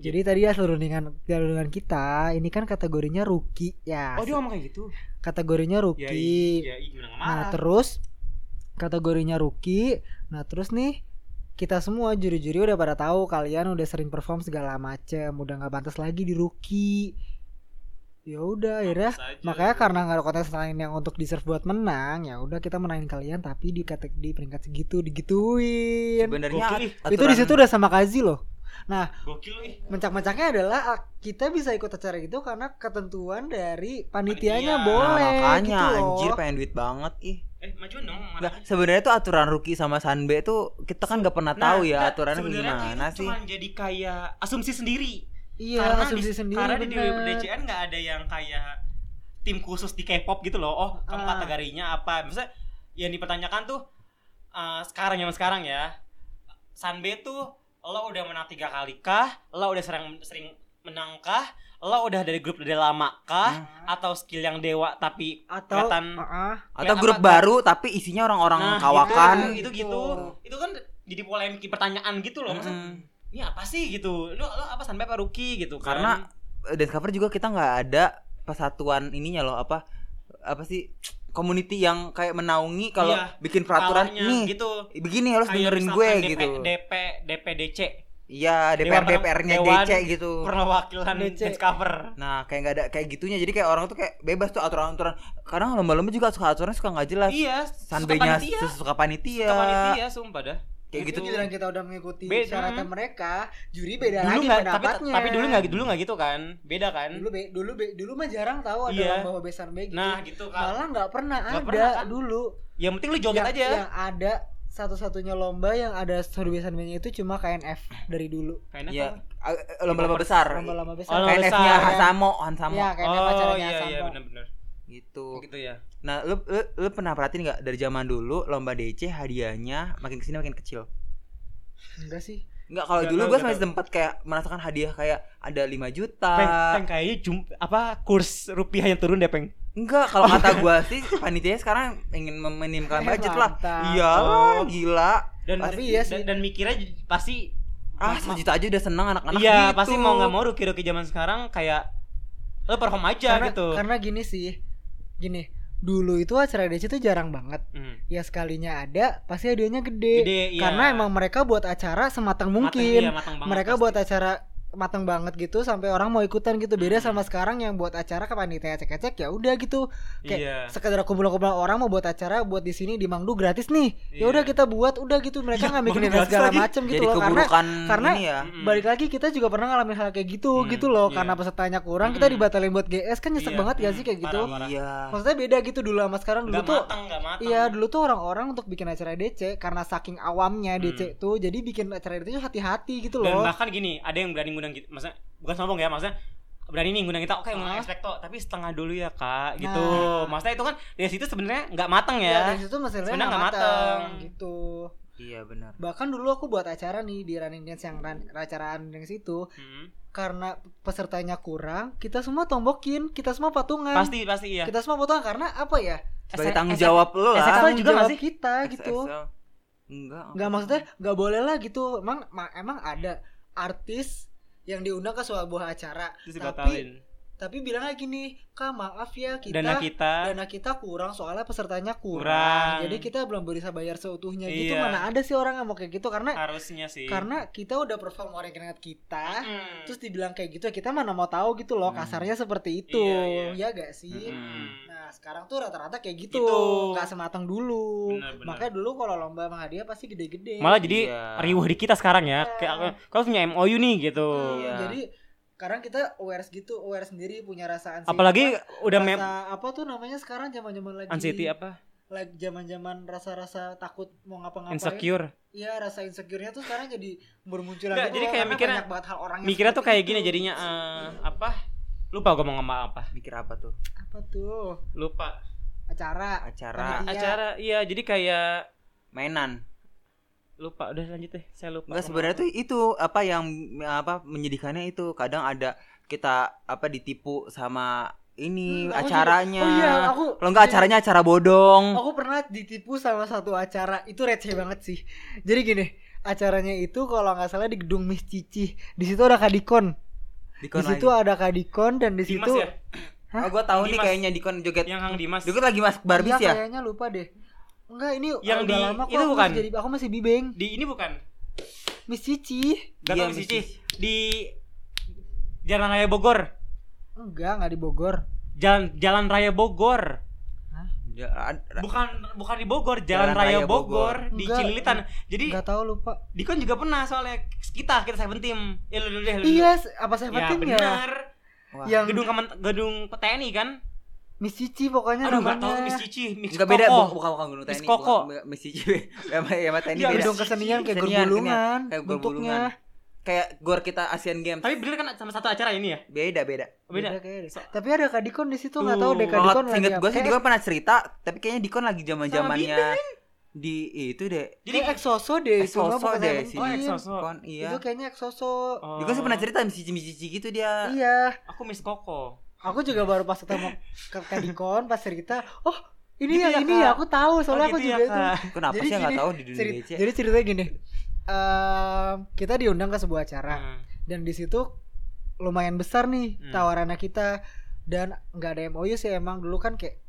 C: jadi tadi ya seluruh rundingan seluruh rundingan kita ini kan kategorinya rookie ya
A: Oh, dia ngomong kayak gitu.
C: kategorinya
A: Ya,
C: rookie
A: iya, iya, menang
C: nah
A: marah.
C: terus kategorinya rookie nah terus nih kita semua juri-juri udah pada tahu kalian udah sering perform segala macem udah nggak pantas lagi di rookie ya udah akhirnya
A: Saja.
C: makanya karena nggak ada kontes lain yang untuk deserve buat menang ya udah kita menangin kalian tapi di kategori di peringkat segitu digituin
B: Sebenarnya
A: Gokil, ih.
B: aturan-
C: itu di situ udah sama Kazi loh
A: gokil lu, ih.
C: mencak-mencaknya adalah ah, kita bisa ikut acara itu karena ketentuan dari
A: Panitia.
C: panitianya
B: Nah,
C: boleh
B: makanya
C: gitu loh.
B: anjir pengen duit banget ih.
A: Eh, majuan dong. marah.
B: Nah, sebenarnya tuh aturan Ruki sama Sanbe tuh kita kan nggak pernah tahu ya
A: nah,
B: aturannya
A: sebenarnya
B: gimana
A: itu
B: sih.
A: Cuman jadi kayak asumsi sendiri.
C: iya
A: karena
C: asumsi
A: di,
C: sendiri
A: karena di
C: bener.
A: DCN nggak ada yang kayak tim khusus di K-pop gitu loh. Oh,
C: Ah.
A: keempat kategorinya apa? Maksudnya yang dipertanyakan tuh eh, sekarang zaman sekarang ya. Sanbe tuh lo udah menang tiga kali kah? Lo udah sering sering menang kah? Lo udah dari grup udah lama kah?
C: Hmm.
A: Atau skill yang dewa tapi
C: atau
A: kelihatan
C: ah,
B: Atau
A: Kayak
B: grup
A: apa-
B: baru tapi isinya orang-orang
A: Nah,
B: kawakan.
A: itu, itu gitu. Itu kan jadi polemik pertanyaan gitu loh. Maksudnya
B: Mm-mm.
C: Hmm.
A: ini apa sih gitu lu lu apa sampai apa rookie gitu kan?
B: Karena Eh, dance cover juga kita nggak ada persatuan ininya loh apa apa sih community yang kayak menaungi kalau
A: Iya,
B: bikin peraturan
A: kalanya
B: nih
A: gitu
B: begini harus
A: Kayak
B: dengerin gue
A: misalkan DP,
B: gitu.
A: DP DPDC
B: Iya,
A: Dewan-
B: DPR DPR-nya
A: Dewan-
B: DC gitu.
A: perwakilan
C: DC.
A: dance cover
B: Nah, kayak nggak ada kayak gitunya. Jadi kayak orang tuh kayak bebas tuh aturan-aturan. Kadang lomba-lomba juga suka aturannya suka nggak jelas.
A: iya suka
B: Sanbenya
A: panitia
B: suka panitia. eh,
A: suka panitia sumpah dah
B: Kayak
A: Itu
B: gitu.
C: itu giliran kita udah mengikuti
A: Beda.
C: syaratnya mereka juri
A: dulu
C: beda lagi
A: nggak tapi
C: pendapatnya
A: tapi dulu nggak dulu nggak gitu kan beda kan
C: dulu be, dulu be- dulu mah jarang tahu ada
A: Iya.
C: orang bawa besan be gitu.
A: nah gitu kan
C: malah Iya, nggak pernah
A: Nggak
C: ada
A: pernah kan?
C: dulu
A: yang penting lu joget
C: yang,
A: aja
C: yang ada satu-satunya lomba yang ada satu besan be itu cuma KNF dari dulu
A: Kayaknya
B: Iya,
A: kan.
B: eh, eh, lomba-lomba besar. Iya.
C: lomba-lomba besan
A: Oh, lomba
B: KNF-nya
A: besar.
B: Hansamo, Hansamo
C: ya KNF
A: oh
C: acaranya
A: iya iya
C: Sampo.
A: benar-benar
B: gitu.
A: gitu ya
B: Nah, lu, lu, lu pernah perhatiin nggak dari zaman dulu lomba DC hadiahnya makin kesini makin kecil?
C: enggak sih
B: Nggak, kalau
A: Nggak
B: dulu
A: tahu,
B: gue
A: nggak
B: masih
A: tahu.
B: sempat kayak merasakan hadiah kayak ada 5 juta.
A: peng, peng kayaknya jum, apa kurs rupiah yang turun deh peng
B: Enggak, kalau kata gue sih panitia sekarang ingin meminimkan
C: Eh,
B: budget lah.
C: mantap.
B: Iya,
A: Oh.
B: gila.
A: dan
C: Pasti iya sih.
A: dan, dan mikirnya j- pasti
B: Ah,
A: ma- ma-
B: sejuta aja udah seneng anak-anak
A: Iya
B: gitu.
A: pasti mau nggak mau ruki ruki zaman sekarang kayak lo perform aja
C: karena,
A: gitu.
C: karena gini sih gini dulu itu acara DC itu jarang banget
A: Hmm.
C: ya sekalinya ada pasti hadiahnya gede,
A: Gede, iya.
C: karena emang mereka buat acara sematang mungkin
A: Mateng, iya, mateng banget
C: mereka
A: pasti.
C: buat acara matang banget gitu sampai orang mau ikutan gitu beda
A: Hmm.
C: sama sekarang yang buat acara ke panitia cek-cek ya udah gitu kayak
A: Iya.
C: sekedar kumpulan-kumpulan orang mau buat acara buat di sini di Mangdu gratis nih ya udah
A: Iya.
C: kita buat udah gitu mereka nggak
A: Mangdu
C: mikirin
A: gratis
C: segala
A: lagi.
C: macem gitu
B: Jadi
C: loh karena
B: keburukan
C: karena-
B: ini ya.
A: Mm-mm.
C: balik lagi kita juga pernah ngalamin hal kayak gitu
A: Hmm,
C: gitu loh
A: iya.
C: karena pesertanya kurang kita
A: Mm-mm.
C: dibatalin buat GS kan nyesek
A: Iya,
C: banget ya
A: mm,
C: sih kayak gitu
A: parah.
B: Iya.
C: maksudnya beda gitu dulu sama sekarang dulu
A: Nggak
C: tuh
A: mateng nggak mateng.
C: Iya dulu tuh orang-orang untuk bikin acara DC karena saking awamnya DC tuh jadi bikin acara DC tuh hati-hati gitu
A: Hmm. Dan
C: loh.
A: bahkan gini ada yang berani ngundang gitu, maksudnya bukan sombong ya maksudnya berani nih ngundang kita oke ngundang ekspekto tapi setengah dulu ya kak gitu
C: Nah.
A: maksudnya itu kan dari situ sebenarnya nggak mateng ya,
C: Ya, dari situ masalahnya
A: Sebenarnya
C: nggak
A: nggak
C: mateng.
A: mateng.
C: gitu.
B: Iya benar.
C: Bahkan dulu aku buat acara nih di Running Dance yang ran, acara Running Dance itu
A: Hmm.
C: karena pesertanya kurang, kita semua tombokin, kita semua patungan.
A: pasti pasti iya
C: Kita semua patungan karena apa ya?
A: SN-
B: Sebagai tanggung jawab
A: SN-
B: lu lah.
A: Salah
C: Tanggung
A: juga nggak
C: jawab
A: sih?
C: kita gitu.
B: XXL. Enggak.
C: Enggak maksudnya nggak boleh lah gitu. Emang ma- emang ada artis yang diundang ke sebuah acara
A: Terus
C: tapi
A: dibatalin.
C: tapi bilangnya gini kak maaf ya kita
A: Dana kita
C: dana kita kurang soalnya pesertanya kurang,
A: Kurang.
C: jadi kita belum bisa bayar seutuhnya gitu
A: Iya.
C: mana ada sih orang yang mau kayak gitu karena
A: harusnya sih.
C: karena kita udah perform orang yang ingat kita
A: Mm.
C: terus dibilang kayak gitu ya kita mana mau tahu gitu loh
B: Hmm.
C: kasarnya seperti itu
A: Iya,
C: ya gak sih
A: Mm.
C: nah sekarang tuh rata-rata kayak gitu
A: Gitu.
C: nggak sematang dulu
A: Benar, benar.
C: makanya dulu kalau lomba sama hadiah pasti gede-gede
A: Malah jadi
B: Iya.
A: riuh di kita sekarang ya. Kayak aku- kalau punya MOU nih gitu.
C: Hmm,
B: Iya.
C: jadi sekarang kita aware gitu aware sendiri punya rasa anxiety
A: Apalagi udah mem
C: Rasa apa tuh namanya sekarang zaman-zaman lagi
A: anxiety apa?
C: lagi zaman-zaman rasa-rasa takut mau ngapa-ngapain
A: Insecure.
C: Iya rasa insecure-nya tuh sekarang jadi bermunculan
A: Nggak,
C: gitu
A: jadi
C: loh,
A: kayak
C: karena
A: mikirnya-
C: banyak banget hal orang yang
A: Mikirnya tuh
C: seperti
A: kayak gini
C: itu.
A: jadinya eh, apa? Lupa gue mau ngomong apa.
B: mikir apa tuh
C: apa tuh
A: Lupa.
C: acara
B: acara
C: Iya.
A: Acara iya jadi kayak
B: mainan
A: lupa udah lanjut deh. Saya lupa.
B: Enggak sebenarnya tuh itu apa yang apa menyedihkannya itu kadang ada kita apa ditipu sama ini
C: Hmm, aku
B: acaranya.
C: juga- oh iya Oh, aku
B: Kalau enggak
C: iya,
B: acaranya acara bodong.
C: aku pernah ditipu sama satu acara itu receh banget sih jadi gini acaranya itu kalau nggak salah di gedung Miss Cici di situ ada kadikon di
B: Dikon
C: situ
B: lagi.
C: ada kadikon dan di
A: Dimas
C: situ Iya,
A: ya?
B: Oh, gua tahu nih
A: Dimas.
B: kayaknya Dikon joget.
A: Yang Hang Dimas.
B: Dikon lagi masuk Barbie
C: Iya,
B: ya?
C: kayaknya lupa deh Enggak ini
A: Yang
C: udah
A: di-
C: lama kok
A: itu
C: aku
A: bukan?
C: masih jadi aku masih bibeng
A: Di ini bukan?
C: Miss Cici
A: Gak
B: Iya,
A: tau
B: Miss
A: Cici. Di Jalan Raya Bogor.
C: enggak enggak di Bogor
A: Jalan Jalan Raya Bogor.
B: Ya, ada-
A: Bukan bukan di Bogor, Jalan,
B: Jalan
A: Raya,
B: Raya
A: Bogor,
B: Bogor.
A: di
C: Enggak.
A: Cililitan. Jadi
C: enggak tahu lupa
A: Dikon juga pernah soalnya kita kita seven team. Ya lu dulu deh lu. dulu.
C: iya se- apa saya
A: Ya
C: penting ya
A: benar.
B: Wah.
C: yang
A: Gedung kemen gedung TNI kan?
C: Miss Cici pokoknya
A: Aduh enggak tahu Miss
C: namanya
A: Cici, Miss
B: Enggak beda, bu-
A: Koko.
B: bukan bukan Gunung
A: Miss
B: Tani.
A: Koko.
B: bukan- Miss Cici. Ya, ya, ya, Tani
A: Iya,
B: beda.
C: gedung kesenian kayak
B: Kesenian,
C: gerbulungan
B: kesenian. Kayak
C: bentuknya
B: gerbulungan. Kayak gor kita Asian Games.
A: Tapi bener kan sama satu acara ini ya?
B: Beda beda.
A: Beda.
C: kayaknya deh.
A: So- Oh,
C: tapi ada kadikon di situ nggak tahu
A: Tuh,
C: deh kadikon
B: Kalau
C: lagi
B: inget
C: apa. Eh,
B: gue sih
C: Kayak-
B: Dikon pernah cerita, tapi kayaknya Dikon lagi zaman zamannya
A: Sama
B: di itu deh.
A: Jadi
C: kayak exoso deh itu
B: Exoso
C: nggak bukan
B: deh
C: Seven
B: sih.
A: Oh,
C: Team.
A: Exoso.
B: Kon,
C: itu kan-
B: iya.
C: kayaknya exoso
A: Oh.
B: Dikon sih pernah cerita sama si cici gitu dia.
C: iya
A: Aku Miss Koko.
C: aku juga baru pas ketemu ke kadikon pas cerita oh ini
A: Gitu
C: yang
A: ya,
C: ini
A: Kak.
C: ya aku tahu soalnya
A: Oh,
C: aku
A: gitu
C: juga
A: ya,
C: itu
A: Kak.
B: Kenapa
C: Jadi
B: sih nggak
C: gini,
B: tahu di dunia
C: Cerit-
B: DC?
C: jadi ceritanya gini Ehm, kita diundang ke sebuah acara
A: Hmm.
C: dan di situ lumayan besar nih
A: Hmm.
C: tawarannya kita dan nggak ada MOU sih emang dulu kan kayak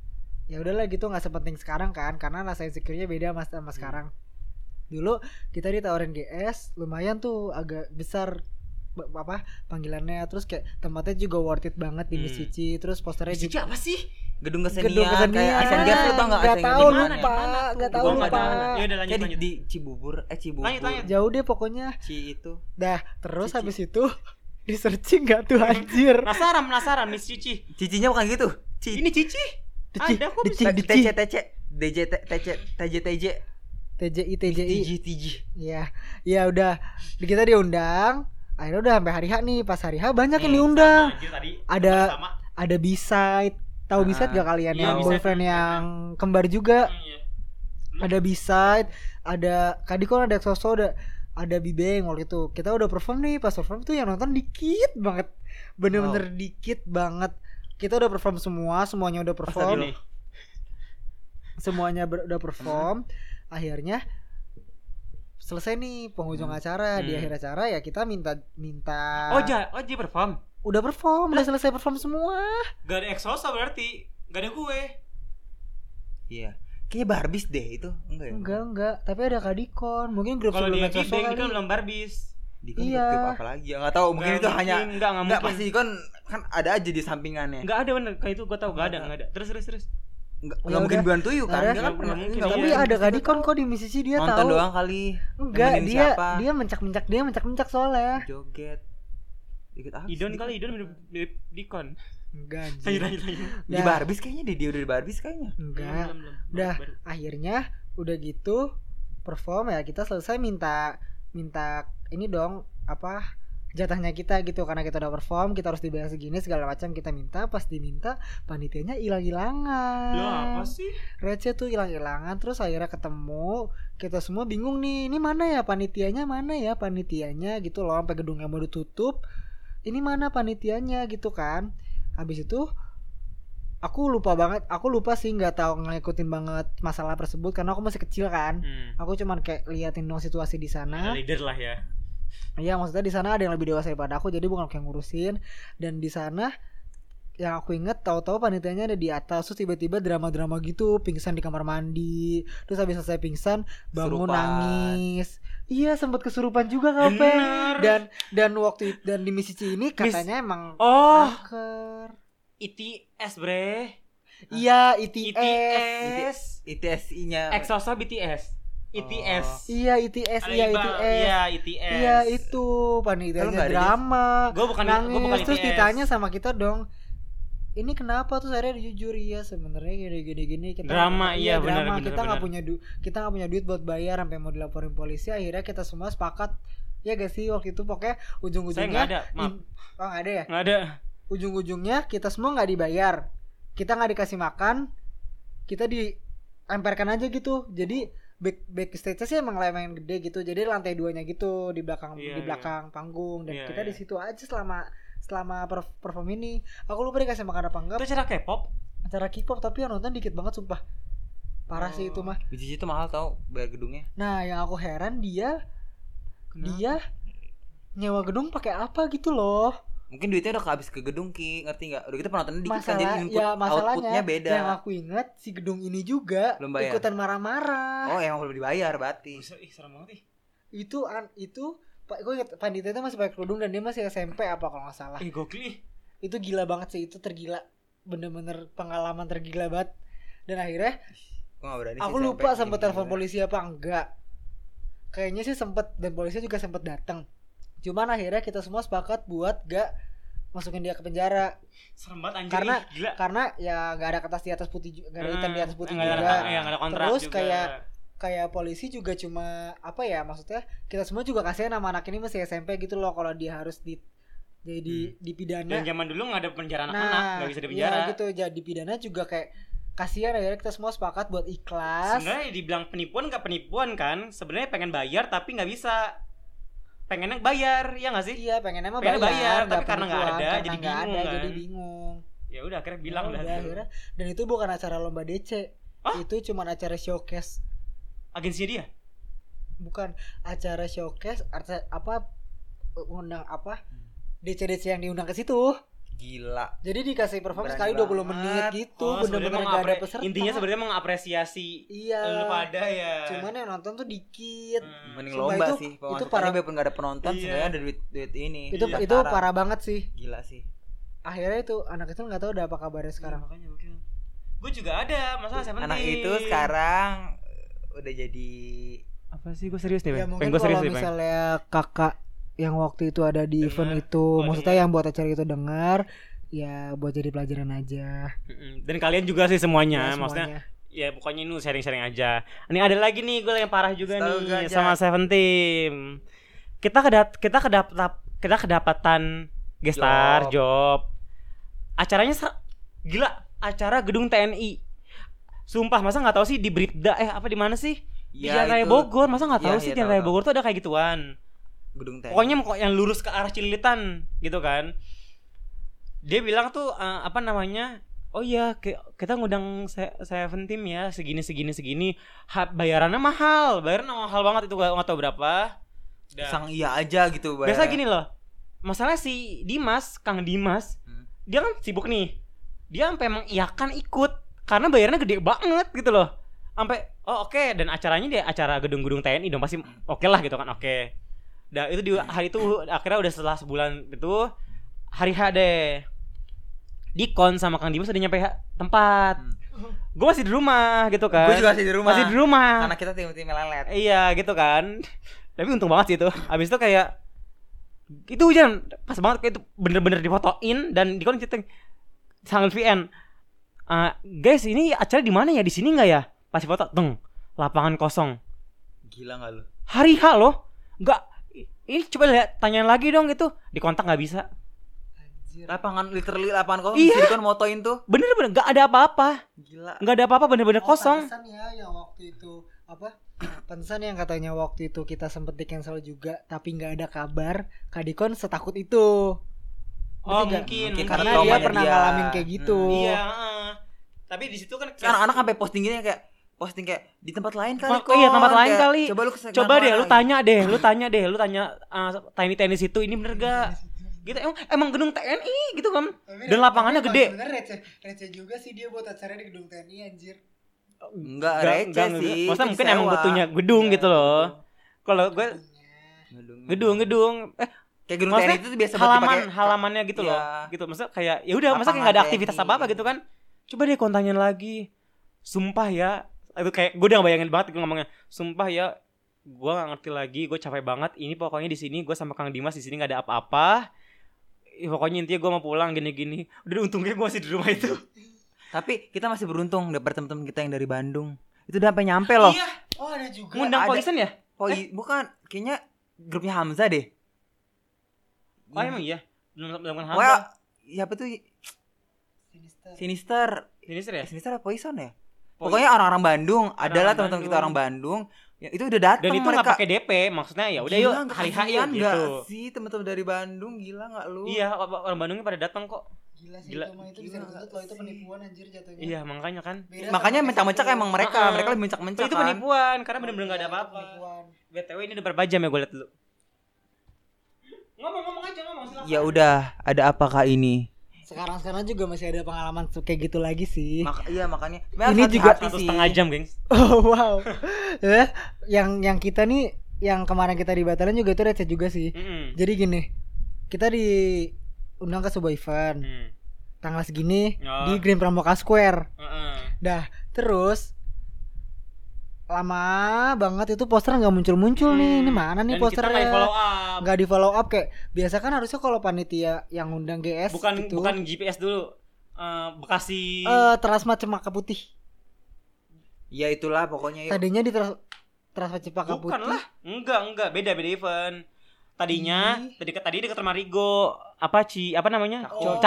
C: ya udahlah gitu nggak sepenting sekarang kan karena rasa insecure-nya beda mas
A: Hmm.
C: sama sekarang dulu kita ditawarin GS lumayan tuh agak besar ba- apa panggilannya terus kayak tempatnya juga worth it banget di Miss
A: Hmm.
C: Cici terus posternya
A: Miss Cici
C: juga
A: apa sih?
B: Gedung kesenian,
C: gedung
B: kayak
C: kesenian
B: Asian Games lu tau nggak
C: nggak
B: Asian
C: tahu
B: Games di mana?
C: lupa nggak tahu
B: Gua nggak
C: lupa
B: tahu.
A: Ya udah lanjut
B: Kayak di,
A: lanjut.
B: di Cibubur, eh Cibubur.
A: Lanjut, lanjut.
C: jauh deh pokoknya
B: Ci itu.
C: Dah, terus
B: Cici.
C: habis itu di searching gak tuh anjir.
A: Penasaran, penasaran Miss Cici.
B: Cicinya bukan gitu. Ci.
A: Ini Cici.
C: Dici,
A: Ada kok
C: dici,
B: T-
C: dici.
B: TC TC DJ TC TJ TJ
C: TJI TJI.
B: TJ TJ.
C: Ya, ya udah. Di- Kita diundang. Akhirnya udah sampai hari H nih. Pas hari H banyak
A: Hmm,
C: yang kan diundang.
A: sama, anjir, tadi.
C: Ada
A: Sama.
C: ada B-side. Tahu B-side
B: Ah,
C: gak kalian
A: iya,
C: yang
A: B-side.
C: boyfriend yang kembar juga?
A: Hmm, iya.
C: Ada B-side, ada Kadikon, ada Exoso, ada ada Bibeng waktu itu. Kita udah perform nih, pas perform tuh yang nonton dikit banget. Bener-bener dikit banget. Kita udah perform semua, semuanya udah perform.
A: Ini.
C: semuanya ber- udah perform akhirnya selesai nih penghujung acara di
A: Hmm.
C: akhir acara ya kita minta minta
A: Oh, ja, oh, dia perform.
C: udah perform udah selesai perform semua
A: Gak ada Exosa berarti. Gak ada gue.
B: Iya. Kayaknya Barbies deh itu. Enggak ya?
C: enggak enggak tapi ada kadikon mungkin grup
A: Kalau dia
C: sebelumnya
A: Cici,
C: Coso
A: dia kan
C: kali
A: belum Barbies.
B: Dikon
C: Iya. Nah,
B: grup apa lagi? Ya, Nggak tahu. Mungkin itu hanya
A: enggak enggak
B: Enggak
A: mungkin.
B: pasti kan kan ada aja di sampingannya.
A: Enggak ada bener kayak itu gue tau gak ada
B: Nggak
A: enggak ada. Terus terus terus.
B: Enggak
C: Ya
B: enggak mungkin
C: udah.
B: bukan tuyul kan?
C: Ada.
B: Enggak kan pernah.
A: Nggak mungkin,
B: nggak
A: iya.
C: tapi
B: mungkin.
C: ada kadikon kok di Misisi dia
B: nonton
C: tahu
B: doang kali
C: enggak
B: Nemenin
C: dia
B: siapa?
C: dia mencak mencak dia mencak mencak soalnya
B: joget. Joget apa? sih?
A: Idon
B: Di-
A: kali Idon mirip mirip Dikon. Iya,
C: enggak
A: Lanjut
C: anjir.
A: lanjut lanjut.
B: Di
C: Dah.
B: Barbies kayaknya deh, dia udah di Barbies kayaknya.
C: enggak
A: Belum, belum, belum.
C: Dah.
A: Baru.
C: akhirnya udah gitu perform ya kita selesai minta minta ini dong apa jatahnya kita gitu karena kita udah perform kita harus dibayar segini segala macam kita minta pas diminta panitianya hilang
A: Lo apa
C: hilangan
A: sih?
C: receh tuh hilang hilangan terus akhirnya ketemu kita semua bingung nih ini mana ya panitianya mana ya panitianya gitu loh sampai gedungnya mau ditutup ini mana panitianya gitu kan habis itu aku lupa banget aku lupa sih nggak tahu ngikutin banget masalah tersebut karena aku masih kecil kan
A: Hmm.
C: aku cuman kayak liatin dong situasi di
A: Ada
C: sana
A: leader lah ya.
C: Iya maksudnya di sana ada yang lebih dewasa daripada aku jadi bukan aku yang ngurusin dan di sana yang aku inget tahu-tahu panitianya ada di atas terus tiba-tiba drama-drama gitu pingsan di kamar mandi terus habis selesai pingsan bangun
B: Kesurupan.
C: nangis iya sempat kesurupan juga ngapain dan dan waktu itu, dan di misi C ini katanya emang
A: Oh,
C: Nah. kanker
A: ITS bre.
C: iya
B: E
C: ITS.
A: ITS.
B: ITSI-nya
A: Exosa BTS. ITS.
C: iya ITS iya
A: Alibaba.
C: ITS
A: Iya, ITS.
C: iya itu
B: Kalau
C: panitianya
B: nggak ada,
C: drama
A: Gue bukan
C: nangis
A: gue bukan
C: Nah, terus
A: ITS.
C: ditanya sama kita dong ini kenapa terus akhirnya jujur iya sebenarnya gini gini gini kita
A: Drama, iya, benar,
C: drama
A: benar,
C: kita nggak
A: benar.
C: punya du kita nggak punya duit buat bayar sampai mau dilaporin polisi akhirnya kita semua sepakat ya gak sih waktu itu pokoknya
A: Saya nggak
C: ujung-ujungnya
A: ada, maaf.
C: in- oh nggak ada ya
A: Nggak ada.
C: ujung-ujungnya kita semua nggak dibayar kita nggak dikasih makan kita diemperkan aja gitu jadi back backstage-nya sih emang lumayan gede gitu jadi lantai duanya gitu di belakang
A: Iya,
C: di
A: iya.
C: belakang panggung dan
A: Iya,
C: kita
A: iya.
C: di situ aja selama selama perf- perform ini aku lupa dikasih makan apa enggak
A: Itu acara K-pop.
C: acara K-pop tapi yang nonton dikit banget sumpah parah
A: Oh.
C: sih itu mah
B: Biji itu mahal tau bayar gedungnya.
C: nah yang aku heran dia dia nyewa gedung pakai apa gitu loh
B: Mungkin duitnya udah habis ke gedung Ki, ngerti nggak? Udah kita penontonnya dikit kan jadi
C: masalah
B: input
C: ya masalahnya
B: outputnya beda.
C: yang aku ingat si gedung ini juga
B: Belum bayar.
C: ikutan marah-marah
B: Oh, emang belum dibayar berarti.
A: Ih, serem banget ih.
C: itu an itu pak gue ingat panitianya masih pakai kerudung dan dia masih SMP apa kalau nggak salah
A: Ih, gokil ih.
C: itu gila banget sih itu tergila bener-bener pengalaman tergila banget dan akhirnya
B: Gua nggak berani. sih
C: aku
B: sampai
C: lupa
B: ini.
C: sempet telepon polisi apa enggak kayaknya sih sempet dan polisi juga sempet datang cuman akhirnya kita semua sepakat buat gak masukin dia ke penjara
A: Serem banget anjir.
C: Karena
A: ih, gila.
C: karena ya nggak ada kertas di atas putih ju- nggak ada hitam di atas putih
A: Nggak ada-
C: juga
A: iya, nggak ada kontrak
C: Terus
A: juga.
C: kayak kayak polisi juga cuma apa ya maksudnya kita semua juga kasihan sama anak ini masih SMP gitu loh kalau dia harus di jadi dipidana
A: Hmm. dan zaman dulu nggak ada penjara anak-anak, nggak bisa di
C: iya
A: penjara.
C: gitu jadi pidana juga kayak kasihan akhirnya kita semua sepakat buat ikhlas
A: Sebenarnya dibilang penipuan nggak penipuan kan? Sebenarnya pengen bayar tapi nggak bisa. Pengennya bayar, ya nggak sih?
C: iya pengennya mah bayar,
A: Pengennya bayar, tapi
C: nggak
A: karena nggak
C: penipuan,
A: ada,
C: karena
A: jadi
C: nggak ada,
A: bingung kan.
C: jadi bingung
A: Ya udah akhirnya bilang
C: Ya
A: lah.
C: udah, akhirnya dan itu bukan acara lomba DC
A: Hah?
C: itu cuma acara showcase
A: Agensinya dia.
C: bukan acara showcase acara, apa undang apa
A: Hmm.
C: DC-DC yang diundang ke situ
B: Gila.
C: Jadi dikasih perform
B: Berani
C: sekali 20 menit
B: banget.
C: gitu,
A: Oh, sebenarnya
C: bener-bener gak ada
A: mengapre-
C: peserta.
A: Intinya sebenarnya mengapresiasi
C: iya.
A: lu pada ya.
C: Cuman yang nonton tuh dikit.
A: Hmm.
B: Mending
C: Sumpah,
B: lomba
C: itu-
B: sih.
C: itu
B: Itu
C: parah.
B: para biarpun nggak ada penonton,
A: Iya.
B: sebenarnya ada duit duit ini.
C: itu
B: Pendaftaran.
C: itu parah banget sih.
B: Gila sih.
C: Akhirnya itu anak kecil nggak tahu udah apa kabarnya sekarang.
A: makanya gokil. Gue juga ada masalah siapa
B: Anak itu sekarang eh, udah jadi
A: apa sih gue serius nih
C: Ya
A: Bang? iya. Pengen
C: mungkin
A: gue serius
C: kalau
A: nih Bang.
C: misalnya kakak yang waktu itu ada di
A: Dengar.
C: event itu,
A: Oh,
C: maksudnya
A: dengar.
C: yang buat acara itu dengar, ya buat jadi pelajaran aja.
A: Mm-mm. Dan kalian juga sih semuanya,
C: Ya,
A: Iya, maksudnya
C: semuanya.
A: ya pokoknya ini sharing-sharing aja. Ini ada lagi nih gue yang parah juga
B: Setahu gue
A: nih
B: aja.
A: sama Seventeen. Kita kedat kita kedapat kita kedapatan gestar job.
B: Job.
A: Acaranya ser- gila, acara gedung TNI. Sumpah masa nggak tahu sih di Bribda eh apa di mana sih? Di Jalan Raya
B: Ya, itu
A: Bogor, masa nggak tahu
B: Iya,
A: sih
B: iya,
A: di Jalan
B: tahu,
A: Raya
B: tahu.
A: Bogor tuh ada kayak gituan.
B: gedung TNI.
A: Pokoknya kok yang lurus ke arah Cililitan gitu kan. Dia bilang tuh eh, apa namanya? Oh iya, ki- kita ngundang se- Seven Team ya, segini segini segini. Ha, bayarannya mahal, bayarannya mahal banget itu gak, nggak tahu berapa. Udah.
B: sang iya aja gitu bayar.
A: Biasa gini loh. Masalah si Dimas, Kang Dimas,
B: Hmm.
A: dia kan sibuk nih. Dia sampai mengiyakan ikut karena bayarnya gede banget gitu loh. Sampai oh oke dan acaranya dia acara gedung-gedung TNI dong pasti oke lah gitu kan oke. Dah itu di hari itu akhirnya udah setelah sebulan itu hari H deh. Dikon sama Kang Dimas udah nyampe ha- tempat.
B: Hmm.
A: Gue masih di rumah gitu kan.
B: Gue juga masih di rumah.
A: masih di rumah.
B: Karena kita tim-tim lelet.
A: Iya gitu kan Tapi untung banget sih itu Abis itu kayak Itu hujan Pas banget kayak itu Bener-bener difotoin Dan di chatting Sangat VN "Ah, Guys ini acara di mana ya di sini nggak ya Pas foto Teng Lapangan kosong
B: Gila enggak lu?
A: Hari H loh Nggak Ini coba lihat Tanyain lagi dong gitu Di kontak nggak bisa
C: Anjir.
B: Lapangan literally lapangan kosong
A: Iya.
B: Jadi kan motoin tuh.
A: Bener-bener nggak ada apa-apa
B: Gila.
A: nggak ada apa-apa bener-bener
C: Oh,
A: kosong
C: pantesan ya yang waktu itu apa? Pantesan yang katanya waktu itu kita sempet di cancel juga tapi nggak ada kabar. Kadikon setakut itu.
A: Oh
C: Berarti nggak-
A: mungkin,
B: Mungkin
A: mungkin
B: karena
C: Karena dia
B: traumanya dia.
C: pernah
B: Hmm.
C: ngalamin kayak gitu.
A: Iya heeh. Tapi di situ kan
B: Terus anak-anak sampai posting gini kayak posting kayak di tempat lain kali
A: Tempat- oh iya,
B: Kon."
A: tempat lain
B: Kayak,
A: kali.
B: coba lu kesana-
A: Coba deh, lu
B: gitu.
A: tanya deh, lu tanya deh, lu tanya ah, tiny tenis itu ini bener gak?
C: Iya.
A: Gitu emang, emang gedung TNI gitu kan? Dan lapangannya gede.
E: Bener receh, receh juga sih dia buat acara di gedung TNI anjir.
A: Nggak-
B: Enggak receh
A: nggak-
B: sih. Iya.
A: Maksudnya
B: itu
A: mungkin
B: disewa.
A: emang butuhnya gedung gitu loh. Kalau gue gedung gedung eh
B: Kayak gedung
A: Maksudnya
B: TNI itu biasa buat
A: halaman
B: dipakai-
A: halamannya gitu loh.
B: Iya.
A: Gitu maksudnya kayak ya udah masa kayak nggak ada
B: Lapangan
A: aktivitas
B: TNI.
A: apa apa gitu kan. Coba deh kontanyain lagi. Sumpah ya, itu kayak gue udah bayangin banget gue ngomongnya. Sumpah ya, gue gak ngerti lagi, gue capek banget. Ini pokoknya di sini gue sama Kang Dimas di sini nggak ada apa-apa. Ih, pokoknya intinya gue mau pulang gini-gini. Udah untungnya gue masih di rumah itu.
B: Tapi kita masih beruntung dapat teman-teman kita yang dari Bandung. Itu udah sampai nyampe loh.
E: Iya, oh ada juga.
A: Ngundang
B: ada.
A: polisian ya?
B: Oh, i- bukan, kayaknya grupnya Hamzah deh.
A: Oh emang iya. Belum belum kenal.
B: Well, siapa tuh
E: Sinister.
B: Sinister?
A: Ini serius.
B: Eh, Sinister apa Poison ya?
A: Poi-
B: Pokoknya orang-orang Bandung,
A: Orang-orang
B: adalah teman-teman kita
A: Bandung.
B: orang Bandung. Ya, itu udah datang
A: Dan itu nggak
B: mereka.
A: pakai DP, maksudnya ya udah
B: Gila,
A: yuk
B: nggak
A: hari-hari
B: kasihan nggak
A: gitu.
B: sih teman-teman dari Bandung gila nggak lu?
A: Iya, orang Bandungnya pada datang kok.
E: Gila sih
A: Gila.
E: itu mah itu bisa
B: Gila
E: dituntut loh itu
B: sih.
E: penipuan anjir jatuhnya.
A: Iya, makanya kan.
E: Beda
B: Makanya
E: sama
B: mencak-mencak
E: S1.
B: emang mereka,
A: Heeh.
B: mereka lebih mencak-mencak
A: itu
B: kan.
A: penipuan karena bener-bener nggak
E: Iya,
A: ada
E: itu
A: apa-apa.
E: penipuan.
A: BTW ini udah berapa jam ya gue liat dulu. Ngomong-ngomong aja ngomong silakan.
B: Ya udah, ada apakah ini?
C: Sekarang sekarang juga masih ada pengalaman tuh kayak gitu lagi sih.
B: Maka, iya makanya.
C: Ini juga
A: Satu setengah jam, geng.
C: Oh wow. Eh, yang yang kita nih yang kemarin kita dibatalin juga itu receh juga sih.
A: Mm-mm.
C: Jadi gini, kita diundang ke sebuah event
A: Mm.
C: tanggal segini
A: Oh.
C: di Green Pramuka Square.
A: Heeh.
C: Dah, terus lama banget itu poster nggak muncul-muncul nih. Ini mana
A: Hmm. Dan
C: nih
A: kita
C: posternya?
A: nggak follow up.
C: Nggak di follow up kayak biasa kan harusnya kalau panitia yang undang GS
A: Bukan
C: gitu.
A: bukan GPS dulu. Eh, Bekasi.
C: Eh, Terasma Cemaka Putih.
B: Ya itulah pokoknya yuk.
C: Tadinya di Teras Terasma Cemaka
A: Bukan
C: Putih.
A: lah. Enggak, enggak, beda beda event. Tadinya
C: Ih. Oh,
A: tadi tadi dekat Marigo, apa Ci, apa namanya?
E: Cakung.
A: Cakung.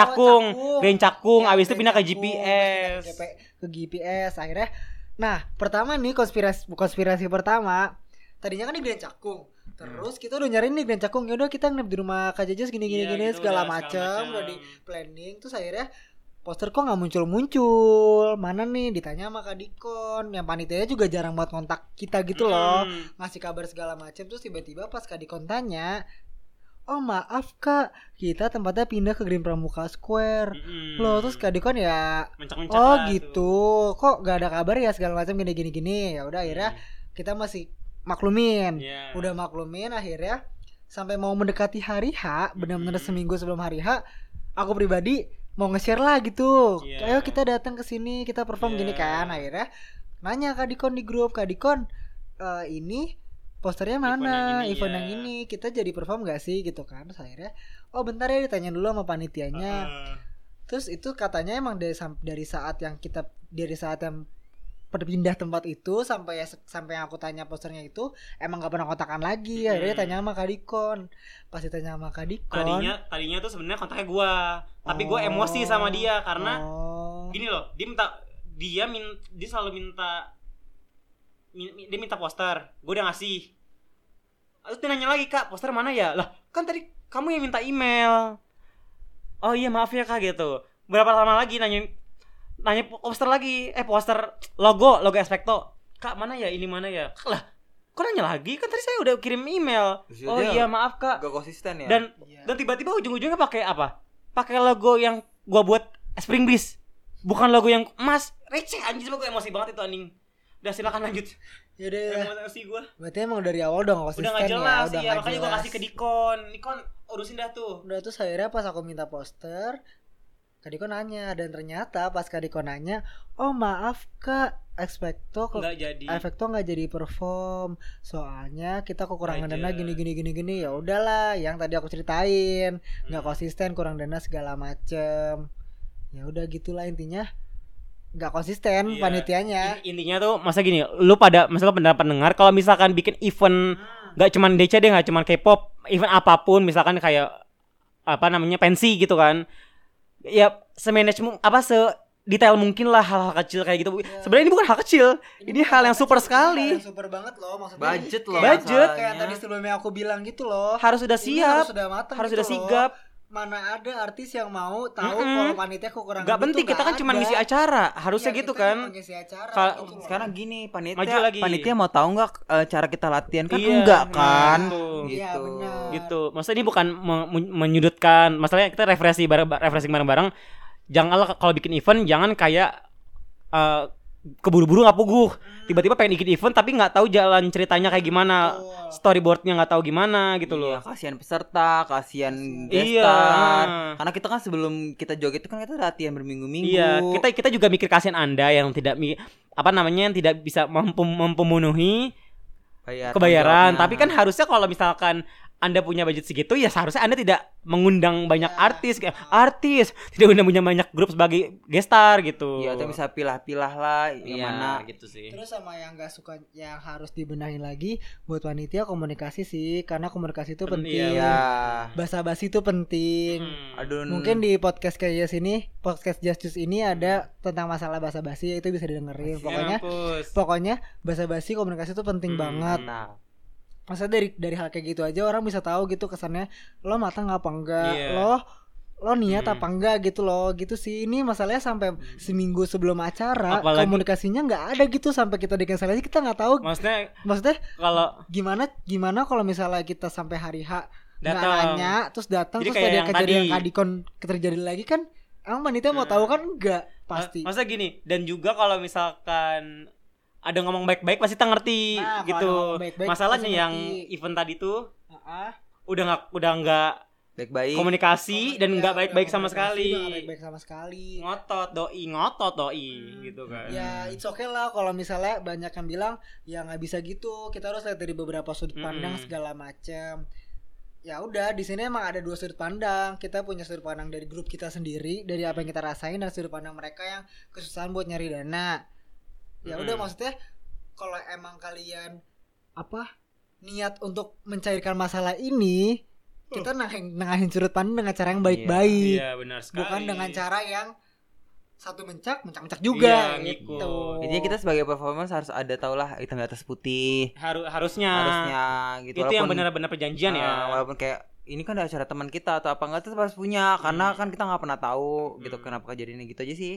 E: Cakung.
A: Grand Cakung,
C: Iya,
E: Ya,
A: abis itu
E: Grand
A: pindah ke
E: Cakung,
A: GPS.
E: terus pindah ke GP.
C: ke GPS akhirnya nah pertama nih konspirasi konspirasi pertama tadinya kan di Grand Cakung terus kita udah nyariin di Grand Cakung yaudah kita nginep di rumah Kak Jajas gini gini
A: Iya,
C: gini
A: gitu,
C: segala
A: udah,
C: macam
A: macam.
C: udah di planning terus akhirnya poster kok nggak muncul muncul mana nih ditanya sama Kak Dikon yang panitianya juga jarang buat kontak kita gitu loh
A: Mm.
C: ngasih kabar segala macam terus tiba-tiba pas Kak Dikon tanya oh maaf Kak kita tempatnya pindah ke Green Pramuka Square
A: Mm-mm.
C: loh terus Kak Dikon ya
A: Mencak-mencak
C: Oh
A: Hmm. lah
C: gitu, kok gak ada kabar ya segala macam gini gini gini. Ya
A: tuh.
C: udah akhirnya
A: Mm.
C: kita masih maklumin.
A: Iya.
C: Udah maklumin akhirnya sampai mau mendekati hari H,
A: Mhm.
C: benar-benar seminggu sebelum hari H, aku pribadi mau nge-share lah gitu.
A: Iya.
C: Ayo kita datang ke sini, kita perform gini
A: Iya.
C: kan. Akhirnya nanya Kak Dikon di grup, Kak Dikon eh, ini posternya
A: Event
C: mana?
A: yang ini,
C: Event
A: iya.
C: yang ini, kita jadi perform gak sih gitu kan. Terus akhirnya oh bentar ya ditanya dulu sama panitianya.
A: Heeh.
C: Terus itu katanya emang dari sam- dari saat yang kita dari saat yang pindah tempat itu sampai ya sampai yang aku tanya posternya itu emang gak pernah kontakan lagi. Akhirnya
A: Hmm.
C: tanya sama Kadikon. Pas ditanya sama Kadikon.
A: tadinya tadinya tuh sebenarnya kontaknya gua tapi gua
C: Oh.
A: emosi sama dia karena
C: oh.
A: gini loh dia minta dia min dia selalu minta min- min- dia minta poster gua udah ngasih terus dia nanya lagi kak poster mana ya lah kan tadi kamu yang minta email oh iya maaf ya kak gitu berapa lama lagi nanya nanya poster lagi eh poster logo logo Expecto kak mana ya ini mana ya lah kok nanya lagi kan tadi saya udah kirim email
B: Terus
A: oh
B: dia
A: iya maaf kak
B: Gak konsisten ya.
A: dan
E: Iya.
A: dan tiba-tiba ujung-ujungnya pakai apa pakai logo yang gua buat spring breeze bukan logo yang emas receh anjir gua emosi banget itu anjing udah silakan lanjut
C: Yaudah, yaudah.
A: emosi gua
C: Ya berarti emang dari awal udah gak
A: udah
C: konsisten
A: nggak
C: ya.
A: jelas
C: Udah
A: ya
C: nggak
A: makanya gua
C: jelas.
A: kasih ke Dikon Dikon urusin dah tuh
C: Udah terus akhirnya pas aku minta poster Kadikon nanya dan ternyata pas Kadikon nanya, "Oh, maaf Kak, Expecto ke
A: nggak jadi
C: Efekto nggak jadi perform soalnya kita kekurangan
A: Aja.
C: dana gini gini gini gini ya udahlah yang tadi aku ceritain nggak
A: Hmm.
C: konsisten kurang dana segala macem ya udah gitulah intinya nggak konsisten
A: Iya.
C: panitianya
A: In- intinya tuh masa gini lu pada maksudnya pendapat pendengar kalau misalkan bikin event nggak cuman DC deh nggak cuman K-pop event apapun misalkan kayak apa namanya pensi gitu kan ya semanagement apa se detail mungkin lah hal-hal kecil kayak gitu
C: Iya.
A: sebenarnya ini bukan hal kecil ini hal yang super sekali.
C: hal yang super banget loh maksudnya
B: budget loh.
A: Budget.
C: kayak
B: masalahnya.
C: tadi sebelumnya aku bilang gitu loh
A: ya. harus sudah
C: Ini
A: siap
C: harus sudah matang
A: harus
C: gitu
A: sudah
C: loh.
A: sigap
C: mana ada artis yang mau tahu
A: Mm-mm.
C: kalau panitia kekurangan
A: Gak
C: itu
A: penting kita kan cuma
C: ada.
A: ngisi acara
C: Iya,
A: harusnya gitu
C: kita
A: kan
C: cuma ngisi acara
A: Kal-
C: gitu loh.
B: Sekarang gini, panitia
A: Maju lagi.
B: panitia mau tahu nggak eh, cara kita latihan kan
A: Iya,
B: enggak
A: nah,
B: kan?
A: gitu.
C: Iya,
B: Gitu.
C: benar.
A: gitu maksudnya ini bukan me- men- menyudutkan masalahnya kita refreshing bareng refreshing bareng-bareng janganlah kalau bikin event jangan kayak eh, keburu-buru nggak puguh tiba-tiba pengen bikin event tapi nggak tahu jalan ceritanya kayak gimana
C: Betul.
A: storyboardnya nggak tahu gimana gitu
B: Iya,
A: loh
B: kasihan peserta, kasihan
A: Iya.
B: gestar. Karena kita kan sebelum kita joget itu kan kita latihan berminggu-minggu.
A: iya kita kita juga mikir kasihan anda yang tidak mi- apa namanya yang tidak bisa mampu memenuhi
B: Bayar
A: kebayaran
B: Iya, tanggung
A: tapi kan harusnya kalau misalkan anda punya budget segitu ya seharusnya anda tidak mengundang banyak
B: Iya.
A: artis kayak artis tidak undang punya banyak grup sebagai gestar gitu
B: jawabnya. Iya, atau bisa pilah-pilah lah yang
A: Iya,
B: mana.
A: gitu sih
C: Terus sama yang gak suka yang harus dibenahi lagi buat panitia komunikasi sih karena komunikasi itu
A: Pen-
C: penting.
A: iya. Hmm.
C: Bahasa-basi itu penting.
B: Aduh.
C: Mungkin di podcast kayak sini, podcast Justice ini ada tentang masalah bahasa-basi itu bisa
A: Ya
C: didengerin. Pokoknya pokoknya bahasa-basi komunikasi itu
A: Iya.
C: penting
A: Hmm.
C: banget.
B: Nah.
C: Maksudnya dari dari hal kayak gitu aja orang bisa tahu gitu kesannya lo matang apa enggak,
A: Iya.
C: lo lo niat
A: Hmm.
C: apa enggak gitu loh gitu sih ini masalahnya sampai seminggu sebelum acara
A: Apalagi-
C: komunikasinya nggak ada gitu sampai kita di cancel aja kita nggak tahu
A: maksudnya
C: maksudnya
A: kalau
C: gimana gimana kalau misalnya kita sampai hari H nggak
A: datang
C: nanya terus datang
A: Jadi
C: terus
A: kayak
C: ada
A: yang
C: kejadian
A: tadi.
C: kadikon terjadi lagi kan emang panitia mau
A: Hmm.
C: tahu kan enggak pasti
A: Ma- maksudnya gini dan juga kalau misalkan ada ngomong baik-baik pasti kita ngerti
C: Nah, kalau
A: gitu
C: ada ngomong baik-baik,
A: masalahnya
C: pasti
A: yang
C: ngerti.
A: event tadi tuh
C: Ah,
A: udah nggak udah nggak
B: Baik-baik.
A: komunikasi dan
C: iya,
A: nggak baik-baik sama
C: komunikasi,
A: sekali
C: nggak baik-baik sama sekali
A: ngotot doi ngotot doi gitu kan
C: ya it's okay lah kalau misalnya banyak yang bilang ya nggak bisa gitu kita harus lihat dari beberapa sudut pandang
A: Mm-mm.
C: segala macam ya udah di sini emang ada dua sudut pandang kita punya sudut pandang dari grup kita sendiri dari apa yang kita rasain dan sudut pandang mereka yang kesusahan buat nyari dana ya udah
A: Mm-mm.
C: maksudnya kalau emang kalian apa niat untuk mencairkan masalah ini kita nengahin, nengahin sudut pandang dengan cara yang baik-baik
A: iya benar sekali
C: bukan dengan cara yang satu mencak mencak mencak
A: Iya,
C: juga
A: ngikut.
C: gitu.
B: Jadi kita sebagai performance harus ada tahulah hitam di atas putih.
A: Haru- harusnya,
B: Harusnya gitu.
A: Nah, itu yang
B: Walaupun-
A: benar-benar perjanjian ya
B: Ah, walaupun kayak ini kan ada acara teman kita atau apa enggak tetap harus punya karena kan kita nggak pernah tahu gitu
A: Hmm.
B: kenapa kejadiannya gitu aja sih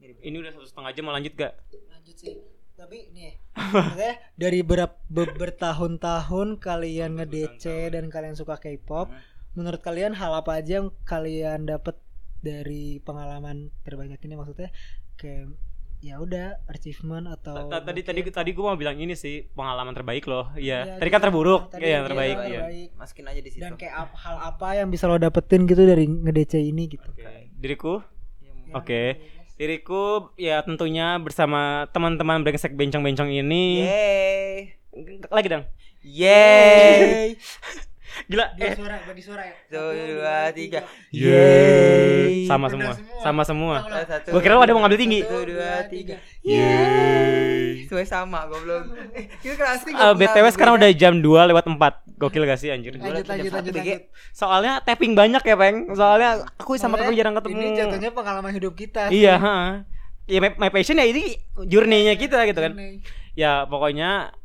A: ini udah satu setengah jam mau lanjut gak
C: lanjut sih tapi nih maksudnya dari berap, be- bertahun-tahun kalian ngedece dan kalian suka K-pop
B: Hmm.
C: menurut kalian hal apa aja yang kalian dapat dari pengalaman terbanyak ini maksudnya kayak ya udah achievement atau
A: Ta- tadi tadi
C: mungkin-
A: tadi gue mau bilang ini sih pengalaman terbaik loh iya
C: Iya,
A: tadi kan
C: gitu.
A: terburuk iya
C: Tadi
A: yang
C: yang
A: terbaik iya.
C: terbaik.
A: Gitu.
C: Baik.
B: masukin aja di situ
C: dan kayak ap- hal apa yang bisa lo dapetin gitu dari ngedece ini gitu
A: Oke. diriku
B: Iya, mungkin.
A: oke diriku ya tentunya bersama teman-teman brengsek bencong-bencong ini
B: Yeay.
A: lagi dong
B: Yeay.
A: gila
E: Bagi
A: eh
E: suara, bagi suara ya.
B: Satu, dua, tiga.
A: yeay sama
E: Udah
A: semua
E: semua.
A: sama semua
E: Ulang, ulang.
B: Satu,
A: gue kira lu ada mau ngambil tinggi
B: Satu, dua, tiga.
A: yeay
B: Semua sama, goblok. Eh, Kita keras sih.
A: Eh, BTW sekarang udah jam 2 lewat 4 Gokil gak sih anjir
C: lanjut lanjut lanjut, lanjut.
A: Soalnya tapping banyak ya Peng Soalnya aku sama hmm.
C: Maksudnya
A: kakak jarang ketemu
C: ini jatuhnya pengalaman hidup kita
A: Iya ha. Ya my, my passion ya ini journey-nya kita gitu kan
C: Nih.
A: Ya pokoknya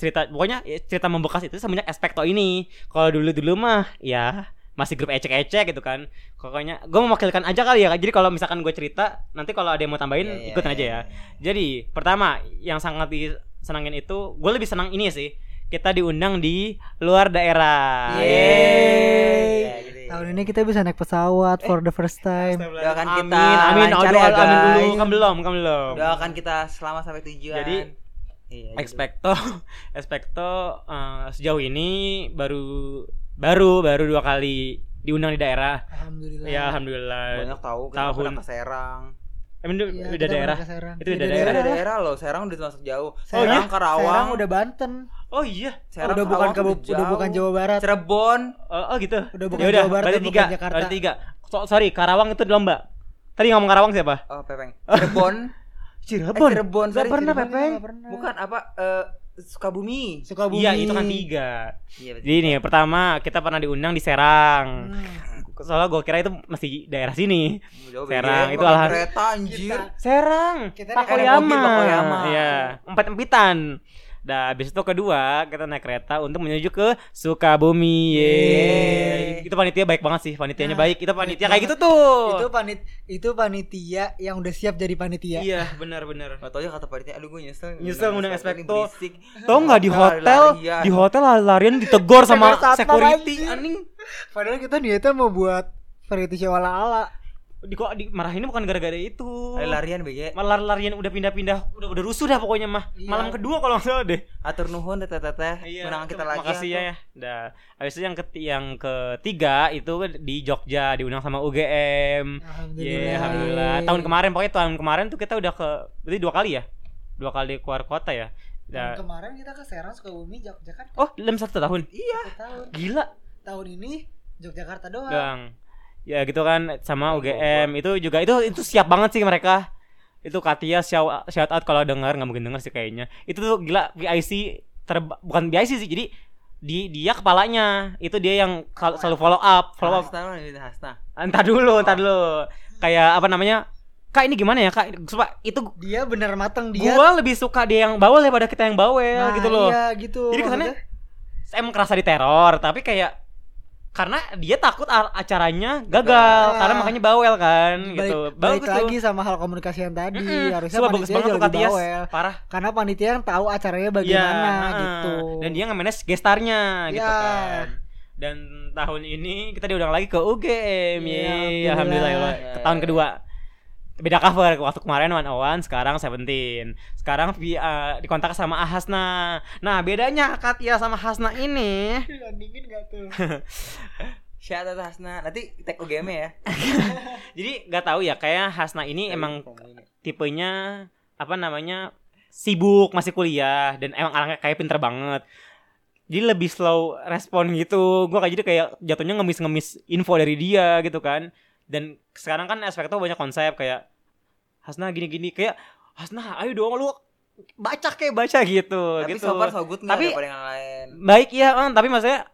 A: cerita pokoknya ya, cerita membekas itu sebanyak aspekto ini kalau dulu dulu mah ya masih grup ecek-ecek gitu kan pokoknya gue mewakilkan aja kali ya jadi kalau misalkan gue cerita nanti kalau ada yang mau tambahin
B: Iya,
A: ikutin aja ya jadi pertama yang sangat disenangin itu gue lebih senang ini sih kita diundang di luar
B: Iya,
A: daerah.
B: Yeay. Ya, gitu ya.
C: Tahun ini kita bisa naik pesawat for the first time.
B: Doakan kita
A: Amin, amin,
B: lancar
A: doa,
B: ya,
A: amin dulu,
B: guys.
A: kan belum, kan belum.
B: Doakan kita selamat sampai tujuan.
A: Jadi,
B: Iya, gitu.
A: Expecto, Expecto eh, sejauh ini baru baru baru dua kali diundang di daerah.
C: Alhamdulillah.
A: Ya alhamdulillah.
B: banyak tahu kita
A: tahun.
B: pernah ke Serang.
A: Emang
C: Iya,
A: udah
C: kita
A: udah
C: pernah
A: daerah.
C: ke Serang.
A: Itu
C: Udah
A: udah
B: Daerah.
A: Daerah. iya?
B: Daerah, loh, Serang udah termasuk jauh.
C: Serang,
B: Serang, Karawang,
C: Serang udah Banten.
A: Oh iya.
B: Serang,
C: udah bukan
B: Karawang
C: kabup, udah
B: jauh.
C: bukan Jawa Barat.
B: Cirebon.
A: Oh, oh gitu.
C: Udah bukan
A: Ya udah,
C: Jawa Barat,
A: berarti
C: udah
A: tiga,
C: bukan Jakarta.
A: berarti tiga. So- sorry, Karawang itu di lomba. Tadi ngomong Karawang siapa?
B: Oh, Pepeng. Cirebon. Eh,
A: Cirebon.
B: Cirebon.
A: Gak
B: sorry,
A: pernah,
B: Cirebon.
A: Pepeng.
C: Nggak pernah.
B: Bukan apa eh, Sukabumi.
C: Sukabumi.
A: Iya, itu kan tiga.
B: Iya, betul.
A: Jadi nih, pertama kita pernah diundang di Serang.
C: Hmm.
A: Soalnya gue kira itu masih daerah sini.
B: Jauh
A: Serang,
B: beda.
A: itu alhas-
B: kereta anjir.
A: Serang.
C: Kita
A: Pakoyama.
B: naik mobil, Pakoyama.
A: Iya, empet-empitan. Nah, habis itu kedua kita naik kereta untuk menuju ke Sukabumi. Yeay. Itu panitia baik banget sih, panitianya
C: Nah,
A: baik. Itu panitia
C: baik
A: kayak gitu tuh.
C: itu ya. panit itu panitia yang udah siap jadi panitia
A: Iya, benar-benar.
B: Gak tau ya kata panitia, aduh gue nyesel
A: Nyesel ngundang
B: Ini
A: Especto.
B: berisik.
A: Tau nggak di hotel,
B: Lari-larian.
A: di hotel larian ditegor sama
C: Sama satpam
A: security
C: aja.
A: anjing.
C: padahal kita niatnya mau buat variety show ala ala
A: Di kok dimarahinnya bukan gara-gara itu.
B: Lari-larian BG
A: Malah larian udah pindah-pindah, udah udah rusuh dah pokoknya mah.
C: Iya.
A: Malam kedua kalau nggak salah deh.
B: Atur nuhun teteh teteh Menang
A: itu
B: kita lagi
A: Makasih
B: atuh.
A: Iya, ya. Dah. Habis itu yang ke yang ketiga itu di Jogja diundang sama UGM.
C: alhamdulillah
A: Iya, alhamdulillah. Tahun kemarin pokoknya tahun kemarin tuh kita udah ke berarti dua kali ya? Dua kali keluar kota ya.
E: Tahun
A: Dah.
B: Iya.
E: kemarin kita ke Serang Sukabumi Jak- Jakarta
A: Oh, dalam satu tahun.
E: satu tahun
A: Gila
E: tahun ini Yogyakarta doang
A: dong. Ya gitu kan sama UGM itu juga itu itu siap banget sih mereka. Itu Katia shout shout out kalau dengar nggak mungkin dengar sih kayaknya. Itu tuh gila VIC terba- bukan VIC sih jadi di dia kepalanya itu dia yang kal- selalu follow up follow up
B: Hasna mana ini, Hasna
C: Ah.
A: Entar dulu, entar dulu. Kayak apa namanya? Kak ini gimana ya, Kak? Sumpah itu
C: dia bener mateng dia
A: gua lebih suka dia yang bawel daripada kita yang bawel
C: Nah,
A: gitu loh.
C: iya gitu
A: Jadi kesannya
C: Maksudnya,
A: saya emang kerasa diteror, tapi kayak karena dia takut a- acaranya gagal,
C: Gagal.
A: karena makanya bawel kan
C: Ah. balik,
A: gitu.
C: balik
A: Bagus tuh.
C: lagi sama hal komunikasi yang tadi
A: Mm-mm.
C: harusnya
A: Sumpah, bagus
C: panitia
A: banget
C: jauh
A: tuh
C: lebih
A: Kak Tias.
C: bawel
A: Parah.
C: karena panitia yang tahu acaranya
A: Iya,
C: bagaimana
A: heeh.
C: gitu
A: Dan dia nge-manage gestarnya gitu
C: Iya.
A: kan. Dan tahun ini kita diundang lagi ke UGM.
C: Iya,
A: Yeay,
C: alhamdulillah.
A: alhamdulillah. ya. Ke tahun kedua. Beda cover waktu kemarin One sekarang Seventeen. Sekarang via dikontak sama Ahasna. Nah, bedanya Katia sama Hasna ini
E: dingin gak tuh
B: Shout out Hasna Nanti tag UGM ya
A: jadi nggak tahu ya kayak Hasna
B: Iya,
A: ini emang
B: Promo ini.
A: tipenya apa namanya sibuk masih kuliah dan emang orangnya kayak pinter banget jadi lebih slow respon gitu gua kayak jadi kayak jatuhnya ngemis-ngemis info dari dia gitu kan dan sekarang kan aspeknya banyak konsep kayak Hasna gini-gini kayak Hasna ayo dong lu baca kayak baca gitu
B: Tapi
A: gitu
B: so far so good nggak
A: Tapi-
B: daripada yang lain
A: baik ya kan tapi maksudnya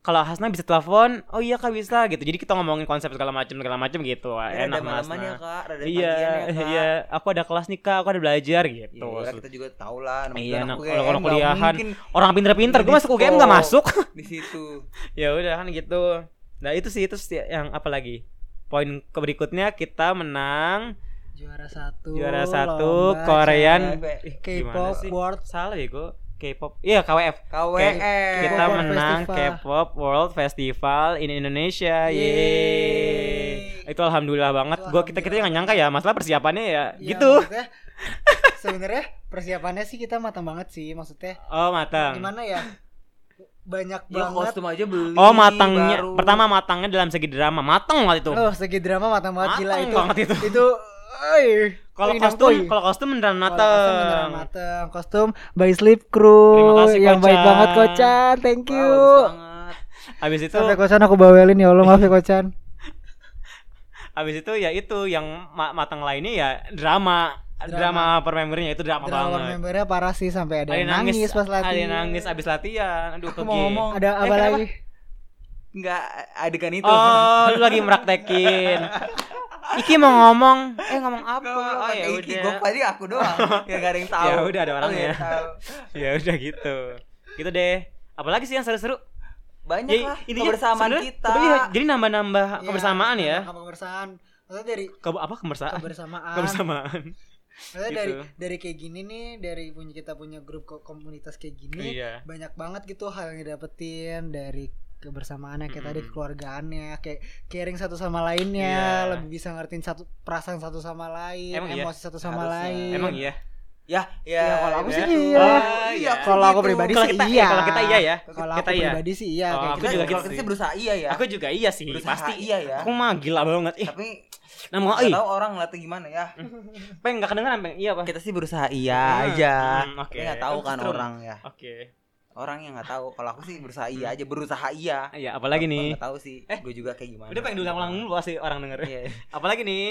A: kalau Hasna bisa telepon oh iya kak bisa gitu jadi kita ngomongin konsep segala macam segala macam gitu Wah,
B: Ini
A: enak
B: Ada
A: sama
B: malaman
A: Hasna.
B: ya kak Ada
A: Iya, iya. Aku ada kelas nih kak, aku ada belajar gitu.
B: Iya, iya, kita juga tahu lah. namanya
A: Iya,
B: anak
A: nah,
B: UGM,
A: kalau- kalau
B: nggak
A: kuliahan.
B: mungkin
A: Orang pinter-pinter, gue masuk UGM nggak
B: Diskon.
A: masuk.
B: di situ.
A: Gitu. ya udah kan gitu. Nah itu sih itu sih yang apa lagi? Poin ke berikutnya kita menang
C: juara satu
A: juara satu
C: lomba
A: Korean
B: cewek.
A: Ih, Eh, gimana
C: K-pop
A: sih?
C: World
A: Salah ya gue. K-pop. Iya KWF.
B: KWM.
A: Kita
C: World
A: menang
C: Festival.
A: K-pop World Festival in Indonesia. Yeay. Itu alhamdulillah banget. Gua kita kita nggak nyangka ya masalah persiapannya ya
C: Iya,
A: gitu.
C: maksudnya, sebenarnya persiapannya sih kita matang banget sih maksudnya
A: Oh matang. Iya,
C: gimana ya banyak
B: Ya
C: banget
B: kostum aja beli.
A: Oh matangnya
B: baru.
A: pertama matangnya dalam segi drama matang waktu itu.
C: oh segi drama matang banget gila
A: Mateng
C: itu
A: banget itu.
C: itu oi,
A: Kalau
C: oi,
A: kostum,
C: nangkoi.
A: kalau kostum beneran
C: Kalau kostum beneran
A: mateng.
C: mateng kostum by sleep crew
A: Terima kasih,
C: yang baik
A: Kocan.
C: banget kocan thank
B: Wah,
C: you
B: bagus banget.
A: Habis itu,
C: sampai kocan aku bawelin ya allah maaf ya kocan
A: habis itu ya itu yang ma- matang lainnya ya drama, drama, per membernya itu drama,
C: drama
A: banget.
C: membernya parah sih sampai ada
A: Ada
C: yang nangis, pas
A: ada
C: latihan
A: yang nangis abis latihan. Aduh,
B: Aku
A: pergi.
B: mau ngomong
C: ada
A: Eh,
C: apa
A: kenapa?
C: lagi
B: enggak adegan itu.
A: Oh, lu lagi meraktekin. Iki mau ngomong, eh ngomong apa? Oh, ya
B: Gue
A: udah.
B: tadi aku doang. Ya gak ada yang tahu.
A: Ya udah ada orangnya.
B: Nggak ada yang tahu.
A: Ya udah gitu. Gitu deh. Apalagi sih yang seru-seru? Ya,
B: Banyak lah kebersamaan
A: sebenarnya- ya?
B: kita.
A: sebenarnya Jadi nambah-nambah
C: Iya.
A: kebersamaan ya.
C: Apa kebersamaan maksudnya dari
A: Ke, apa kebersamaan?
C: kebersamaan
A: Kebersamaan.
C: maksudnya
A: gitu.
C: dari dari kayak gini nih dari punya kita punya grup ko- komunitas kayak gini
A: Iya.
C: banyak banget gitu hal yang didapetin dari kebersamaannya kayak tadi
A: Mm-mm.
C: keluargaannya kayak caring satu sama lainnya
A: Iya.
C: lebih bisa ngertiin satu perasaan satu sama lain
A: Emang iya?
C: emosi satu sama
B: Harusnya.
C: lain
A: Emang iya.
B: Ya, ya.
C: Ya, kalau aku sih
B: ya.
C: iya.
A: Oh, iya.
C: Kalau aku
B: gitu.
C: pribadi
A: Kalau
C: sih
A: kita
C: iya.
A: iya. kalau kita iya ya.
C: kalau aku
A: kita iya.
C: pribadi sih iya
A: Oh,
C: kayak
A: aku juga
B: Kita- kalau
A: gitu
B: kita
A: sih.
B: sih berusaha iya ya.
A: Aku juga iya sih,
B: berusaha
A: pasti.
B: iya ya.
A: Aku mah gila banget. Ih,
B: Tapi
A: nama
B: nggak
A: ih,
B: tahu orang ngeliatnya gimana ya.
A: peng enggak kedengeran, peng. Iya, Pak.
B: Kita sih berusaha iya aja.
A: Hmm, Oke.
B: Tapi nggak tahu kan
A: Justru-
B: orang ya.
A: Oke.
B: Orang yang nggak tahu. Kalau aku sih berusaha iya aja. Berusaha iya.
A: Iya, apalagi
B: Gua
A: Hmm. nih? Eh,
B: nggak tahu sih. Gue juga kayak gimana.
A: Udah pengen diulang-ulang dulu pasti orang denger. Hmm.
B: Iya.
A: Apalagi nih?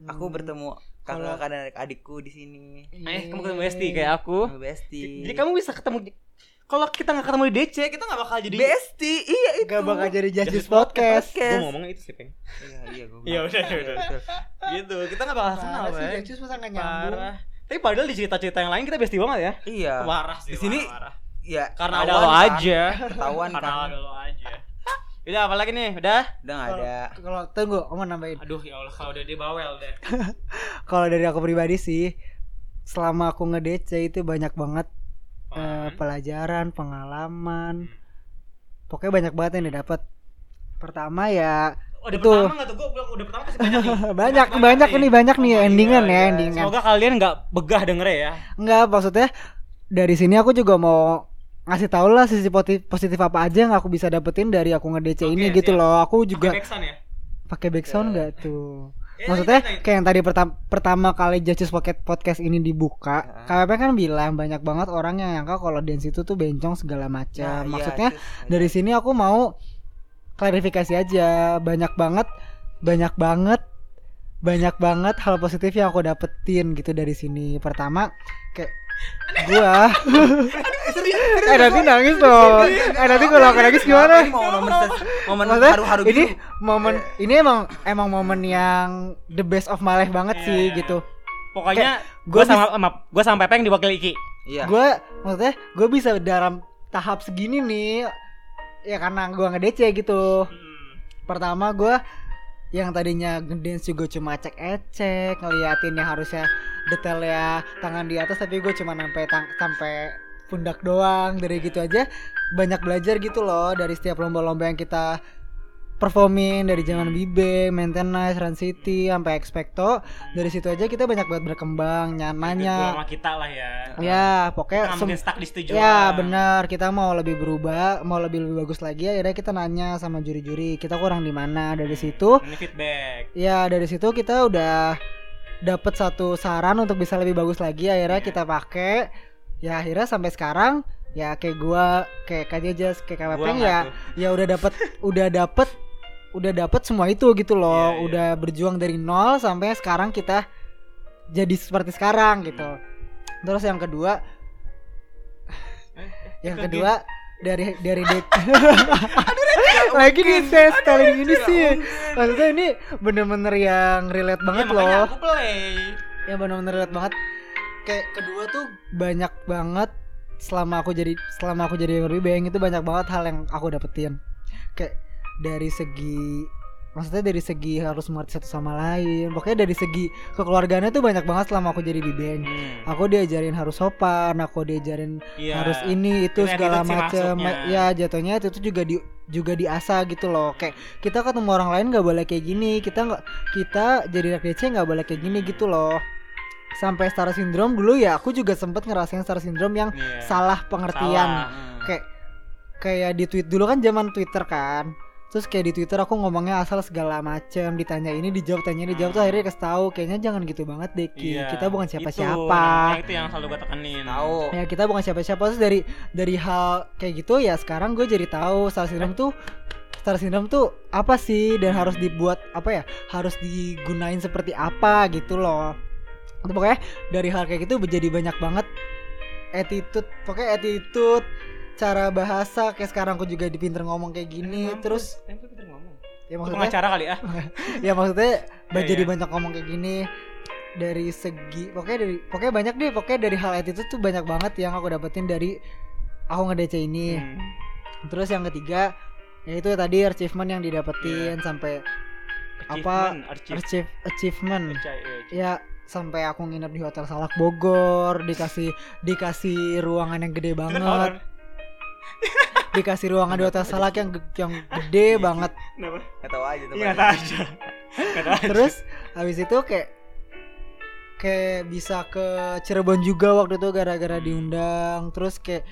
C: hmm.
B: Aku bertemu kakak-kakak dan adik-adikku di sini.
C: Iya.
A: Eh, kamu ketemu Besti kayak aku.
B: Sama Besti.
A: Jadi kamu bisa ketemu di- kalau kita nggak ketemu di DC, kita nggak bakal jadi
B: Besti. Iya itu.
C: gak bakal jadi
A: Justice
C: justice podcast
A: Gue
B: podcast.
A: ngomongnya itu sih, Peng.
B: Iya, iya gua.
A: Iya, udah, udah.
B: betul.
A: Gitu, kita nggak bakal kenal,
C: Parah sih
A: Peng.
C: Jacus Nah, masa gak nyambung
A: Parah. Tapi Tapi padahal di cerita-cerita yang lain kita bestie banget ya.
B: Iya.
D: Parah sih.
B: Di sini
D: parah, parah.
B: ya
A: Karena ada
B: ketahuan
A: lo
B: kan,
A: aja.
B: Ketahuan
D: Karena
B: kan.
D: ada lo aja.
A: Udah apalagi nih? Udah.
B: Udah nggak ada.
C: Kalau tunggu, Om mau nambahin.
D: Aduh ya Allah kalau udah dia bawel deh.
C: Eh, Kalau dari aku pribadi sih, selama aku nge-DC itu banyak banget eh,
D: Apaan?
C: pelajaran, pengalaman. Pokoknya banyak banget yang didapat. Pertama ya
A: Oh, Udah
C: Itu.
A: pertama enggak tuh gua bilang udah pertama kasih banyak nih. Oh,
C: banyak banyak ini banyak nih endingan
B: iya,
C: ya
B: iya.
C: endingan.
A: Semoga kalian nggak begah dengernya ya.
C: Enggak maksudnya dari sini aku juga mau ngasih tau lah sisi poti- positif apa aja yang aku bisa dapetin dari aku nge-DC
D: Oke,
C: ini gitu
D: siap.
C: loh. Aku
D: Juga.
C: juga
D: Backsound ya.
C: pakai background enggak tuh?
A: Ya,
D: Eh,
A: Iya,
C: Maksudnya
D: tanya, tanya.
C: kayak yang tadi pertam- pertama kali Justice Pocket Podcast ini
B: Heeh.
C: dibuka, KPP kan bilang banyak banget orang yang nyangka kalau dance itu tuh bencong segala macam.
B: Nah, iya,
C: Maksudnya
B: terus
C: dari sini aku mau klarifikasi aja banyak banget banyak banget banyak banget hal positif yang aku dapetin gitu dari sini pertama kayak gua eh nanti nangis dong eh nanti kalau aku nangis gimana
B: Ini mau momen momen
C: Maksudnya,
B: haru-haru
C: ini
B: gitu.
C: momen ini emang emang momen yang the best of my life banget
A: Iya,
C: sih
A: iya.
C: gitu
A: Pokoknya
C: gua
A: gua sama maaf, gua sama Pepe yang diwakili Iki.
B: Iya.
C: gue maksudnya gue bisa dalam tahap segini nih ya karena gue ngedece gitu pertama gue yang tadinya ngedance juga cuma cek ecek ngeliatin yang harusnya detailnya tangan di atas tapi gue cuma sampai tang- sampai pundak doang dari gitu aja banyak belajar gitu loh dari setiap lomba-lomba yang kita performing dari zaman bibe, maintenance, run city, sampai expecto dari situ aja kita banyak banget
A: Ikut
C: berkembang,
A: gua
C: nyamannya
A: sama kita lah ya.
C: ya
A: Kita
C: pokoknya
A: nggak
C: sem-
A: mungkin stuck di situ juga.
C: Ya benar kita mau lebih berubah, mau lebih lebih bagus lagi. Akhirnya kita nanya sama juri-juri kita kurang di mana dari situ.
A: Ini feedback.
C: Ya dari situ kita udah dapet satu saran untuk bisa lebih bagus lagi. Akhirnya kita pakai. Ya akhirnya sampai sekarang ya kayak gua kayak Kajejas
A: Gua
C: kayak KWP
A: nggak
C: ya
A: tuh.
C: ya udah dapet udah dapet udah dapet semua itu gitu
A: Iya,
C: loh
A: iya.
C: udah berjuang dari nol sampai sekarang kita jadi seperti sekarang gitu
A: Hmm.
C: terus yang kedua
A: Eh,
C: yang
A: ikut
C: kedua dari dari de- lagi nih tes kali ini sih maksudnya ini bener-bener yang relate
A: Ya,
C: banget
A: makanya
C: loh
A: aku play.
C: yang benar-benar relate Ya, banget kayak kedua tuh banyak banget selama aku jadi selama aku jadi Barbie Bang itu banyak banget hal yang aku dapetin kayak dari segi maksudnya dari segi harus mengerti satu sama lain pokoknya dari segi kekeluargaannya tuh banyak banget selama aku jadi Bibeng
A: Hmm,
C: aku diajarin harus sopan aku diajarin
A: Iya.
C: harus ini itu
A: Ini
C: segala
A: attitude sih
C: macam
A: maksudnya.
C: ya jatuhnya itu tuh juga di juga diasah gitu loh kayak kita ketemu orang lain nggak boleh kayak gini kita nggak kita jadi anak DC nggak boleh kayak gini gitu loh sampai star syndrome dulu ya aku juga sempet ngerasain star syndrome yang
A: Iya.
C: salah pengertian
B: Hmm.
C: kayak kayak di tweet dulu kan zaman twitter kan terus kayak di twitter aku ngomongnya asal segala macem ditanya ini dijawab tanya ini dijawab tuh akhirnya kasih tahu kayaknya jangan gitu banget deh Ki.
A: Hmm. Iya.
C: kita bukan
A: Itu,
C: siapa siapa
A: nah, itu yang selalu gue tekanin.
B: Tahu.
C: ya kita bukan siapa-siapa terus dari dari hal kayak gitu ya sekarang gue jadi tahu star syndrome tuh star syndrome tuh apa sih dan harus dibuat apa ya harus digunain seperti apa gitu loh itu pokoknya dari hal kayak gitu jadi banyak banget attitude pokoknya attitude cara bahasa kayak sekarang aku juga dipinter ngomong kayak
A: Iya,
C: gini
A: kan?
C: terus
A: Tempe pinter ngomong.
C: ya
A: Itu
C: maksudnya
A: pengacara kali ya.
C: ya maksudnya
A: Iya,
C: jadi
A: iya.
C: banyak ngomong kayak gini dari segi pokoknya dari pokoknya banyak deh pokoknya dari hal itu tuh banyak banget yang aku dapetin dari aku ngedece ini
A: Hmm.
C: terus yang ketiga yaitu tadi achievement yang didapetin sampai Apa-
A: Achievement, Iya. achieve-
C: achieve, achievement
A: Percaya, iya, achieve.
C: ya sampai aku nginep di hotel Salak Bogor dikasih dikasih ruangan yang gede
A: Itu kan horor.
C: Iya banget dikasih ruangan di hotel Salak yang ge- yang gede banget
A: Kenapa?
B: Nggak tahu aja tuh.
A: Iya, nggak
B: Pak.
A: tahu aja. Nggak tahu aja.
C: Terus habis itu kayak kayak bisa ke Cirebon juga waktu itu gara-gara diundang. Terus kayak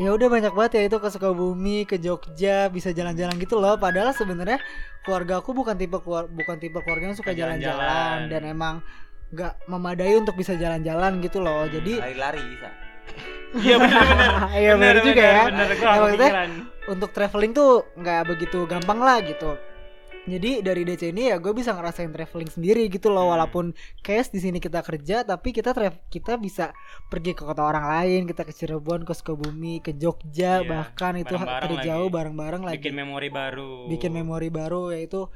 C: ya udah banyak banget ya itu ke Sukabumi, ke Jogja, bisa jalan-jalan gitu loh. Padahal sebenarnya keluarga aku bukan tipe keluar, bukan tipe keluarga yang suka
A: Jalan-jalan.
C: jalan-jalan dan emang nggak memadai untuk bisa jalan-jalan gitu loh. Jadi
B: Lari-lari bisa.
A: Iya benar-benar.
C: iya benar juga ya.
A: Benar,
C: Ya,
A: gua
C: maksudnya-
A: kepikiran.
C: untuk traveling tuh nggak begitu gampang lah gitu. Jadi dari DC ini ya gue bisa ngerasain traveling sendiri gitu loh
A: Hmm.
C: walaupun cash di sini kita kerja tapi kita tra- kita bisa pergi ke kota orang lain kita ke Cirebon ke Sukabumi ke
A: Iya,
C: Jogja bahkan itu
A: bareng-bareng
C: terjauh
A: lagi.
C: bareng-bareng lagi
A: bikin memori baru.
C: bikin memori baru yaitu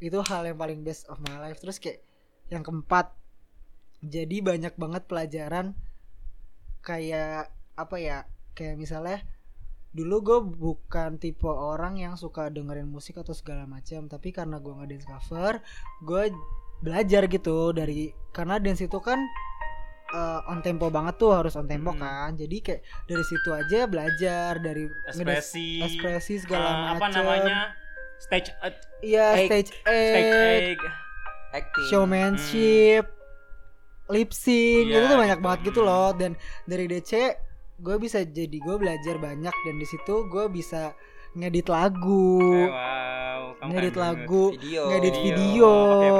C: itu hal yang paling best of my life terus kayak yang keempat jadi banyak banget pelajaran kayak apa ya kayak misalnya dulu gue bukan tipe orang yang suka dengerin musik atau segala macam tapi karena gue ngedance cover gue belajar gitu dari karena dance itu kan eh, on tempo banget tuh harus on tempo
A: Hmm.
C: kan jadi kayak dari situ aja belajar dari ngedance-
A: Ekspresi.
C: ekspresi
A: eh,
C: segala macam
A: apa namanya? Stage act,
C: iya
A: Egg.
C: stage
A: stage
C: act
A: egg.
B: acting
C: showmanship, lip sync,
A: Iya,
C: itu tuh banyak
A: gitu.
C: banget gitu
A: Hmm.
C: loh. Dan dari DC gue bisa jadi gue belajar banyak dan di situ gue bisa ngedit
A: Eh,
C: lagu,
A: wow, kamu
C: ngedit
A: keren Iya.
C: lagu.
B: video
C: Ngedit
A: banget.
C: video,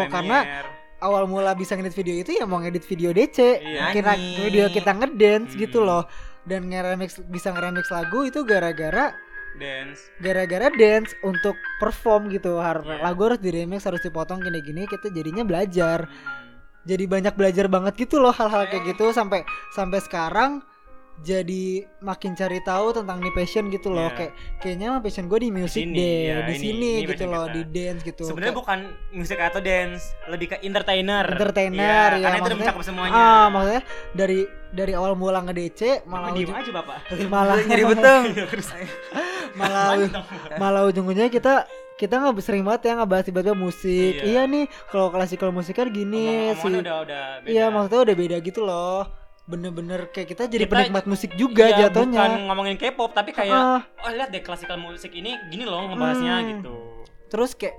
A: pakai
C: karena-
A: Premiere.
C: Awal mula bisa ngedit video itu ya mau ngedit video DC,
A: Iya.
C: kira
B: Nyanyi.
C: video kita ngedance
A: Hmm.
C: gitu loh. Dan ngeremix bisa ngeremix lagu itu gara-gara
A: dance.
C: gara-gara dance untuk perform gitu. Har
A: Iya.
C: Lagu harus diremix, harus dipotong gini-gini kita jadinya belajar.
A: Hmm.
C: jadi banyak belajar banget gitu loh hal-hal
A: Eh.
C: kayak gitu sampai sampai sekarang jadi makin cari tahu tentang nih passion gitu loh
A: Iya.
C: kayak kayaknya mah passion gue di music
A: sini,
C: deh
A: iya,
C: di
A: ini-
C: sini
A: ini
C: gitu
A: passion
C: loh
A: kita.
C: di dance gitu
A: Sebenarnya
C: Kayak
A: bukan musik atau dance, lebih ke entertainer.
C: entertainer
A: Iya, karena itu
C: ya,
A: udah
C: maksudnya
A: mencakup semuanya.
C: ah maksudnya dari dari awal mula ngedece malah Iya,
A: Malah diem
C: ujung,
A: aja bapak.
C: malah
B: nyari beteng
C: malah malah ujung-ujungnya kita kita nggak sering banget ya ngebahas tiba-tiba musik
A: Iya.
C: iya nih kalau klasikal musik kan gini
A: Ngomong-ngomongan
C: sih
A: udah udah beda.
C: Iya maksudnya udah beda gitu loh Bener-bener kayak kita jadi
A: Kita-
C: penikmat musik juga
A: Iya, Bukan
C: jatuhnya
A: ngomongin K-pop tapi kayak
C: Ah,
A: oh lihat deh klasikal musik ini gini loh ngebahasnya
C: Hmm.
A: gitu.
C: Terus kayak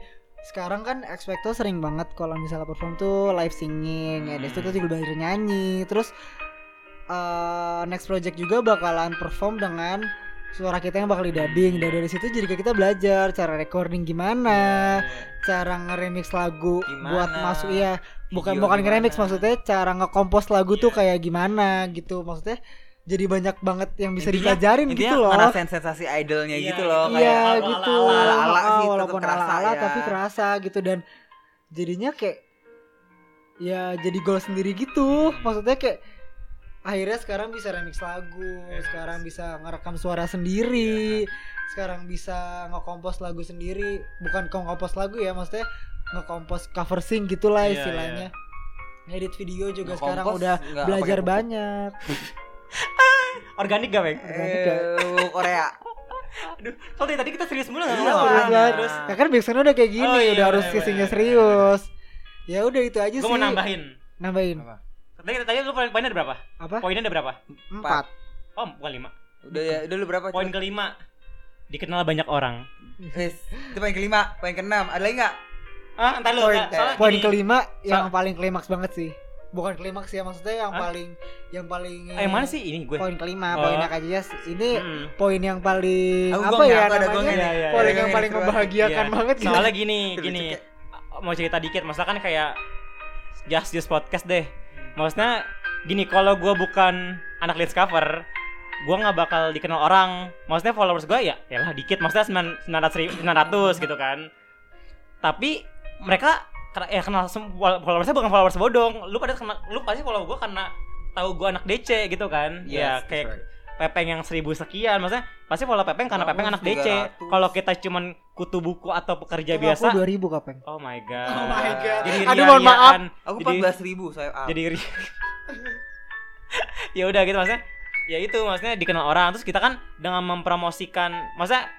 C: sekarang kan X-Factor sering banget kalau misalnya perform tuh live singing ya dari situ
A: Hmm.
C: kita juga belajar nyanyi Terus eh, next project juga bakalan perform dengan suara kita yang bakal didubbing Dan dari situ jadi kayak kita belajar cara recording gimana Cara ngeremix lagu
B: Iya. Gimana?
C: buat masuk ya bukan
B: Video
C: bukan ngeremix
B: gimana?
C: maksudnya cara ngekompos lagu tuh
A: Iya.
C: kayak gimana gitu maksudnya jadi banyak banget yang bisa
B: Intinya-
C: dipelajarin
B: intinya
C: gitu loh
B: ngerasain sensasi idolnya
A: Iya,
B: gitu loh
A: kayak
C: iya
A: ala-ala-
C: gitu
B: ala-ala
C: Ah,
B: sih, tetap
C: walaupun
B: kerasa
C: ala-ala
B: ya.
C: tapi kerasa gitu dan jadinya kayak ya jadi gol sendiri gitu
A: Hmm.
C: maksudnya kayak akhirnya sekarang bisa remix lagu
B: Iya, kan?
A: Remix.
C: sekarang bisa ngerekam suara sendiri sekarang bisa ngekompos lagu sendiri bukan ngekompos lagu ya maksudnya ngekompos cover sing gitulah
A: Iya,
C: istilahnya ngedit video
B: Nggak
C: juga sekarang
B: kompos,
C: udah
B: iya. nggak
C: belajar
B: pakai-
C: banyak
A: Organik gak, Bang?
C: Organik
B: Eh, Korea
A: Aduh, kalau dari tadi kita serius mulu nggak
C: Iya,
A: apa-apa.
C: serius banget.
A: Terus
C: Ya kan biasanya udah kayak gini,
A: Oh, iya,
C: udah harus
A: bener,
C: isinya
A: bener,
C: serius. Ya udah itu aja
A: gue
C: sih.
A: mau nambahin.
C: Nambahin.
A: Tadi tadi lu poin- poinnya ada berapa?
C: Apa?
A: Poinnya ada berapa?
C: Empat.
A: Oh, bukan lima.
B: udah ya udah lu berapa
A: Poin
B: Cuk?
A: kelima dikenal banyak orang.
B: Wis. itu poin kelima poin keenam ada lagi nggak
A: Ah, entar lu.
B: Poin-
A: enggak, soalnya
C: Poin
A: gini.
C: kelima yang
A: So-
C: paling klimaks banget sih. Bukan klimaks ya maksudnya yang
A: Hah?
C: paling yang paling
A: Eh, mana sih ini gue?
C: Poin kelima,
A: Oh.
C: poinnya Kak Jias. Ini
A: Mm.
C: poin yang paling
B: Aku
C: apa
B: gong ya,
C: ya
B: aku ada gongnya
C: namanya?
A: nih. Iya, iya,
C: Poin
B: iya.
C: yang
B: Gongnya
C: paling
B: nih, keluar.
C: membagiakan
A: Iya.
C: banget gitu.
A: Soalnya gini,
B: Aduh,
A: gini.
B: cekek.
A: Mau cerita dikit, masalah kan kayak Just Just Podcast deh. Maksudnya gini, kalau gua bukan anak Let's Cover, gua nggak bakal dikenal orang. Maksudnya followers gua ya, ya lah dikit. Maksudnya 900 900 gitu kan. Tapi mereka kena- ya kenal sem- wal- followersnya bukan followers bodong. Lu pada kenal, lu pasti follow gua karena tahu gua anak DC gitu kan. ya
B: Yes,
A: kayak
B: that's right.
A: Pepeng yang seribu sekian maksudnya pasti follow Pepeng karena
B: Bagus,
A: Pepeng anak DC
B: 300.
A: kalau kita cuman kutu buku atau pekerja ya biasa
C: Aku 2000 kapeng.
A: oh my god
E: Oh my god.
A: jadi
C: Iya, Aduh, mohon maaf.
A: ria-riaan.
B: aku
A: Jadi-
B: empat belas ribu saya ah.
A: jadi ri- ya udah gitu maksudnya ya itu maksudnya dikenal orang terus kita kan dengan mempromosikan masa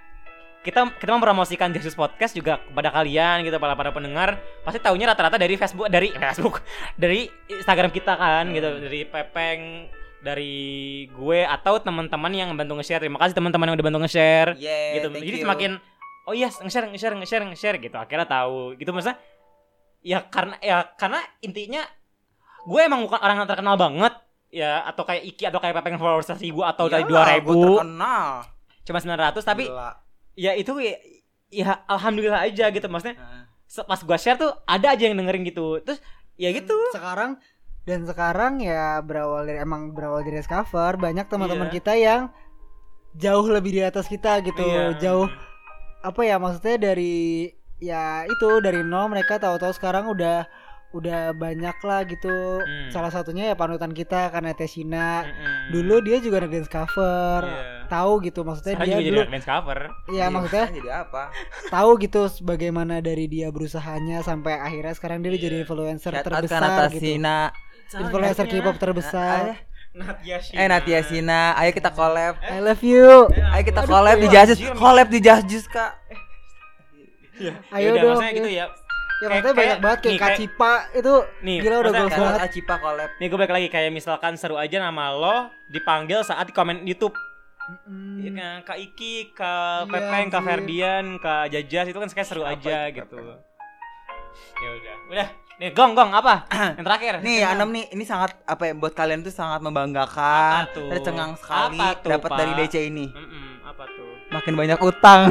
A: kita kita mempromosikan Jesus Podcast juga kepada kalian gitu para para pendengar pasti taunya rata-rata dari Facebook dari Facebook dari Instagram kita kan gitu dari Pepeng dari gue atau teman-teman yang bantu nge-share terima kasih teman-teman yang udah bantu nge-share
C: Eh,
B: Yeah,
A: gitu.
B: thank
A: Jadi
B: you.
A: semakin oh iya nge-share nge-share nge-share nge-share gitu. Akhirnya tahu gitu maksudnya ya karena ya karena intinya gue emang bukan orang yang terkenal banget ya atau kayak Iki atau kayak Pepeng followers seribu atau
C: Iya
A: dari dua
B: Iyalah, gua
A: ribu
B: Iya, terkenal.
A: cuma 900 tapi
B: Gila.
A: ya itu ya, ya alhamdulillah aja gitu maksudnya
B: Heeh.
A: se- pas gue share tuh ada aja yang dengerin gitu terus ya gitu
C: sekarang dan sekarang ya berawal dari emang berawal dari cover banyak teman-teman
A: Iya.
C: kita yang jauh lebih di atas kita gitu
A: Iya.
C: jauh apa ya maksudnya dari ya itu dari nol mereka tahu-tahu sekarang udah udah banyak lah gitu
A: Hmm.
C: salah satunya ya panutan kita karena Tesina
A: Mm-mm.
C: dulu dia juga ngedance cover
A: Iya.
C: tahu gitu maksudnya
A: Sekarang
C: dia
A: juga jadi
C: dulu
A: advance cover
C: ya
B: Iya,
C: maksudnya
B: jadi apa
C: tahu gitu
A: Iya.
C: bagaimana dari dia berusahanya sampai akhirnya sekarang dia jadi influencer
B: Shout out Nah,
C: terbesar
B: Kanata
C: gitu
B: Sina.
A: Oh,
C: influencer K-pop terbesar.
A: Natia
B: Eh Natia Sina, ayo
C: Iya.
B: kita collab.
C: I love you.
A: Eh,
B: Ayo kita collab di
C: iya.
B: Justice,
A: Iya.
B: collab di Justice Kak.
C: Ayo
A: Yaudah,
C: dong.
A: maksudnya gitu ya.
C: Ya
A: Kayak-
C: maksudnya banyak
A: kayak-
C: banget kayak
A: nih, kayak-
C: Kacipa itu
A: Nih,
C: gila udah
A: maksudnya
C: goals
B: Kalau
C: banget.
B: Acipa collab.
A: Nih gue balik lagi kayak misalkan seru aja nama lo dipanggil saat di komen YouTube.
C: Mm.
A: Iya kan, Kak Iki, Kak
C: Iya,
A: Pepeng, Kak
C: anjir.
A: Ferdian, Kak Jajas itu kan kayak seru
B: Apa
A: aja
B: itu,
A: gitu. Ya udah, udah. Nih gong gong apa? Yang terakhir.
B: Nih Anam nih ini sangat apa ya buat kalian tuh sangat membanggakan.
A: Apa tuh?
B: Saya cengang sekali
A: Apa tuh,
B: dapat dari
A: Pak?
B: DC ini.
A: Mm-mm, apa tuh?
B: Makin banyak utang.